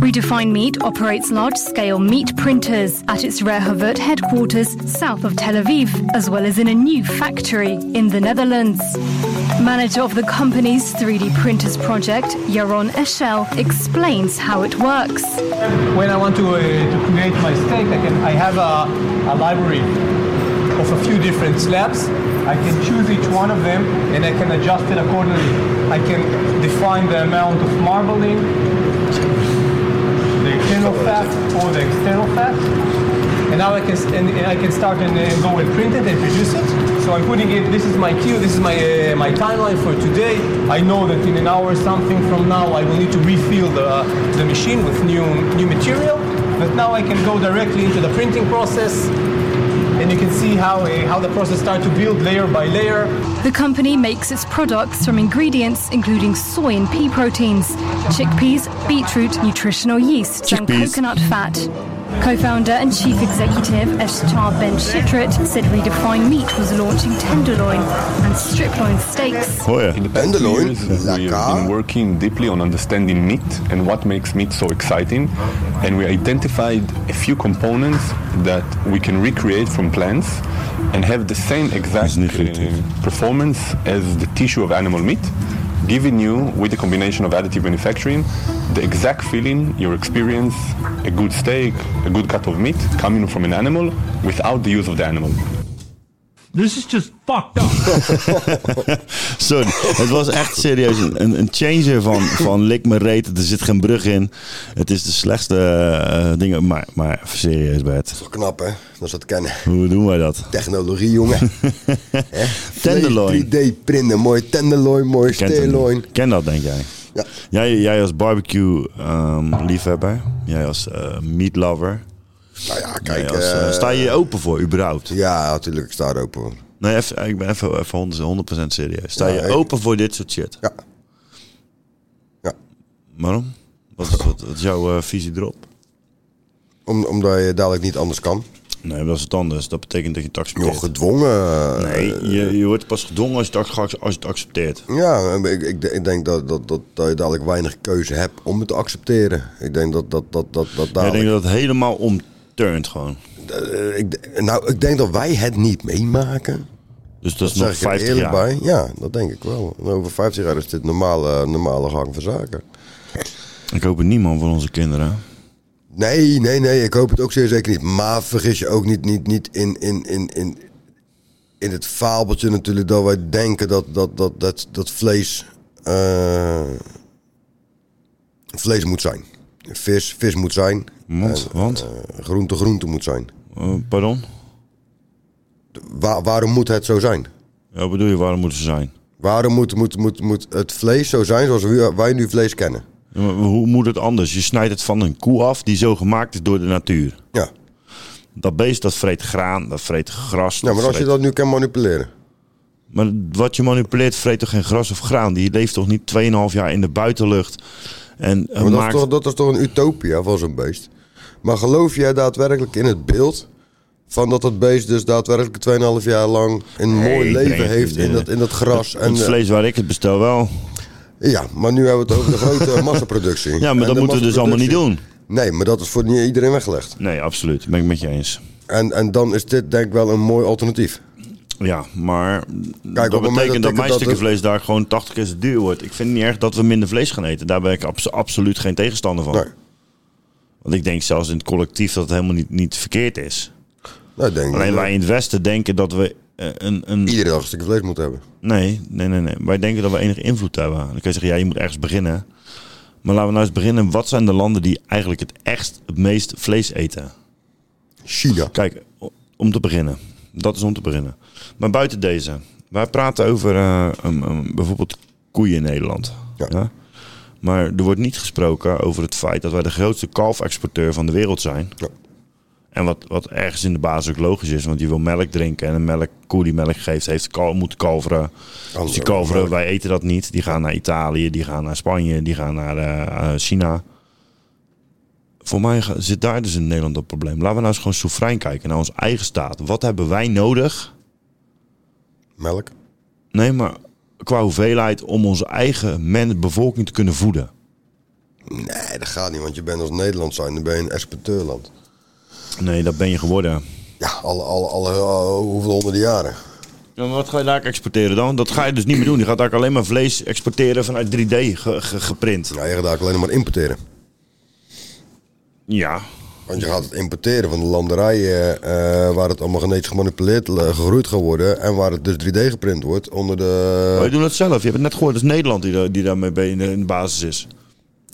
Speaker 14: Redefine Meat operates large scale meat printers at its Rehovot headquarters south of Tel Aviv, as well as in a new factory in the Netherlands. Manager of the company's 3D printers project, Yaron Eshel, explains how it works.
Speaker 15: When I want to, uh, to create my steak, I, can, I have a, a library of a few different slabs. I can choose each one of them and I can adjust it accordingly. I can define the amount of marbling, the internal fat or the external fat. and now I can and, and I can start and uh, go and print it and produce it. So I'm putting it. This is my queue. This is my uh, my timeline for today. I know that in an hour or something from now I will need to refill the the machine with new new material. But now I can go directly into the printing process, and you can see how uh, how the process starts to build layer by layer.
Speaker 14: The company makes its products from ingredients including soy and pea proteins, chickpeas, beetroot, nutritional yeast, and
Speaker 16: Chickpeas.
Speaker 14: coconut fat. Co-founder and chief executive Eshtar Ben Shitrit said Redefine Meat was launching tenderloin and striploin steaks.
Speaker 3: Oh yeah.
Speaker 17: In the past few years, we've been working deeply on understanding meat and what makes meat so exciting, and we identified a few components that we can recreate from plants and have the same exact uh, performance as the tissue of animal meat, giving you, with the combination of additive manufacturing, the exact feeling you experience a good steak, a good cut of meat coming from an animal without the use of the animal.
Speaker 13: This is just fucked up.
Speaker 3: Sorry, het was echt serieus een, een- een changer van, van lik me reet, er zit geen brug in. Het is de slechtste eh, dingen, maar, maar even serieus Bert. Dat is
Speaker 2: knap hè, dat is dat kennen.
Speaker 3: Hoe doen wij dat?
Speaker 2: Technologie jongen. Hè?
Speaker 3: Tenderloin.
Speaker 2: 3D printen, mooi tenderloin, mooi
Speaker 3: Kent hem.
Speaker 2: steerloin.
Speaker 3: Ken dat denk jij?
Speaker 2: Ja.
Speaker 3: Jij, jij als barbecue ehm, liefhebber, jij als eh, meat lover.
Speaker 2: Nou ja, kijk,
Speaker 3: Jij als, eh,
Speaker 2: eh,
Speaker 3: sta je open voor überhaupt?
Speaker 2: Ja, natuurlijk, ik sta er open voor.
Speaker 3: Nee, even, ik ben even, even 100, 100% serieus. Sta
Speaker 2: Ja,
Speaker 3: je
Speaker 2: ik-
Speaker 3: open voor dit soort shit?
Speaker 2: Ja. Ja.
Speaker 3: Waarom? Wat, is- wat, wat is jouw eh, visie erop?
Speaker 2: Om, omdat je dadelijk niet anders kan.
Speaker 3: Nee, dat is het anders. Dat betekent dat je het accepteert.
Speaker 2: Joh, gedwongen.
Speaker 3: Nee, je, je wordt pas gedwongen als je het, ac- als je het accepteert.
Speaker 2: Ja, ik, ik, ik denk dat, dat, dat, dat je dadelijk weinig keuze hebt om het te accepteren. Ik denk dat dat, dat, dat, dat
Speaker 3: Jij
Speaker 2: dadelijk...
Speaker 3: denkt dat het helemaal omturnt gewoon.
Speaker 2: Eh, ik d- nou, ik denk dat wij het niet meemaken.
Speaker 3: Dus dat is
Speaker 2: zeg
Speaker 3: nog
Speaker 2: ik er
Speaker 3: 50
Speaker 2: eerlijk
Speaker 3: jaar.
Speaker 2: Bij. Ja, dat denk ik wel. En Over 50 jaar is dit normale, normale gang van zaken.
Speaker 3: Ik hoop het niemand van onze kinderen.
Speaker 2: Nee, nee, nee, ik hoop het ook zeer zeker niet. Maar vergis je ook niet, niet, niet in, in, in, in, in het fabeltje natuurlijk dat wij denken dat, dat, dat, dat, dat vlees, eh, vlees moet zijn. Vis, vis moet zijn. Eh,
Speaker 3: Want? want?
Speaker 2: groente, groente moet zijn.
Speaker 3: Eh, pardon?
Speaker 2: Wa- waarom moet het zo zijn?
Speaker 3: Ja, wat bedoel je, waarom moeten ze zijn?
Speaker 2: Waarom moet, moet, moet, moet het vlees zo zijn zoals we- wij nu vlees kennen?
Speaker 3: Ja, maar Hoe moet het anders? Je snijdt het van een koe af die zo gemaakt is door de natuur.
Speaker 2: Ja.
Speaker 3: Dat beest dat vreet graan, dat vreet gras.
Speaker 2: Ja, maar als je
Speaker 3: vreet-
Speaker 2: dat nu kan manipuleren.
Speaker 3: Maar wat je manipuleert vreet toch geen gras of graan? Die leeft toch niet 2,5 jaar in de buitenlucht? En eh,
Speaker 2: Ja, maar dat,
Speaker 3: maakt...
Speaker 2: is toch, dat is toch een utopia van zo'n beest? Maar geloof jij daadwerkelijk in het beeld van dat dat beest dus daadwerkelijk 2,5 jaar lang een
Speaker 3: Nee,
Speaker 2: mooi
Speaker 3: ik breng
Speaker 2: leven
Speaker 3: het
Speaker 2: heeft
Speaker 3: niet,
Speaker 2: in
Speaker 3: eh,
Speaker 2: dat, in dat gras?
Speaker 3: Het,
Speaker 2: en,
Speaker 3: het
Speaker 2: eh,
Speaker 3: vlees waar ik het bestel wel.
Speaker 2: ja, maar nu hebben we het over de grote massaproductie.
Speaker 3: Ja,
Speaker 2: En
Speaker 3: maar dat
Speaker 2: de
Speaker 3: moeten we dus allemaal niet
Speaker 2: massaproductie-
Speaker 3: doen.
Speaker 2: Nee, maar dat is voor niet iedereen weggelegd.
Speaker 3: Nee, absoluut. Ben ik met je eens.
Speaker 2: En, en dan is dit denk ik wel een mooi alternatief.
Speaker 3: Ja, maar
Speaker 2: het
Speaker 3: dat betekent
Speaker 2: moment
Speaker 3: dat,
Speaker 2: dat ik
Speaker 3: mijn
Speaker 2: dat-
Speaker 3: stukken vlees daar gewoon 80 keer zo duur wordt. Ik vind het niet erg dat we minder vlees gaan eten. Daar ben ik abso- absoluut geen tegenstander van.
Speaker 2: Nou,
Speaker 3: Want ik denk zelfs in het collectief dat het helemaal niet, niet verkeerd is.
Speaker 2: Nou, ik denk
Speaker 3: Alleen
Speaker 2: dat-
Speaker 3: wij in het Westen denken dat we eh, een... een...
Speaker 2: Iedere dag een stukje vlees moeten hebben.
Speaker 3: Nee, nee, nee, nee. Wij denken dat we enige invloed hebben. Dan kun je zeggen, ja, je moet ergens beginnen. Maar laten we nou eens beginnen. Wat zijn de landen die eigenlijk het echt het meest vlees eten?
Speaker 2: China.
Speaker 3: Kijk, o- om te beginnen. Dat is om te beginnen. Maar buiten deze. Wij praten over eh, um, um, bijvoorbeeld koeien in Nederland. Ja. Maar er wordt niet gesproken over het feit dat wij de grootste kalfexporteur van de wereld zijn. En wat, wat ergens in de basis ook logisch is, want je wil melk drinken. En een melkkoe die melk geeft, heeft kal, moet kalveren. dus die kalveren, wij eten dat niet. Die gaan naar Italië, die gaan naar Spanje, die gaan naar eh, eh, China. Voor mij ga- zit daar dus in Nederland dat probleem. Laten we nou eens gewoon soeverein kijken naar ons eigen staat. Wat hebben wij nodig?
Speaker 2: Melk.
Speaker 3: Nee, maar qua hoeveelheid om onze eigen men, bevolking te kunnen voeden.
Speaker 2: Nee, dat gaat niet, want je bent als Nederland zijn, dan ben je een exporteurland.
Speaker 3: Nee, dat ben je geworden.
Speaker 2: Ja, alle, alle, alle, alle- hoeveel honderden jaren.
Speaker 3: Ja, maar wat ga je daar exporteren dan? Dat ga je dus niet meer doen. Je gaat daar alleen maar vlees exporteren vanuit 3D ge- ge- geprint.
Speaker 2: Ja, je gaat daar alleen maar importeren.
Speaker 3: Ja.
Speaker 2: Want je gaat het importeren van de landerijen eh, waar het allemaal genetisch gemanipuleerd eh, gegroeid gaat worden. En waar het dus 3D geprint wordt onder de...
Speaker 3: Wij doen dat zelf. Je hebt het net gehoord. Het is Nederland die, daar- die daarmee bij- in de, in de basis is.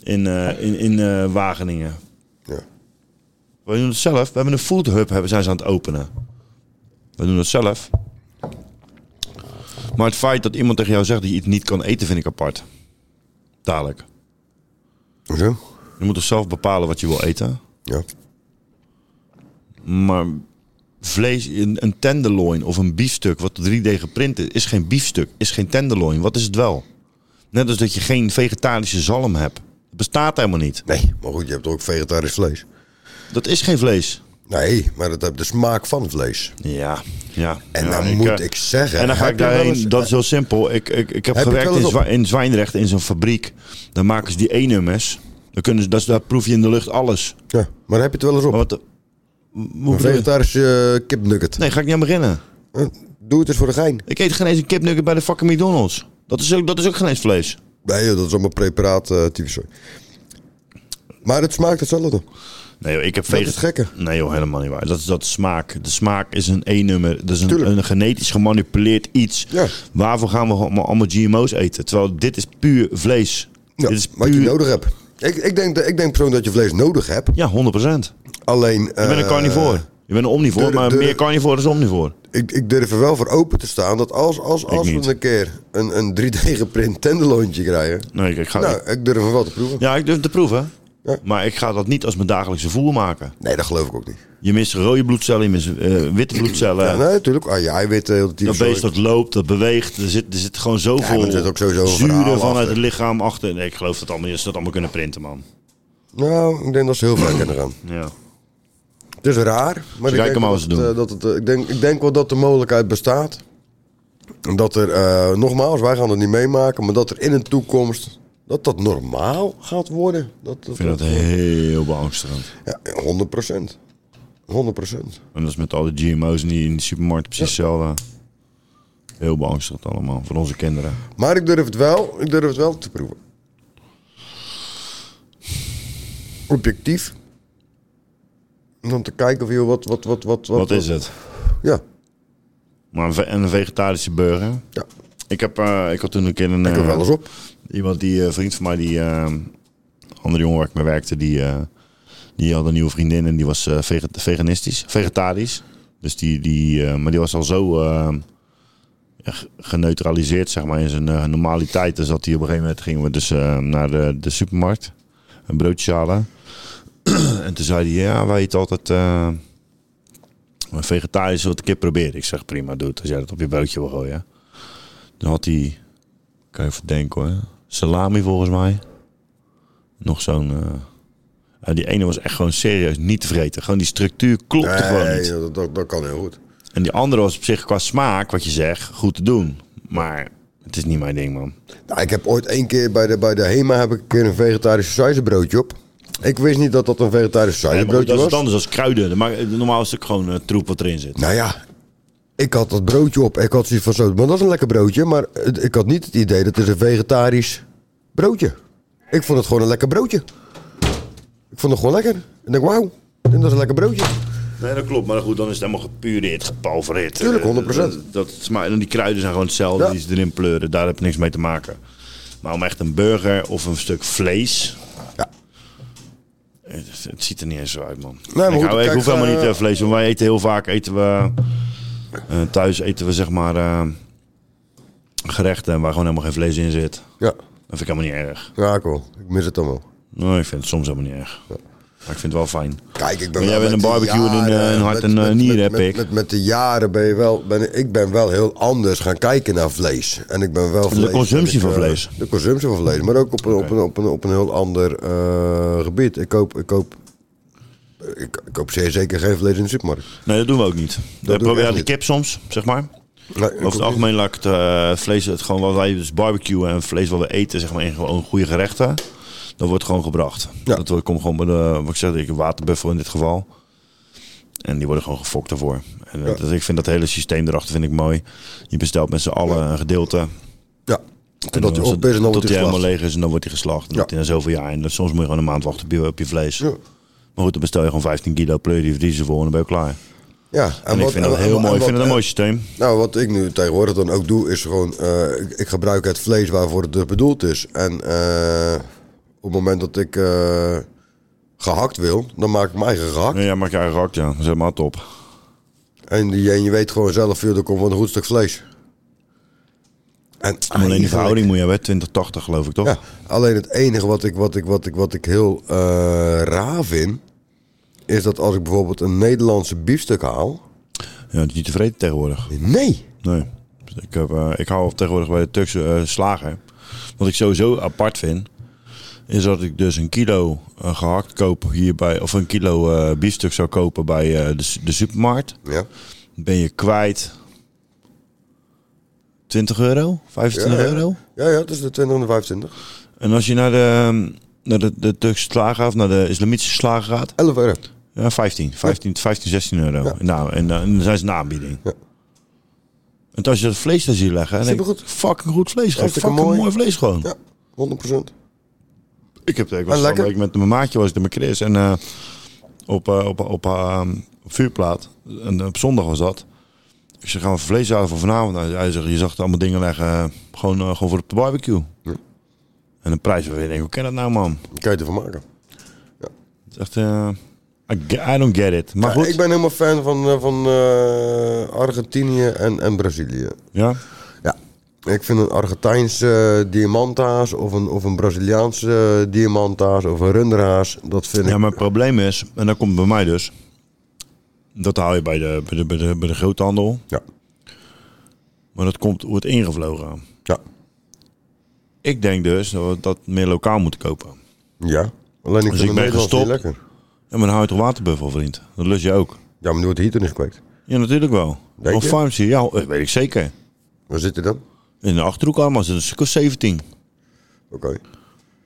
Speaker 3: In, eh, in, in eh, Wageningen.
Speaker 2: Ja.
Speaker 3: We doen het zelf. We hebben een food hub hebben, zijn ze aan het openen. We doen het zelf. Maar het feit dat iemand tegen jou zegt dat je iets niet kan eten, vind ik apart. Dadelijk.
Speaker 2: Hoezo?
Speaker 3: Je moet dus zelf bepalen wat je wil eten.
Speaker 2: Ja.
Speaker 3: Maar vlees, een, een tenderloin of een biefstuk wat 3D geprint is, is geen biefstuk, is geen tenderloin. Wat is het wel? Net als dat je geen vegetarische zalm hebt. Dat bestaat helemaal niet.
Speaker 2: Nee, maar goed, je hebt ook vegetarisch vlees.
Speaker 3: Dat is geen vlees.
Speaker 2: Nee, maar dat heeft de smaak van vlees.
Speaker 3: Ja, ja.
Speaker 2: En
Speaker 3: ja,
Speaker 2: dan
Speaker 3: ik,
Speaker 2: moet
Speaker 3: eh,
Speaker 2: ik zeggen...
Speaker 3: En dan ga
Speaker 2: heb
Speaker 3: ik
Speaker 2: je wel
Speaker 3: daarheen,
Speaker 2: eens-
Speaker 3: dat is heel simpel. Ik, ik, ik heb
Speaker 2: Heb je
Speaker 3: gewerkt
Speaker 2: wel eens
Speaker 3: in,
Speaker 2: op-
Speaker 3: Zwa- in Zwijndrecht in zo'n fabriek. Dan maken ze die E-nummers. Dan kunnen ze, dat is, daar proef je in de lucht alles.
Speaker 2: Ja, maar heb je het wel eens op?
Speaker 3: wat, de- hoe
Speaker 2: Een
Speaker 3: Oh, bedoel je?
Speaker 2: vegetarische eh, kipnugget.
Speaker 3: Nee, ga ik niet aan beginnen.
Speaker 2: Doe het eens voor de gein.
Speaker 3: Ik eet geen eens een kipnugget bij de fucking McDonald's. Dat is ook, dat is ook geen eens vlees.
Speaker 2: Nee, joh, dat is allemaal preparaat eh typisch. hoor. Maar het smaakt hetzelfde.
Speaker 3: Nee, joh, ik heb
Speaker 2: Dat
Speaker 3: vege-
Speaker 2: is gekker.
Speaker 3: Nee, joh, helemaal niet waar. Dat is dat is smaak. De smaak is een E-nummer. Dat is een,
Speaker 2: Tuurlijk.
Speaker 3: een genetisch gemanipuleerd iets. Waarvoor gaan we allemaal, allemaal GMO's eten? Terwijl dit is puur vlees.
Speaker 2: Ja,
Speaker 3: dit is
Speaker 2: wat je
Speaker 3: puur-
Speaker 2: nodig hebt. Ik, ik, denk, dat- ik denk persoonlijk dat je vlees nodig hebt.
Speaker 3: Ja, 100%.
Speaker 2: Alleen... eh,
Speaker 3: Je bent een carnivore. Je bent een omnivore, maar meer carnivore is omnivore.
Speaker 2: Ik, ik durf er wel voor open te staan dat als, als, als
Speaker 3: niet.
Speaker 2: we een keer een, een 3D-geprint tenderloontje krijgen...
Speaker 3: Nee, Oh, ik, ik ga
Speaker 2: Nou, ik durf hem wel te proeven.
Speaker 3: Ja, ik durf te proeven. Maar ik ga dat niet als mijn dagelijkse voer maken.
Speaker 2: Nee, dat geloof ik ook niet.
Speaker 3: Je mist rode bloedcellen, je mist eh, witte bloedcellen.
Speaker 2: Ja, nee, natuurlijk. Ah, ja, hij weet eh, heel de
Speaker 3: dat beest dat loopt, dat beweegt. Er zit, er zit gewoon
Speaker 2: Ja,
Speaker 3: zoveel
Speaker 2: maar er zit ook sowieso een
Speaker 3: zuren
Speaker 2: verhaal
Speaker 3: vanuit
Speaker 2: achter.
Speaker 3: het lichaam achter. Nee, ik geloof dat allemaal, dat ze dat allemaal kunnen printen, man.
Speaker 2: Nou, ik denk dat ze heel ver kunnen gaan.
Speaker 3: Ja.
Speaker 2: Het is raar, maar
Speaker 3: Ze
Speaker 2: ik
Speaker 3: kijken
Speaker 2: denk,
Speaker 3: maar
Speaker 2: wel
Speaker 3: wat ze doen.
Speaker 2: dat, eh, dat het, eh, ik, denk, ik denk wel dat de mogelijkheid bestaat. Dat er, eh, nogmaals, wij gaan het niet meemaken, maar dat er in de toekomst dat dat normaal gaat worden. Dat,
Speaker 3: Ik vind dat heel beangstigend.
Speaker 2: Ja, 100 procent. 100 procent.
Speaker 3: En dat is met al die GMO's in die, in de supermarkt precies hetzelfde. Heel beangstigend allemaal, voor onze kinderen.
Speaker 2: Maar ik durf het wel, ik durf het wel te proeven. Objectief. En Om te kijken of joh, wat, wat, wat, wat,
Speaker 3: Wat is het?
Speaker 2: Ja.
Speaker 3: Maar een, ve- en een vegetarische burger?
Speaker 2: Ja.
Speaker 3: Ik, heb, eh, ik had toen een keer een...
Speaker 2: Ik heb
Speaker 3: eh,
Speaker 2: wel eens op.
Speaker 3: Iemand die, eh, vriend van mij, die eh, andere jongen waar ik mee werkte, die, eh, die had een nieuwe vriendin en die was eh, vege- veganistisch, vegetarisch. Dus die, die, eh, maar die was al zo eh, ja, g- geneutraliseerd, zeg maar, in zijn eh, normaliteit. Dus dat hij op een gegeven moment gingen we dus eh, naar de, de supermarkt, een broodje halen. en toen zei hij, ja, wij eten altijd... eh, maar vegetarisch wat ik een keer proberen. Ik zeg prima, doe het als jij dat op je broodje wil gooien. Dan had hij, kan je even denken hoor, salami volgens mij. Nog zo'n... eh, ja, die ene was echt gewoon serieus niet te vreten. Gewoon die structuur klopte gewoon
Speaker 2: Nee,
Speaker 3: niet.
Speaker 2: dat, dat, dat kan heel goed.
Speaker 3: En die andere was op zich qua smaak, wat je zegt, goed te doen. Maar het is niet mijn ding, man.
Speaker 2: Nou, ik heb ooit één keer bij de, bij de HEMA heb ik een keer een vegetarisch sausbroodje op. Ik wist niet dat dat een vegetarisch
Speaker 3: Nee, maar goed,
Speaker 2: sausbroodje
Speaker 3: dat is
Speaker 2: was.
Speaker 3: het anders als kruiden. Dat maakt- Normaal is het gewoon eh, troep wat erin zit.
Speaker 2: Nou ja, ik had dat broodje op. Ik had zoiets van zo, maar dat is een lekker broodje. Maar het- ik had niet het idee dat het een vegetarisch broodje. Ik vond het gewoon een lekker broodje. Ik vond het gewoon lekker. Ik denk, wauw, ik denk dat is een lekker broodje.
Speaker 3: Nee, dat klopt. Maar goed, dan is het helemaal gepureerd, gepalvereerd. Eh,
Speaker 2: Tuurlijk, 100%.
Speaker 3: Dat, dat smaakt- en die kruiden zijn gewoon hetzelfde
Speaker 2: Ja.
Speaker 3: die ze erin pleuren. Daar heb je niks mee te maken. Maar om echt een burger of een stuk vlees... Het, het ziet er niet eens zo uit, man. ik,
Speaker 2: maar goed,
Speaker 3: hou- ik
Speaker 2: kijk,
Speaker 3: hoef helemaal niet
Speaker 2: eh,
Speaker 3: eh, vlees. Want wij eten heel vaak... Eten we, eh, thuis eten we zeg maar... eh, gerechten waar gewoon helemaal geen vlees in zit.
Speaker 2: Ja.
Speaker 3: Dat vind ik helemaal niet erg.
Speaker 2: Ja, cool. Ik mis het dan wel.
Speaker 3: Nee, ik vind het soms helemaal niet erg. Maar ik vind het wel fijn.
Speaker 2: Kijk, ik
Speaker 3: Maar
Speaker 2: ben
Speaker 3: jij
Speaker 2: wel
Speaker 3: bent
Speaker 2: met
Speaker 3: een
Speaker 2: de
Speaker 3: barbecue en een,
Speaker 2: jaren,
Speaker 3: eh, een hart
Speaker 2: met-
Speaker 3: en eh,
Speaker 2: met-
Speaker 3: nieren, heb
Speaker 2: met,
Speaker 3: ik.
Speaker 2: Met, met de jaren ben je wel, ben, ik ben wel heel anders gaan kijken naar vlees. En ik ben wel
Speaker 3: De
Speaker 2: vlees-
Speaker 3: consumptie
Speaker 2: ik,
Speaker 3: van
Speaker 2: eh,
Speaker 3: vlees.
Speaker 2: De consumptie van vlees, maar ook op een, op een, op een, op een heel ander eh, gebied. Ik koop, ik, koop, ik, ik koop zeer zeker geen vlees in de supermarkt.
Speaker 3: Nee, dat doen we ook niet.
Speaker 2: doen
Speaker 3: We
Speaker 2: we
Speaker 3: proberen
Speaker 2: echt
Speaker 3: de
Speaker 2: niet.
Speaker 3: kip soms, zeg maar.
Speaker 2: ik
Speaker 3: Over
Speaker 2: ook
Speaker 3: het
Speaker 2: niet.
Speaker 3: algemeen laat ik het eh, vlees, het gewoon wat wij dus barbecuen en vlees wat we eten, zeg maar, in gewoon goede gerechten. Dat wordt gewoon gebracht. Dat wordt- komt gewoon bij de, wat ik zeg, de waterbuffel in dit geval. En die worden gewoon gefokt daarvoor. En eh, dat, ik vind dat hele systeem erachter vind ik mooi. Je bestelt met z'n allen een gedeelte.
Speaker 2: Ja,
Speaker 3: En
Speaker 2: totdat
Speaker 3: dan
Speaker 2: hij op is en dan
Speaker 3: tot
Speaker 2: wordt hij
Speaker 3: helemaal
Speaker 2: geslacht.
Speaker 3: leeg is en dan wordt hij geslacht. En
Speaker 2: Ja.
Speaker 3: dat hij na zoveel jaar. En dat- soms moet je gewoon een maand wachten op je, op je vlees. Maar goed, dan bestel je gewoon 15 kilo pleur, die vriezen voor en dan ben je klaar.
Speaker 2: Ja,
Speaker 3: En, ik vind dat heel mooi. ik vind dat een mooi systeem.
Speaker 2: Nou, wat ik nu tegenwoordig dan ook doe, is gewoon... eh, ik, ik gebruik het vlees waarvoor het dus bedoeld is. En eh, op het moment dat ik eh, gehakt wil, dan maak ik mijn eigen gehakt.
Speaker 3: Ja, maak je eigen gehakt, ja. Zet maar op.
Speaker 2: En, die- en je weet gewoon zelf, joh, er komt wel een goed stuk vlees. En
Speaker 3: Alleen die
Speaker 2: eigenlijk-
Speaker 3: verhouding moet je hebben, 2080 geloof ik toch?
Speaker 2: Ah, Ja, alleen het enige wat ik, wat ik, wat ik, wat ik heel eh, raar vind, is dat als ik bijvoorbeeld een Nederlandse biefstuk haal.
Speaker 3: Ja, dat is niet tevreden tegenwoordig.
Speaker 2: Nee.
Speaker 3: Nee. Dus Ik, heb, eh, ik hou tegenwoordig bij de Turkse eh, slager. Wat ik sowieso apart vind, is dat ik dus een kilo eh, gehakt koop hierbij, of een kilo eh, biefstuk zou kopen bij eh, de, su- de supermarkt.
Speaker 2: Ja.
Speaker 3: Ben je kwijt 20 euro, 25
Speaker 2: ja,
Speaker 3: euro?
Speaker 2: Ja, ja, tussen de 20 en de 25.
Speaker 3: En als je naar de, ehm, naar de, de Turkse slager of naar de islamitische slager gaat?
Speaker 2: 11 euro.
Speaker 3: Ja, 15. 15, 15 16 euro. Nou, en, eh, en dan zijn ze een aanbieding. En als je dat vlees daar ziet leggen... dan denk ik,
Speaker 2: Supergoed.
Speaker 3: Fucking goed vlees. gewoon.
Speaker 2: Hartstikke
Speaker 3: Fucking mooi.
Speaker 2: mooi
Speaker 3: vlees gewoon.
Speaker 2: Ja, 100%.
Speaker 3: Ik heb ik
Speaker 2: En
Speaker 3: was van de
Speaker 2: lekker.
Speaker 3: week met mijn maatje was ik er met Chris en eh, op, eh, op, op, eh, op vuurplaat. En eh, op zondag was dat. Ik zeg, gaan we vlees halen voor vanavond? Hij- Hij zegt, je zag er allemaal dingen leggen. eh, Gewoon, eh, gewoon voor op de barbecue. En een prijs waarvan je denkt, hoe kan dat nou man?
Speaker 2: Kan je ervan maken.
Speaker 3: Het is echt, eh, I, ge- I don't get it. Maar
Speaker 2: Ja,
Speaker 3: goed.
Speaker 2: Ik ben helemaal fan van, eh, van eh, Argentinië en, en Brazilië.
Speaker 3: Ja?
Speaker 2: Ja. Ik vind een Argentijnse eh, diamantaas of een, of een Braziliaanse eh, diamantaas of een runderhaas, dat vind ik...
Speaker 3: Ja, maar het probleem is, en dat komt bij mij dus, dat haal je bij de, bij de, bij de, bij de groothandel.
Speaker 2: Ja.
Speaker 3: Maar dat komt, wordt ingevlogen.
Speaker 2: Ja.
Speaker 3: Ik denk dus dat we dat meer lokaal moeten kopen.
Speaker 2: Ja, alleen ik
Speaker 3: dus ik
Speaker 2: vind de
Speaker 3: ben
Speaker 2: Nederlandse
Speaker 3: gestopt.
Speaker 2: niet lekker.
Speaker 3: Ja, maar dan hou je toch waterbuffel, vriend? Dat lust je ook.
Speaker 2: Ja, maar nu wordt hier toen is gekweekt.
Speaker 3: Ja, natuurlijk wel.
Speaker 2: Denk
Speaker 3: Van
Speaker 2: je?
Speaker 3: Farms hier, ja, eh, weet ik zeker.
Speaker 2: Waar zit hij dan?
Speaker 3: In de Achterhoek allemaal, dat is een stuk of 17.
Speaker 2: Oké.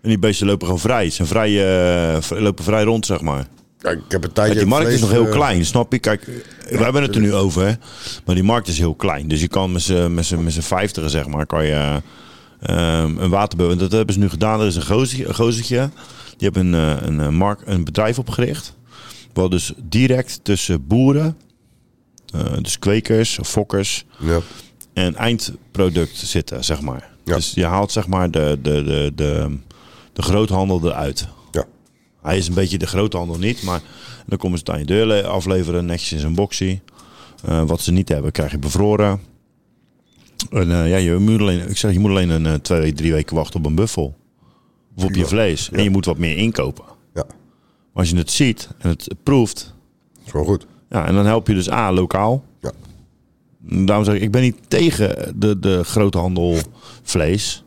Speaker 3: En die beesten lopen gewoon vrij. Ze zijn vrij, eh, v- lopen vrij rond, zeg maar.
Speaker 2: Ja, ik heb een
Speaker 3: Kijk,
Speaker 2: tijdje...
Speaker 3: die markt is nog
Speaker 2: vlees,
Speaker 3: heel
Speaker 2: eh,
Speaker 3: klein, snap je? Kijk, we hebben het er nu over, hè. Maar die markt is heel klein. Dus je kan met z'n- met z'n met z'n vijftigen, zeg maar, kan je ehm, een waterbeul... Dat hebben ze nu gedaan. Er is een gozer- een gozertje. Die hebben een, eh, een, eh, mark, een bedrijf opgericht. Wat dus direct tussen boeren, eh, dus kwekers, fokkers... en eindproduct zitten, zeg maar. Dus je haalt, zeg maar, de, de, de, de, de groothandel eruit.
Speaker 2: Ja.
Speaker 3: Hij is een beetje de groothandel niet, maar dan komen ze het aan je deur le- afleveren, netjes in zijn boxie. Eh, wat ze niet hebben, krijg je bevroren. En eh, ja, je moet alleen, ik zeg, je moet alleen een eh, twee, drie weken wachten op een buffel. Of op je vlees. En je moet wat meer inkopen.
Speaker 2: Ja.
Speaker 3: Maar als je het ziet en het proeft.
Speaker 2: Is wel goed.
Speaker 3: Ja, en dan help je dus A, lokaal.
Speaker 2: Ja.
Speaker 3: Daarom zeg ik, ik ben niet tegen de, de groothandel vlees.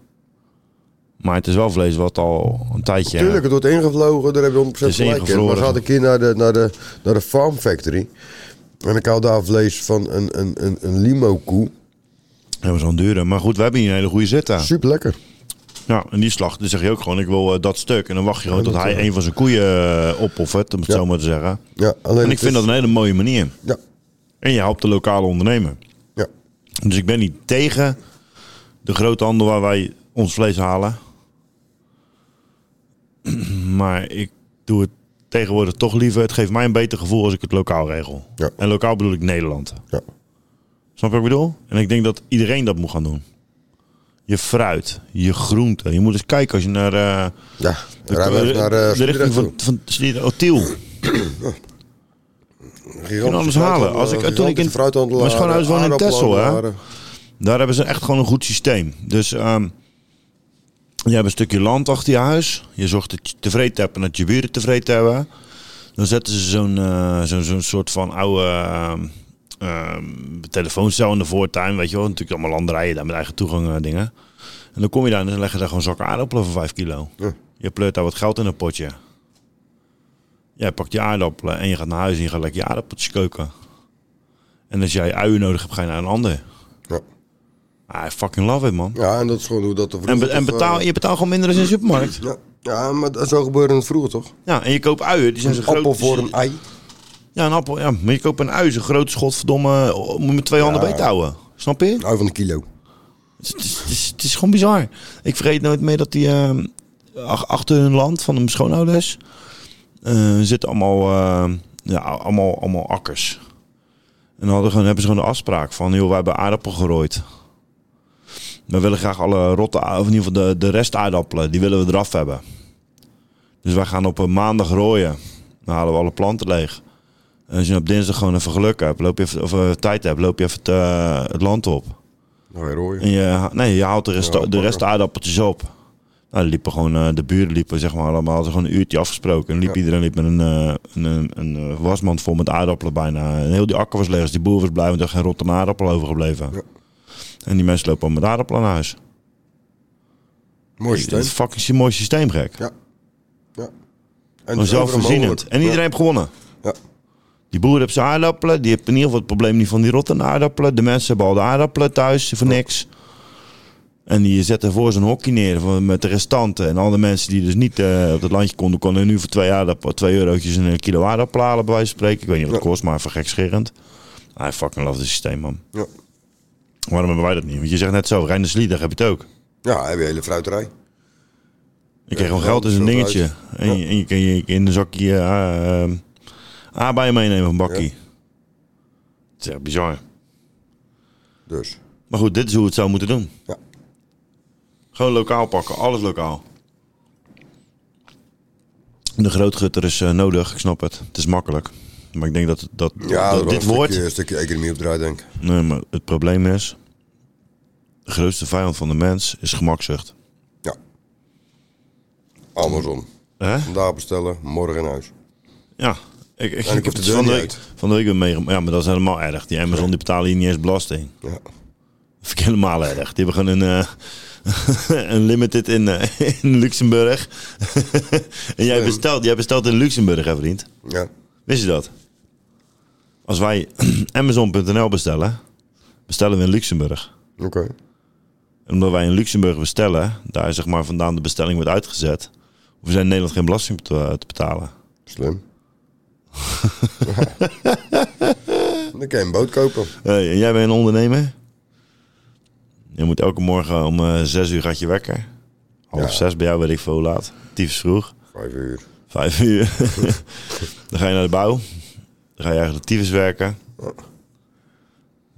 Speaker 3: Maar het is wel vlees wat al een tijdje...
Speaker 2: Tuurlijk, het wordt ingevlogen, daar heb je 100%
Speaker 3: Het is
Speaker 2: gelijk in. Maar
Speaker 3: ingevroren.
Speaker 2: zat ik hier naar de, naar, de, naar de Farm Factory. En ik haal daar vlees van een, een, een, een limo-koe.
Speaker 3: Ja, maar eh, zo'n dure. Maar goed, we hebben hier een hele goede zit daar.
Speaker 2: Super lekker.
Speaker 3: Ja, en die slacht, dan zeg je ook gewoon, ik wil eh, dat stuk. En dan wacht je gewoon
Speaker 2: Ja,
Speaker 3: tot hij
Speaker 2: natuurlijk.
Speaker 3: een van zijn koeien eh, opoffert, om het zo maar te zeggen.
Speaker 2: Ja, alleen
Speaker 3: en ik
Speaker 2: het
Speaker 3: vind
Speaker 2: is-
Speaker 3: dat een hele mooie manier.
Speaker 2: Ja.
Speaker 3: En je helpt de lokale ondernemer.
Speaker 2: Ja.
Speaker 3: Dus ik ben niet tegen de groothandel waar wij ons vlees halen. Maar ik doe het tegenwoordig toch liever. Het geeft mij een beter gevoel als ik het lokaal regel.
Speaker 2: Ja.
Speaker 3: En lokaal bedoel ik Nederland.
Speaker 2: Ja.
Speaker 3: Snap je wat ik bedoel? En ik denk dat iedereen dat moet gaan doen. Je fruit, je groenten. Je moet eens kijken als je naar... eh,
Speaker 2: Ja,
Speaker 3: de,
Speaker 2: rij maar even
Speaker 3: de-
Speaker 2: naar, eh,
Speaker 3: de
Speaker 2: Sliedrecht
Speaker 3: richting van,
Speaker 2: toe.
Speaker 3: van Sliedrecht- oh, Tiel.
Speaker 2: Gigantische
Speaker 3: Je kan alles halen.
Speaker 2: fruithandel-
Speaker 3: Als ik, toen ik
Speaker 2: gigantische
Speaker 3: in
Speaker 2: fruithandel
Speaker 3: mijn schoonhuis woonde in Texel, hè.
Speaker 2: aardappelhandelaren.
Speaker 3: Daar hebben ze echt gewoon een goed systeem. Dus ehm, je hebt een stukje land achter je huis. Je zorgt dat je tevreden hebt en dat je buren tevreden hebben. Dan zetten ze zo'n eh, zo'n zo'n soort van oude ehm, ehm, telefooncel in de voortuin. Weet je wel, natuurlijk allemaal landerijen daar met eigen toegang eh, dingen. En dan kom je daar en dan leggen ze daar gewoon zakken aardappelen voor 5 kilo. Je pleurt daar wat geld in een potje. Jij pakt je aardappelen en je gaat naar huis en je gaat lekker je aardappeltjes koken. En als jij uien nodig hebt, ga je naar een ander.
Speaker 2: Ja.
Speaker 3: Ah, I fucking love it, man.
Speaker 2: Ja, en dat is gewoon hoe dat er
Speaker 3: En, be-
Speaker 2: vroeger
Speaker 3: en
Speaker 2: toch,
Speaker 3: betaal,
Speaker 2: eh,
Speaker 3: je betaalt gewoon minder dan in de supermarkt.
Speaker 2: Ja. ja, maar dat zo gebeurde het vroeger toch?
Speaker 3: Ja, en je koopt uien. Die zijn zo
Speaker 2: Een
Speaker 3: groot.
Speaker 2: appel voor een ei.
Speaker 3: Ja, een appel. Ja, maar je koopt een ui. Zo'n groot schot, verdomme. oh, Moet je met twee handen
Speaker 2: Ja.
Speaker 3: beet houden. Snap je?
Speaker 2: Een ui Nou, van een kilo.
Speaker 3: Het is, het is, het is gewoon bizar. Ik vergeet nooit meer dat die ehm, ach- achter hun land van hun schoonouders eh, zitten allemaal, ehm, ja, allemaal, allemaal akkers. En dan hadden gewoon, hebben ze gewoon de afspraak van, joh, wij hebben aardappel gerooid. We willen graag alle rotte, a- of in ieder geval de, de rest aardappelen, die willen we eraf hebben. Dus wij gaan op een maandag rooien. Dan halen we alle planten leeg. En als je op dinsdag gewoon even geluk hebt, loop je even, of eh, tijd hebt, loop je even het, eh, het land op.
Speaker 2: Nou, rooien.
Speaker 3: En je, ha- nee, je haalt de rest, de rest aardappeltjes op. Nou, die liepen gewoon, eh, de buren liepen zeg maar allemaal, hadden gewoon een uurtje afgesproken. En liep iedereen liep met een, eh, een, een, een, eh, wasmand vol met aardappelen bijna. En heel die akker was leeg, dus die boer was blij, want er was geen rotte aardappel overgebleven. En die mensen lopen allemaal met aardappelen naar huis.
Speaker 2: Mooi
Speaker 3: systeem. Dat is fucking een mooi systeem, gek.
Speaker 2: Ja. ja. dus
Speaker 3: En zelfvoorzienend. En iedereen heeft gewonnen.
Speaker 2: Ja.
Speaker 3: Die boer heeft zijn aardappelen. Die heeft in ieder geval het probleem niet van die rotte aardappelen. De mensen hebben al de aardappelen thuis voor niks. En die zetten voor zijn hokje neer van- met de restanten. En al de mensen die dus niet eh, op het landje konden, konden nu voor twee, aardappelen, twee eurotjes een kilo aardappelen halen, bij wijze van spreken. Ik weet niet wat het kost, maar even gekscherend. Hij fucking love het systeem, man.
Speaker 2: Ja.
Speaker 3: Waarom hebben wij dat niet? Want je zegt net zo, Rijn de Sliedrecht heb je het ook.
Speaker 2: Ja, heb je hele fruiterij.
Speaker 3: Ik kreeg gewoon geld als een
Speaker 2: zoveel
Speaker 3: dingetje.
Speaker 2: uit.
Speaker 3: En je, en je kan je in een zakje eh, eh, aardbeien meenemen, een bakkie. Het is echt bizar.
Speaker 2: Dus.
Speaker 3: Maar goed, dit is hoe we het zou moeten doen.
Speaker 2: Ja.
Speaker 3: Gewoon lokaal pakken, alles lokaal. De grootgutter is eh, nodig, ik snap het. Het is makkelijk. Maar ik denk dat, dat,
Speaker 2: Ja,
Speaker 3: dat
Speaker 2: dat
Speaker 3: dit
Speaker 2: dit
Speaker 3: woord...
Speaker 2: Een stukje economie op draai, denk ik.
Speaker 3: Nee, maar het probleem is... De grootste vijand van de mens is gemakzucht.
Speaker 2: Amazon. Vandaag bestellen, morgen in huis.
Speaker 3: Ja, ik, ik, ik
Speaker 2: En ik
Speaker 3: heb
Speaker 2: hoef
Speaker 3: het
Speaker 2: de deur
Speaker 3: van de
Speaker 2: niet
Speaker 3: week, van de week weer meegemaakt. Ja, maar dat is helemaal erg. Die Amazon die betalen hier niet eens belasting.
Speaker 2: Ja.
Speaker 3: Dat vind ik helemaal erg. Die hebben gewoon een, eh, een limited in, eh, in Luxemburg. en jij bestelt, jij bestelt in Luxemburg, hè vriend?
Speaker 2: Ja.
Speaker 3: Wist je dat? Als wij Amazon.nl bestellen, bestellen we in Luxemburg.
Speaker 2: Oké.
Speaker 3: En omdat wij in Luxemburg bestellen, daar zeg maar vandaan de bestelling wordt uitgezet, hoeven zij in Nederland geen belasting te te betalen.
Speaker 2: Slim. Dan kan je een boot kopen.
Speaker 3: Hey, en jij bent een ondernemer? Je moet elke morgen om eh, zes uur gaat je wekker. Half zes bij jou weet ik veel hoe laat. Tyfus vroeg.
Speaker 2: Vijf uur.
Speaker 3: Vijf uur. dan ga je naar de bouw. Dan ga je eigenlijk tyfus werken.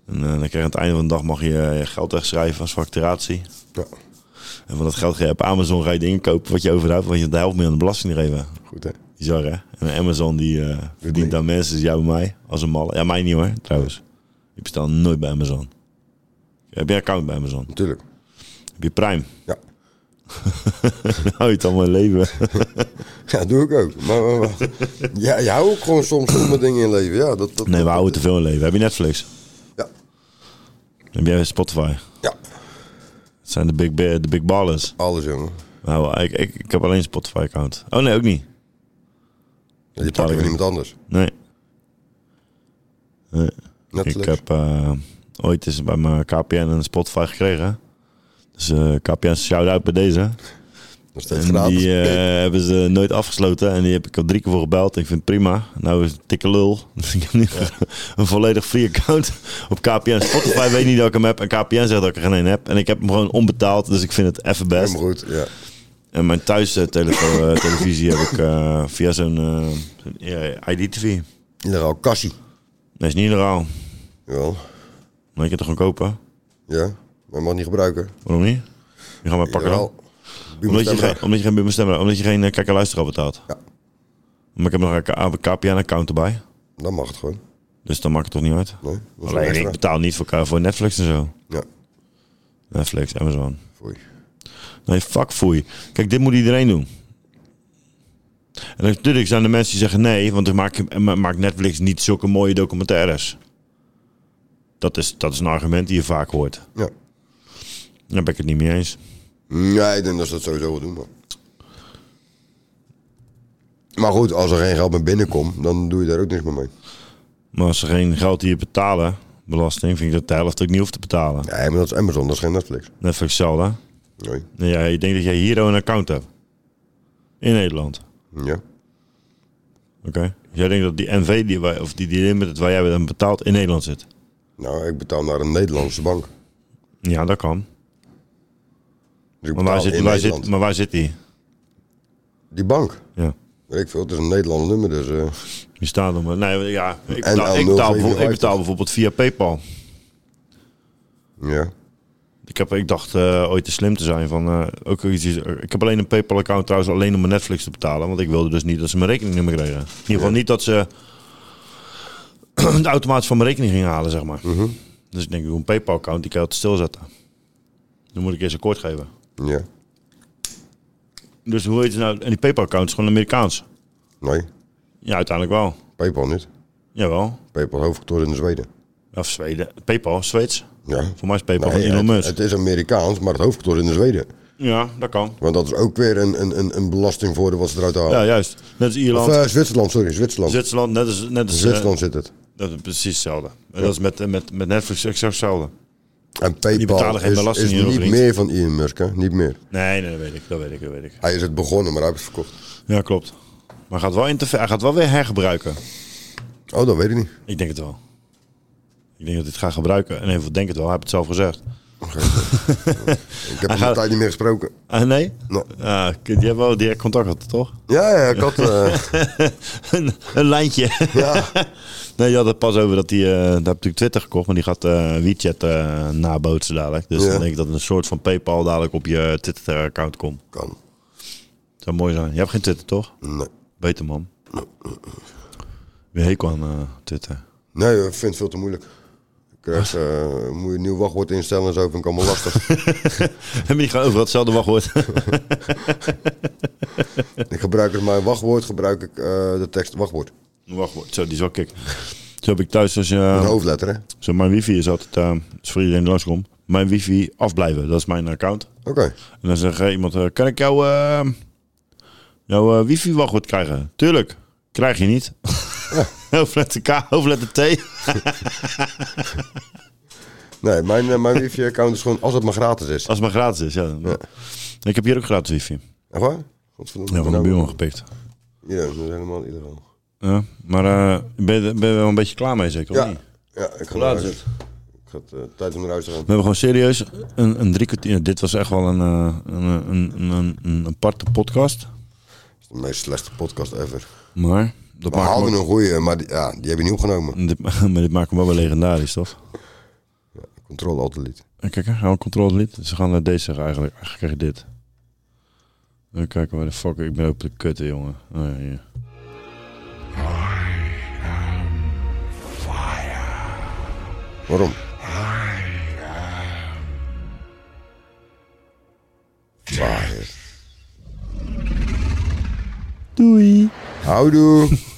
Speaker 3: En eh, dan krijg je aan het einde van de dag mag je eh, je geld wegschrijven als facturatie. En van dat geld ga je op Amazon ga je dingen kopen wat je overhoudt. Want je de helft meer aan de belasting geven.
Speaker 2: Goed hè?
Speaker 3: Bizar hè? En Amazon die eh, verdient aan mensen, dus jou en mij, als een malle. Ja, mij niet hoor, trouwens. Ik bestel nooit bij Amazon. Heb jij account bij Amazon?
Speaker 2: Natuurlijk.
Speaker 3: Heb je Prime?
Speaker 2: Ja.
Speaker 3: Hou je het al mijn leven.
Speaker 2: ja, doe ik ook. Maar, maar, maar- Ja, je houdt ook gewoon soms stomme dingen in leven. Ja, dat, dat,
Speaker 3: nee, we houden te veel in leven. Heb je Netflix?
Speaker 2: Ja.
Speaker 3: Heb jij Spotify?
Speaker 2: Ja.
Speaker 3: Het zijn de big, ba- de big ballers.
Speaker 2: Alles, jongen.
Speaker 3: Nou, ik, ik, ik heb alleen een Spotify-account. Oh nee, ook niet.
Speaker 2: je pakt weer iemand anders.
Speaker 3: Nee. Nee.
Speaker 2: Netflix.
Speaker 3: Ik heb eh, ooit eens bij mijn KPN een Spotify gekregen. Dus eh, KPN, shout-out bij deze.
Speaker 2: Nog
Speaker 3: en die eh, hebben ze nooit afgesloten. En die heb ik al drie keer voor gebeld. Ik vind het prima. Nou is het een dikke lul. Dus ik heb nu een volledig free account op KPN. Spotify weet niet dat ik hem heb. En KPN zegt dat ik er geen een heb. En ik heb hem gewoon onbetaald. Dus ik vind het even best.
Speaker 2: Helemaal goed, ja.
Speaker 3: En mijn thuis eh, telefo- eh, televisie heb ik eh, via zo'n ID-TV.
Speaker 2: Illegaal kassie.
Speaker 3: Nee, is niet illegaal.
Speaker 2: Jawel.
Speaker 3: Maar je kunt het gewoon kopen.
Speaker 2: Ja, maar je mag niet gebruiken.
Speaker 3: Waarom niet? Je gaat mij pakken
Speaker 2: Jawel.
Speaker 3: dan.
Speaker 2: Buma
Speaker 3: Omdat je,
Speaker 2: Stemra.
Speaker 3: geen, omdat je geen Buma Stemra- omdat je geen eh, kijk- en luisteraar betaalt.
Speaker 2: Ja.
Speaker 3: Maar ik heb nog een K- een KPN-account erbij.
Speaker 2: Dan mag het gewoon.
Speaker 3: Dus dan maakt het toch niet uit?
Speaker 2: Nee, dat is wel
Speaker 3: Alleen,
Speaker 2: extra.
Speaker 3: ik betaal niet voor, eh, voor Netflix en zo.
Speaker 2: Ja.
Speaker 3: Netflix, Amazon.
Speaker 2: Foei.
Speaker 3: Nee, fuck foei. Kijk, dit moet iedereen doen. En natuurlijk zijn er mensen die zeggen nee, want dan maakt maakt Netflix niet zulke mooie documentaires. Dat is, dat is een argument die je vaak hoort.
Speaker 2: Ja.
Speaker 3: Daar ben ik het niet mee eens.
Speaker 2: Nee, ik denk dat ze dat sowieso wel doen. Man. Maar goed, als er geen geld meer binnenkomt, dan doe je daar ook niks meer mee.
Speaker 3: Maar als ze geen geld hier betalen, belasting, vind ik dat de helft ook niet hoeft te betalen.
Speaker 2: Nee, maar dat is Amazon, dat is geen Netflix.
Speaker 3: Netflix hetzelfde.
Speaker 2: Nee.
Speaker 3: Nee, ja, je denkt dat jij hier al een account hebt. In Nederland.
Speaker 2: Ja.
Speaker 3: Oké. Dus jij denkt dat die NV, die wij, of die, die limited waar jij bent aan betaalt, in Nederland zit?
Speaker 2: Nou, ik betaal naar een Nederlandse bank.
Speaker 3: Ja, dat kan.
Speaker 2: Dus ik
Speaker 3: Maar waar
Speaker 2: betaal
Speaker 3: zit,
Speaker 2: in
Speaker 3: waar
Speaker 2: Nederland.
Speaker 3: zit, maar waar zit die?
Speaker 2: Die bank?
Speaker 3: Ja.
Speaker 2: Weet ik veel, het is een Nederlands nummer, dus... eh,
Speaker 3: Die staat om. Nee, ja, ik
Speaker 2: NL
Speaker 3: betaal, ik betaal, bijvoorbeeld,
Speaker 2: 057.
Speaker 3: ik betaal bijvoorbeeld via PayPal.
Speaker 2: ja.
Speaker 3: Ik, heb, ik dacht eh, ooit te slim te zijn van eh, ook iets. Ik heb alleen een PayPal-account trouwens alleen om mijn Netflix te betalen. Want ik wilde dus niet dat ze mijn rekeningnummer kregen. In ieder geval niet dat ze het automatisch van mijn rekening gingen halen, zeg maar.
Speaker 2: Mhm.
Speaker 3: Dus ik denk, ik doe een PayPal-account, die kan je altijd stilzetten. Dan moet ik eerst een koord geven.
Speaker 2: Ja.
Speaker 3: Dus hoe heet het nou? En die PayPal-account is gewoon Amerikaans.
Speaker 2: Nee.
Speaker 3: Ja, uiteindelijk wel.
Speaker 2: PayPal niet.
Speaker 3: Jawel.
Speaker 2: PayPal hoofdkantoor in Zweden.
Speaker 3: Of Zweden. PayPal, Zweeds.
Speaker 2: Ja.
Speaker 3: Voor mij is PayPal
Speaker 2: Nee,
Speaker 3: van Elon
Speaker 2: het,
Speaker 3: Musk.
Speaker 2: het is Amerikaans, maar het hoofdkantoor is in Zweden.
Speaker 3: Ja, dat kan.
Speaker 2: Want dat is ook weer een, een, een, een belastingvoordeel wat ze eruit halen.
Speaker 3: Ja, juist. Net als Ierland.
Speaker 2: Of eh, Zwitserland, sorry, Zwitserland.
Speaker 3: Zwitserland, net als... Net als eh,
Speaker 2: Zwitserland zit het.
Speaker 3: Dat is precies hetzelfde. En
Speaker 2: Ja.
Speaker 3: Dat is met, met, met Netflix exact hetzelfde.
Speaker 2: En
Speaker 3: Die
Speaker 2: PayPal
Speaker 3: betalen geen
Speaker 2: is,
Speaker 3: belasting
Speaker 2: is
Speaker 3: hierover
Speaker 2: niet
Speaker 3: niet.
Speaker 2: meer van Elon Musk, hè? Niet meer.
Speaker 3: Nee, nee, dat weet ik. Dat weet ik, dat weet ik.
Speaker 2: Hij is het begonnen, maar hij heeft het verkocht.
Speaker 3: Ja, klopt. Maar hij gaat wel, interfe- hij gaat wel weer hergebruiken.
Speaker 2: Oh, dat weet ik niet.
Speaker 3: Ik denk het wel. Ik denk dat hij het gaat gebruiken. En even denk het wel, hij heeft het zelf gezegd.
Speaker 2: Ik heb hem een tijd niet meer gesproken.
Speaker 3: Ah, nee?
Speaker 2: Nee.
Speaker 3: Ah, kut, je hebt wel direct contact gehad, toch?
Speaker 2: Ja, ja, ik had... eh,
Speaker 3: een, een lijntje.
Speaker 2: Ja.
Speaker 3: nee, je had het pas over dat hij... eh daar heb ik natuurlijk Twitter gekocht, maar die gaat eh, WeChat eh, nabootsen dadelijk. Dus
Speaker 2: Ja.
Speaker 3: dan denk ik dat een soort van Paypal dadelijk op je Twitter-account komt.
Speaker 2: Kan.
Speaker 3: Zou mooi zijn. Je hebt geen Twitter, toch?
Speaker 2: Nee.
Speaker 3: Beter, man. Weer hekel aan eh, Twitter.
Speaker 2: Nee, ik vind het veel te moeilijk. Ik Krijg, eh, moet je een nieuw wachtwoord instellen en zo, vind ik allemaal lastig.
Speaker 3: Heb je gewoon overal hetzelfde wachtwoord?
Speaker 2: ik gebruik dus mijn wachtwoord, gebruik ik eh, de tekst wachtwoord.
Speaker 3: wachtwoord, zo, die is wel kick. Zo heb ik thuis als je... eh,
Speaker 2: Een hoofdletter, hè?
Speaker 3: Zo, mijn wifi is altijd, eh is voor iedereen die langskomt, mijn wifi afblijven. Dat is mijn account.
Speaker 2: Oké.
Speaker 3: En dan zegt eh, iemand, eh, kan ik jouw eh, jouw eh, wifi wachtwoord krijgen? Tuurlijk, krijg je niet. hoofdletter K, hoofdletter T.
Speaker 2: Nee, mijn, eh, mijn wifi-account is gewoon als het maar gratis is.
Speaker 3: Als het maar gratis is, ja. Ik heb hier ook gratis wifi.
Speaker 2: Echt waar? Godverdomme. Nou,
Speaker 3: Ja, van de
Speaker 2: eh,
Speaker 3: buurman gepikt.
Speaker 2: Ja, dat is helemaal illegaal.
Speaker 3: Ja, maar eh, ben, je, ben je wel een beetje klaar mee zeker, of
Speaker 2: Ja,
Speaker 3: niet?
Speaker 2: ja, ik ga
Speaker 3: Hoe
Speaker 2: naar
Speaker 3: laat
Speaker 2: huis.
Speaker 3: is
Speaker 2: Ik ga het, eh, tijd om naar huis te gaan.
Speaker 3: We hebben gewoon serieus een, een drie kwartier. Dit was echt wel een, eh, een, een, een, een, een aparte podcast.
Speaker 2: Het is de meest slechte podcast ever.
Speaker 3: Maar dat
Speaker 2: we
Speaker 3: maakt hem ook-
Speaker 2: hadden een goeie, maar die, ja, die heb je niet opgenomen.
Speaker 3: Dit, maar dit maakt hem wel weer legendarisch, toch?
Speaker 2: Controle altijd lied.
Speaker 3: En Kijk, hè, gaan we controle lid. Ze gaan naar deze zeggen eigenlijk. Eigenlijk krijg je dit. Even kijken waar de fuck... Ik ben ook de kutte, jongen. Oh, ja, hier.
Speaker 2: Waarom? Waar?
Speaker 3: Doei.
Speaker 2: Houdoe.